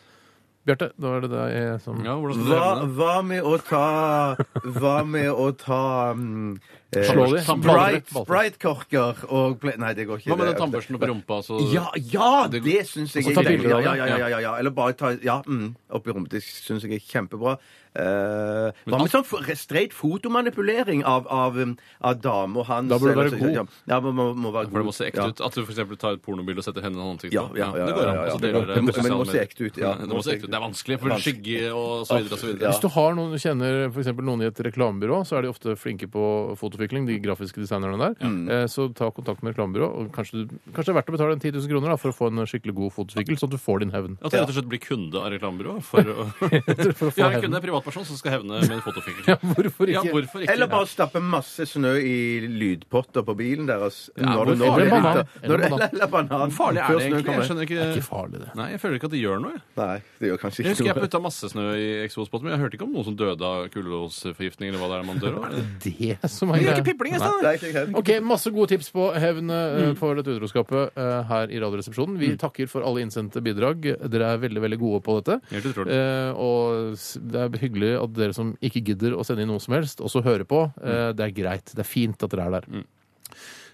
D: Bjarte, da er det deg eh, som
F: Ja, hvordan skal du
E: Hva,
F: hevne det?
E: hva med å ta Hva med å ta mm, eh,
D: Slå de.
E: Sprite- Sprite-korker og ple- Nei, det går ikke.
F: Hva med
E: det.
F: den tannbørsten oppi rumpa? Så...
E: Ja, ja,
F: Det-
E: det syns jeg
D: Og så
E: er
D: ta
E: deilig.
D: bilder
E: Ja,
D: av
E: ja,
D: det.
E: ja, ja, ja, ja. Eller bare ta ja, mm, oppi rumpedisk syns jeg er kjempebra. Eh, hva med sånn for- straight fotomanipulering av, av, um, av dame og hans
D: Da bør du
E: eller
D: være
E: så-
D: god.
E: Ja, man må, må være god.
F: For det må se ekte
E: ja.
F: ut. At du for eksempel tar et pornobilde og setter hendene i ansiktet.
E: Ja, ja, ja,
F: det går
E: ja,
F: an.
E: ja, ja.
F: Altså, det
E: Men-
F: gjør
E: men det
F: sosiale
E: må se
F: medier.
E: ekte ut, ja.
F: Det må se ekte ut. Det er vanskelig for
E: Vanskelig.
F: skygge og så videre og så videre.
D: Hvis du har noen, du kjenner for eksempel noen i et reklamebyrå, så er de ofte flinke på fotoutvikling, de grafiske designerne der.
F: Mm.
D: Eh, Så ta kontakt med reklamebyrå, og kanskje, du, kanskje det er verdt å betale en 10 000 kroner da, for å få en skikkelig god fotoutvikking, sånn at du får din hevn.
F: At jeg rett og slett blir kunde av reklamebyrå for å
D: For å
F: Vi
D: få
F: har en
D: hevn.
F: kunde, en privatperson, som skal hevne med en fotofikkel.
D: Ja, hvorfor ikke?
F: Ja, hvorfor ikke?
E: Eller bare stappe masse snø i lydpotter på bilen deres. når
F: hvor
E: du- når
F: farlig
E: du- når du-
D: Eller
F: er det?
D: banan.
E: Eller, eller banan.
F: Hvor farlig er
E: Før
F: det
E: snøen
F: egentlig?
E: kommer.
F: Jeg skjønner
D: Det er ikke
F: ikke
D: farlig, det.
F: Nei, jeg føler ikke at det gjør noe. jeg.
E: Nei, det gjør kanskje
F: Jeg husker
E: ikke
F: jeg
E: noe.
F: putta masse snø i eksospotten, men jeg hørte ikke om noen som døde av kulosforgiftning eller hva det er man dør av.
D: Det som er
F: Det er
D: greia.
F: ikke pipling i
D: Nei.
F: stedet!
E: Nei, ikke helt.
D: Ok, Masse gode tips på hevn eh,
F: Mm.
D: for dette utroskapet eh, her i Radioresepsjonen. Vi takker for alle innsendte bidrag. Dere er veldig veldig gode på dette.
F: Helt utrolig.
D: Eh, og s- det er hyggelig at dere som ikke gidder å sende inn noe som helst, også hører på. Eh, det er greit. Det er fint at dere er der.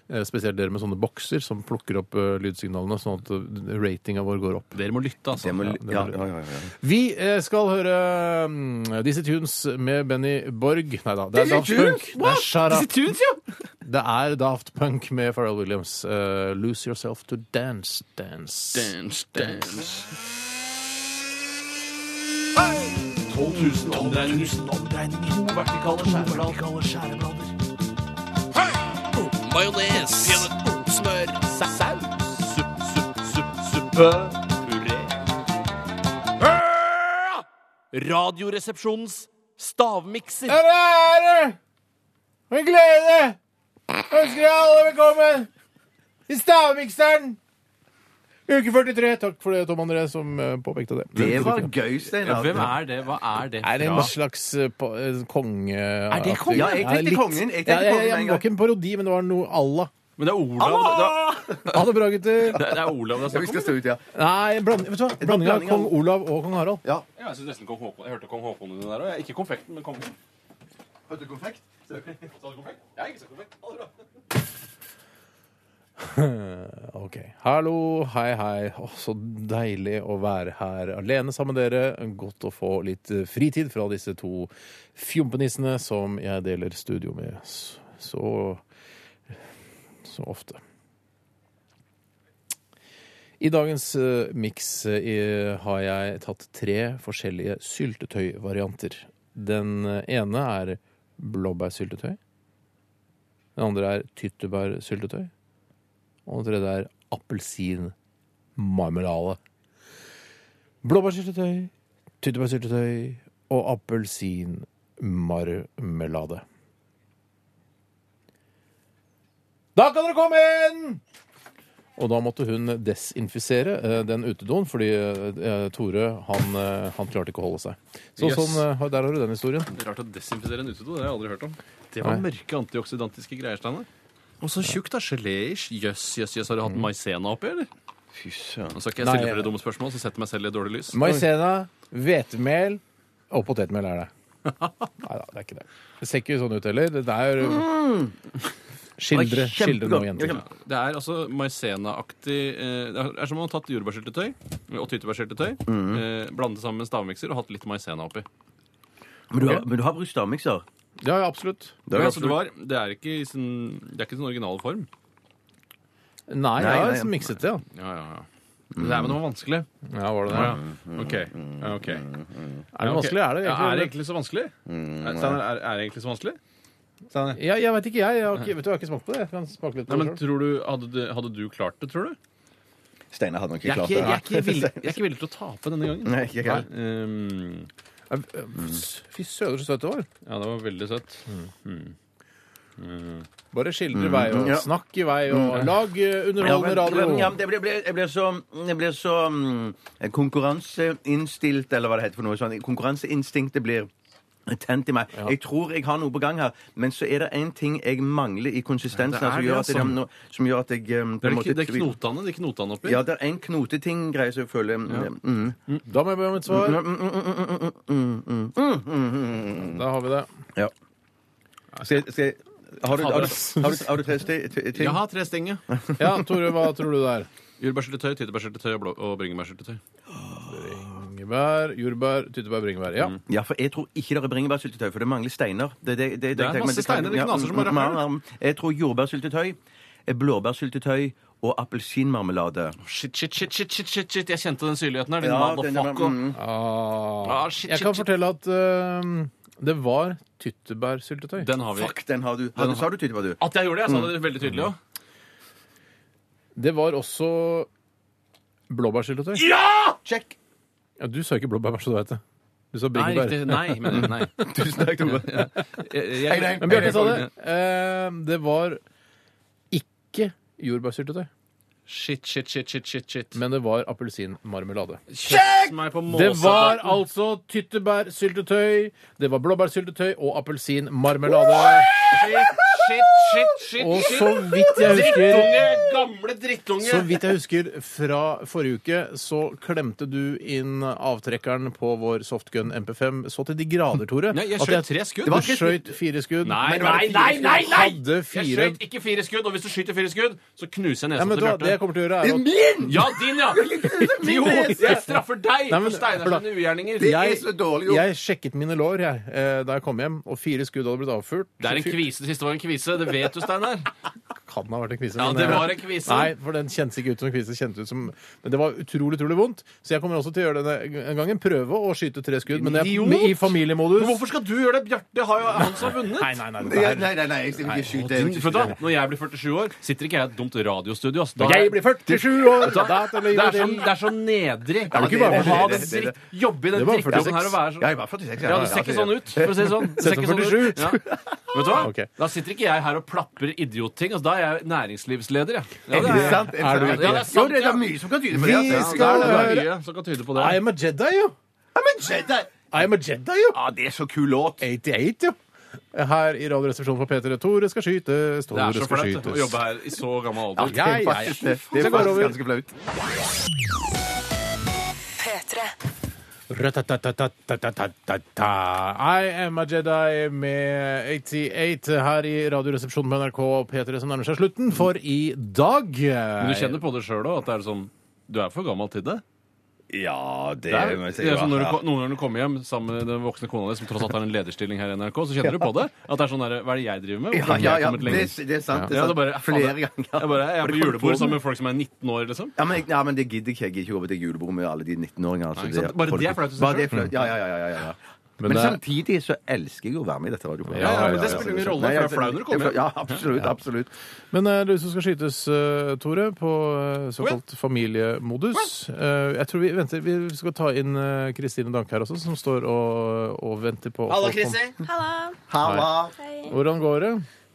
D: Eh, spesielt dere med sånne bokser som plukker opp eh, lydsignalene, sånn at eh, ratinga vår går opp.
F: Dere må lytte, altså.
E: Det må,
F: Ja.
E: ja, ja, ja, ja.
D: Vi eh, skal høre mm, Dizzie Tunes med Benny Borg. Nei da, det er
E: Dizzy
D: Daft Punk.
E: Tunes?
D: Det er, shut up.
F: Tunes, ja!
D: det er Daft Punk med Pharrell Williams. Eh, Lose Yourself to Dance Dance.
F: Dance, dance. 000 omdreininger. To vertikale skjæreblader. Majones. Smør. Saus. Supp, supp, supp, suppe. Puré. Ah! Radioresepsjonens stavmikser.
D: Ja, det er det! Med glede ønsker jeg alle velkommen til Stavmikseren! Uke 43. Takk for det, Tom André, som eh, påpekte det.
E: Det var gøy,
F: Ja,
E: Steinar.
F: hvem er det? Hva er det
D: Er det en
F: fra?
D: slags eh, på- eh, konge... Er
F: det kongen?
E: Ja, jeg tenkte kongen. Jeg tenkte
D: ja, ja,
E: kongen med en
D: ja, det var
E: gang.
D: ikke en parodi, men det var noe Allah.
F: Men det er Olav. Det er-
D: Ha det bra, gutter.
F: Det er, det er Olav det er
E: Ja, vi
F: snakk om.
E: skal stå ut, ja.
D: Nei, blanding, vet du hva? Blanding av
E: blanding av-
D: kong Olav og kong Harald.
F: Ja, jeg synes nesten Kong Håkon. Jeg hørte Kong Håkon under der òg. Ikke konfekten, men kongen.
E: Hørte du konfekt?
F: Sa du konfekt? Jeg har ikke sagt konfekt. Ha det bra.
D: Ok. Hallo, hei, hei. Å, så deilig å være her alene sammen med dere. Godt å få litt eh, fritid fra disse to fjompenissene som jeg deler studio med s- så så ofte. I dagens uh, miks eh, har jeg tatt tre forskjellige syltetøyvarianter. Den eh, ene er blåbærsyltetøy. Den andre er tyttebærsyltetøy. Og den tredje er appelsinmarmelade. Blåbærsyltetøy, tyttebærsyltetøy og appelsinmarmelade. Da kan dere komme inn! Og da måtte hun desinfisere eh, den utedoen, fordi eh, Tore han, eh, han klarte ikke å holde seg. Så
F: Yes.
D: sånn, eh, der har du den historien.
F: Det er Rart å desinfisere en utedo. Det har jeg aldri hørt om. Det var
D: Nei.
F: mørke antioksidantiske greier, Steinar. Og så tjukt, da. Geléish. Jøss, jøss, jøss. Har du hatt maisena oppi, eller?
E: Fy søren.
F: Nå skal ikke
D: Mm.
F: jeg
D: Nei,
F: stille
D: jeg-
F: flere dumme spørsmål, så setter jeg meg selv i et dårlig lys.
D: Maisena, hvetemel og potetmel er det. Nei da, det er ikke det. Det ser ikke sånn ut heller. Det er
F: Mm.
D: eh, Skildre,
E: Det er
D: skildre noe,
E: kjempegodt.
D: jenter.
F: Det er altså maisenaaktig eh, Det er som om man har tatt jordbærsyltetøy og tyttebærsyltetøy,
D: Mm.
F: eh, blandet sammen med en stavmikser og hatt litt maisena oppi.
E: Men du har- men du har brukt stavmikser?
D: Ja, ja, absolutt.
E: Det har
F: Men
E: du
F: altså,
E: absolutt.
F: det, var, det er ikke i sin, det er ikke i sin originale form.
E: Nei,
D: Nei, ja,
E: nei.
D: så mikset det, ja.
F: Ja, ja, ja. Det er med noe vanskelig.
D: Ja, var det det?
F: Ja, ja. OK. Ja, ok.
D: Er det vanskelig? Er det
F: Ja, er
D: egentlig? Mm,
F: det egentlig så vanskelig? Er, Steinar, er, er det egentlig så vanskelig? Steinar?
D: Ja, jeg veit ikke, jeg. Jeg har ikke, vet du, jeg har ikke smakt på det. Jeg kan smake litt på
F: Nei, men
D: det selv.
F: tror du, hadde, du- hadde du klart det, tror du?
E: Steinar hadde nok ikke
F: Jeg er
E: klart
F: ikke, jeg er ikke,
E: det.
F: villig, jeg er ikke villig til å tape denne gangen.
E: Nei, ikke jeg heller.
F: Um,
D: Fy søder, så søtt det var.
F: ja, det var veldig søtt.
E: Mm.
D: Bare
F: Mm.
D: skildre i vei, og
E: Ja.
D: snakk i vei, og lag eh,
E: Ja, men- ja,
D: underholdende radio.
E: men Jeg blir- blir- jeg blir så, jeg blir så mm, konkurranseinnstilt, eller hva det heter for noe sånt. Konkurranseinstinktet blir tent i meg. Jeg tror jeg har noe på gang her, men så er det én ting jeg mangler i konsistensen
F: Ja,
E: her,
F: det
E: som
F: er det,
E: gjør at jeg,
F: altså.
E: nå- som gjør at jeg um, på
F: Det
E: en
F: er,
E: måte
F: det er knotene, de knotene oppi.
E: Ja, det er en knoteting-greie som jeg føler mm, mm,
D: Da må jeg be om et svar. Da har vi det.
E: Ja. Skal jeg, skal jeg har du, har, du, har, du, har du tre sti- ti- ting?
F: Jeg har tre stenger.
D: Ja, Tore, hva tror du det er?
F: Jordbærsyltetøy, tyttebærsyltetøy og, blå- og bringebærsyltetøy.
D: Bringebær, jordbær, tyttebær, bringebær.
F: Mm.
D: Ja.
E: Ja, for jeg tror ikke det er bringebærsyltetøy, for det mangler steiner. Det, det, det, det,
F: er
E: men
F: masse
E: kan-
F: steiner, det
E: ja,
F: knaser som bare
E: mm,
F: rakker.
E: mm, mm. Jeg tror jordbærsyltetøy, eh, blåbærsyltetøy og appelsinmarmelade.
F: Shit, shit, shit, shit, shit, shit, shit. jeg kjente den syrligheten her. Din
E: Ja, den-
F: motherfucker.
E: mm.
D: Ah,
F: Ah, shit,
D: jeg
F: shit,
D: kan
F: shit.
D: fortelle at eh, det var tyttebærsyltetøy.
F: Den har vi.
E: Fuck, Mm. den har du. Har du sa du tydelig, var du?
F: At jeg gjorde det, jeg sa det veldig tydelig òg.
D: Det var også blåbærsyltetøy.
F: Ja!
E: Check!
D: Ja, du sa ikke blåbær, bare så du vet det. Du sa
F: Nei,
D: bringebær.
F: riktig. Nei, men nei.
E: Tusen takk, Tore.
F: Jeg,
E: Hei,
F: jeg,
E: nei.
D: Men Bjarte sa det. Eh, det var ikke jordbærsyltetøy,
F: shit, shit, shit, shit, shit, shit.
D: men det var appelsinmarmelade.
F: Kjøss meg på
D: Det var
F: måsebakken.
D: altså tyttebærsyltetøy, det var blåbærsyltetøy og appelsinmarmelade.
F: Shit, shit, shit, shit,
D: Og
F: shit.
D: så vidt jeg husker
F: Drittunge! Gamle drittunge!
D: Så vidt jeg husker fra forrige uke, så klemte du inn avtrekkeren på vår softgun MP5 så til de grader, Tore.
F: Nei, jeg
D: at
F: skjøt tre skudd.
D: Du
F: Det var
E: tre
D: skjøt fire skudd.
F: Nei,
D: men det var
F: nei,
D: fire
F: nei,
D: skudd.
F: nei! nei!
D: Hadde
F: Jeg
D: fire...
F: skjøt ikke fire skudd, og hvis du skyter fire skudd, så knuser jeg
D: Nei,
F: nesa
D: men vet
F: til
D: du hva, det jeg
F: Bjarte.
D: kommer til å gjøre, er at
E: Min!
F: Ja, din, ja! Jo, jeg straffer deg
D: Nei, men-
F: for Steinar sine ugjerninger.
E: Det er så dårlig gjort.
D: jeg sjekket mine lår jeg, eh, da jeg kom hjem, og fire skudd hadde blitt avfyrt.
F: Det er en kvise. Det siste var en kvise. Det vet du, Steinar.
D: kan ha vært en kvise.
F: Ja,
D: men
F: det
D: jeg-
F: var en kvise.
D: Nei, for den kjentes ikke ut som en kvise. det Kjentes ut som, men det var utrolig, utrolig vondt. Så jeg kommer også til å gjøre denne gangen. Prøve å skyte tre skudd, men jeg,
F: Idiot!
D: men i familiemodus.
F: Men hvorfor skal du gjøre det, Bjarte? Har jo han som har vunnet.
D: Nei, nei, nei.
E: Nei,
D: Det her.
E: nei, nei, jeg vil ikke skyte. jeg vil
F: Din-
E: ikke
F: for da,
E: skyte.
F: når jeg blir 47 år, sitter ikke jeg i et dumt radiostudio. ass. Da-
D: Jeg blir 47 år!
F: Da-
D: Da,
F: det, er sånn så, det er så nedrig
E: Ja,
D: det ikke
F: å
D: bare
F: ha
E: det-
F: den
E: det- det-
F: dritt, jobbe i den
D: Det var
F: drittjobben
D: 46.
F: her og være
E: Ja,
F: så
E: jeg var 46.
F: ja, Du ser ikke sånn ut, for å si det sånn. Du
D: Sett
F: ser ikke
D: som
F: sånn ut. Ja. Vet du hva?
D: Ok.
F: Da sitter ikke jeg her og plaprer idiotting. Altså, da er jeg næringslivsleder, jeg. Ja,
E: Er
F: det
E: det
F: jeg.
E: sant?
D: Er du
F: Ja,
D: ikke
F: det er sant,
E: Jo, det
F: ja.
E: er mye som kan tyde på
D: Vi
E: det. altså. Ja,
D: skal
E: det
F: Det
E: er-
F: er mye som kan tyde på det.
D: I am a Jedi, jo!
E: Men se der!
D: I am a Jedi, jo!
E: Ja, det er så kul låt.
D: 88, jo! Her i Radioresepsjonen på P3 E, Tore skal skytes,
F: Det
D: Tore
F: er så
D: skal
F: flaut å
D: skytes.
F: jobbe her i så gammel alder.
D: Ja, ja, ja.
E: Faktisk, det- Det
D: Så
E: er
D: går
E: faktisk
D: det over.
E: ganske flaut.
A: P3.
D: Ratatatatatatatata. I am a Jedi med 88 her i Radioresepsjonen på NRK P3 som nærmer seg slutten for i dag.
F: Men du kjenner på det sjøl òg, at det er sånn du er for gammel til det.
E: Ja, det
F: Det er,
E: må jeg si,
F: det er
E: ja.
F: sånn når du, ko- noen ganger du kommer hjem sammen med den voksne kona di, som tross alt har en lederstilling her i NRK, så kjenner du på det. At det er sånn der, Hva er det jeg driver med?
E: Ja,
F: Hvorfor har
E: ja,
F: jeg
E: ja,
F: kommet lenger?
E: det, det er sant. Det er
F: Ja, det
E: sant.
F: er bare,
E: Flere
F: fader,
E: ganger.
F: Jeg, bare, jeg er på julebord sammen med folk som er 19 år, liksom.
E: Ja, men, ja, men det gidder ikke jeg. Jeg gidder ikke å gå til et julebord med alle de 19-åringene. Altså,
F: Nei, ikke sant? Bare det er flaut i seg
E: Bare
F: selv.
E: det er flaut. Ja, ja, ja. ja, ja, ja. Men,
D: det er-
E: samtidig så elsker jeg jo å være med i dette radioprogrammet.
F: Ja, ja, men det spiller ingen rolle,
E: Nei,
F: for det er flau når du kommer hjem.
E: Ja, absolutt. absolutt.
D: Men eh, du som skal skytes, eh, Tore, på eh, såkalt familiemodus. Eh, jeg tror vi venter, vi skal ta inn eh, Kristine Danke her også, som står og, og venter på Hallo, Kristi!
H: Halla.
E: Halla!
H: Hei.
D: Hvordan går det?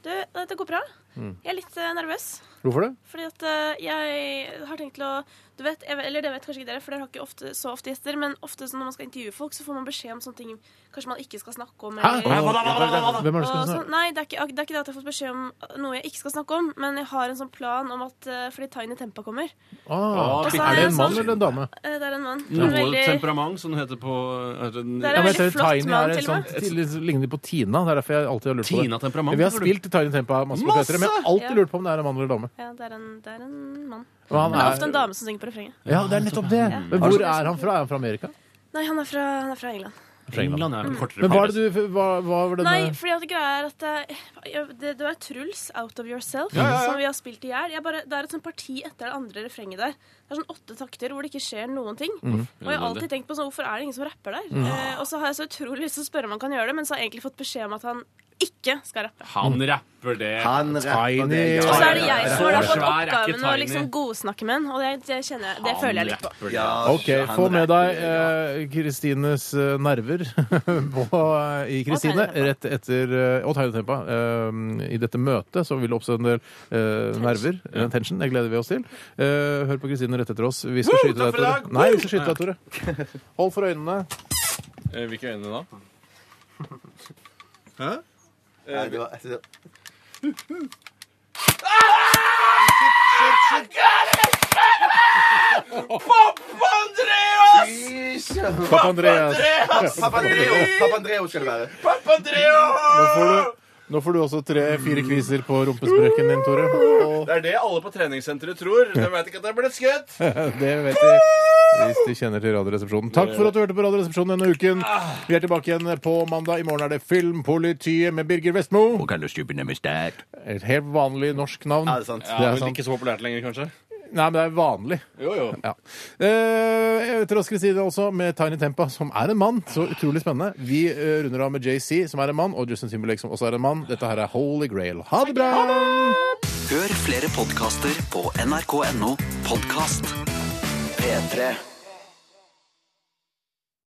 H: Du, dette går bra.
D: Mm.
H: Jeg er litt eh, nervøs,
D: Hvorfor det?
H: fordi at eh, jeg har tenkt til å Du vet, jeg, eller det vet kanskje ikke dere, for dere har ikke ofte, så ofte gjester, men ofte så når man skal intervjue folk, så får man beskjed om sånne ting kanskje man ikke skal snakke om. eller-
D: Hvem er det som
H: Og
D: skal
H: sånn-
D: snakke?
H: nei, det er, ikke, det er ikke det at jeg har fått beskjed om noe jeg ikke skal snakke om, men jeg har en sånn plan om at eh, fordi Tiny Tempa kommer.
D: Ah,
H: Og så
D: er det en
H: sånn-
D: mann eller en dame?
H: Eh, det er en mann.
F: Noe
H: En veldig,
F: temperament, som det heter på er det en-
H: Det er
D: Ja,
H: en
D: men
H: veldig
D: jeg tror
H: flott
D: Tiny
H: mann,
D: er et
H: til og med.
D: sånt- til- Ligner på Tina. Det er derfor jeg alltid har lurt på det.
F: Tina Temperament,
D: Vi har
F: tror du?
D: spilt Tiny Tempa masse på P3, men jeg har alltid
H: Ja.
D: lurt på om det er en mann eller en dame.
H: ja, det, er en, det er en mann.
D: Og han
H: Det er ofte en dame som synger på refrenget.
D: Ja, det er nettopp det. Men hvor er han fra? Er han fra Amerika?
H: Nei, han er fra, han er Mm. fra England.
F: England er en kortere
D: Men hva, er
F: periode.
D: det du, hva, hva var denne
H: Nei, fordi at greia er at eh, jeg, det, det var Truls, Out of Yourself, som vi har spilt i hjel. Jeg bare- Det er et sånt parti etter det andre refrenget der. Det er sånn åtte takter hvor det ikke skjer noen ting.
F: Mhm.
H: Og jeg har alltid tenkt på sånn, hvorfor er det ingen som rapper der? Eh, og så har jeg så utrolig lyst til å spørre om han kan gjøre det, men så har jeg egentlig fått beskjed om at han ikke skal rappe.
F: Han rapper det.
E: Han rapper det.
D: Tiny.
H: Og så er det jeg som har da
F: Så
H: fått
F: svær er ikke
H: oppgaven med å
F: Tiny.
H: liksom godsnakke med han, og det, det kjenner jeg, det
F: Han
H: føler jeg litt på.
F: rapper det.
D: OK, få med deg eh, Kristines eh, nerver på, eh, i Kristine
H: Tiny Tempa.
D: rett etter eh, Og Tiny Tempa. Eh, I dette møtet så vil det oppstå en del eh, nerver. eh, Tension. Det gleder vi oss til. Eh, hør på Kristine rett etter oss. Vi skal skyte deg,
F: takk for i
D: Tore.
F: dag!
D: Nei, vi skal skyte deg, Tore. Hold for øynene.
F: Eh, Hvilke øyne da?
E: Eh,
D: Papp Andreas.
E: Papandreo skal det være.
D: Nå får du, nå får du også tre-fire kviser på rumpesprekken din, Tore. Og
F: Det er det alle på treningssenteret tror. De vet ikke at de ble skutt.
D: det vet de. Hvis de kjenner til Radioresepsjonen. Takk for at du hørte på Radioresepsjonen denne uken. Vi er tilbake igjen på mandag. I morgen er det Filmpolitiet med Birger Vestmo.
E: Kan du stupe ned med sterk?
D: Et helt vanlig norsk navn.
E: Ja, det er sant.
D: Det
F: Ja,
D: er
F: men
D: sant.
F: ikke så populært lenger, kanskje?
D: Nei, men det er vanlig.
F: Jo, jo.
D: Ja. Eh, etter oss Kristine også med Tiny Tempa, som er en mann. Så utrolig spennende. Vi eh, runder av med JC, som er en mann, og Justin Timberlake, som også er en mann. Dette her er Holy Grail. Ha det bra!
B: Hør flere podkaster på nrk.no podkast. P3.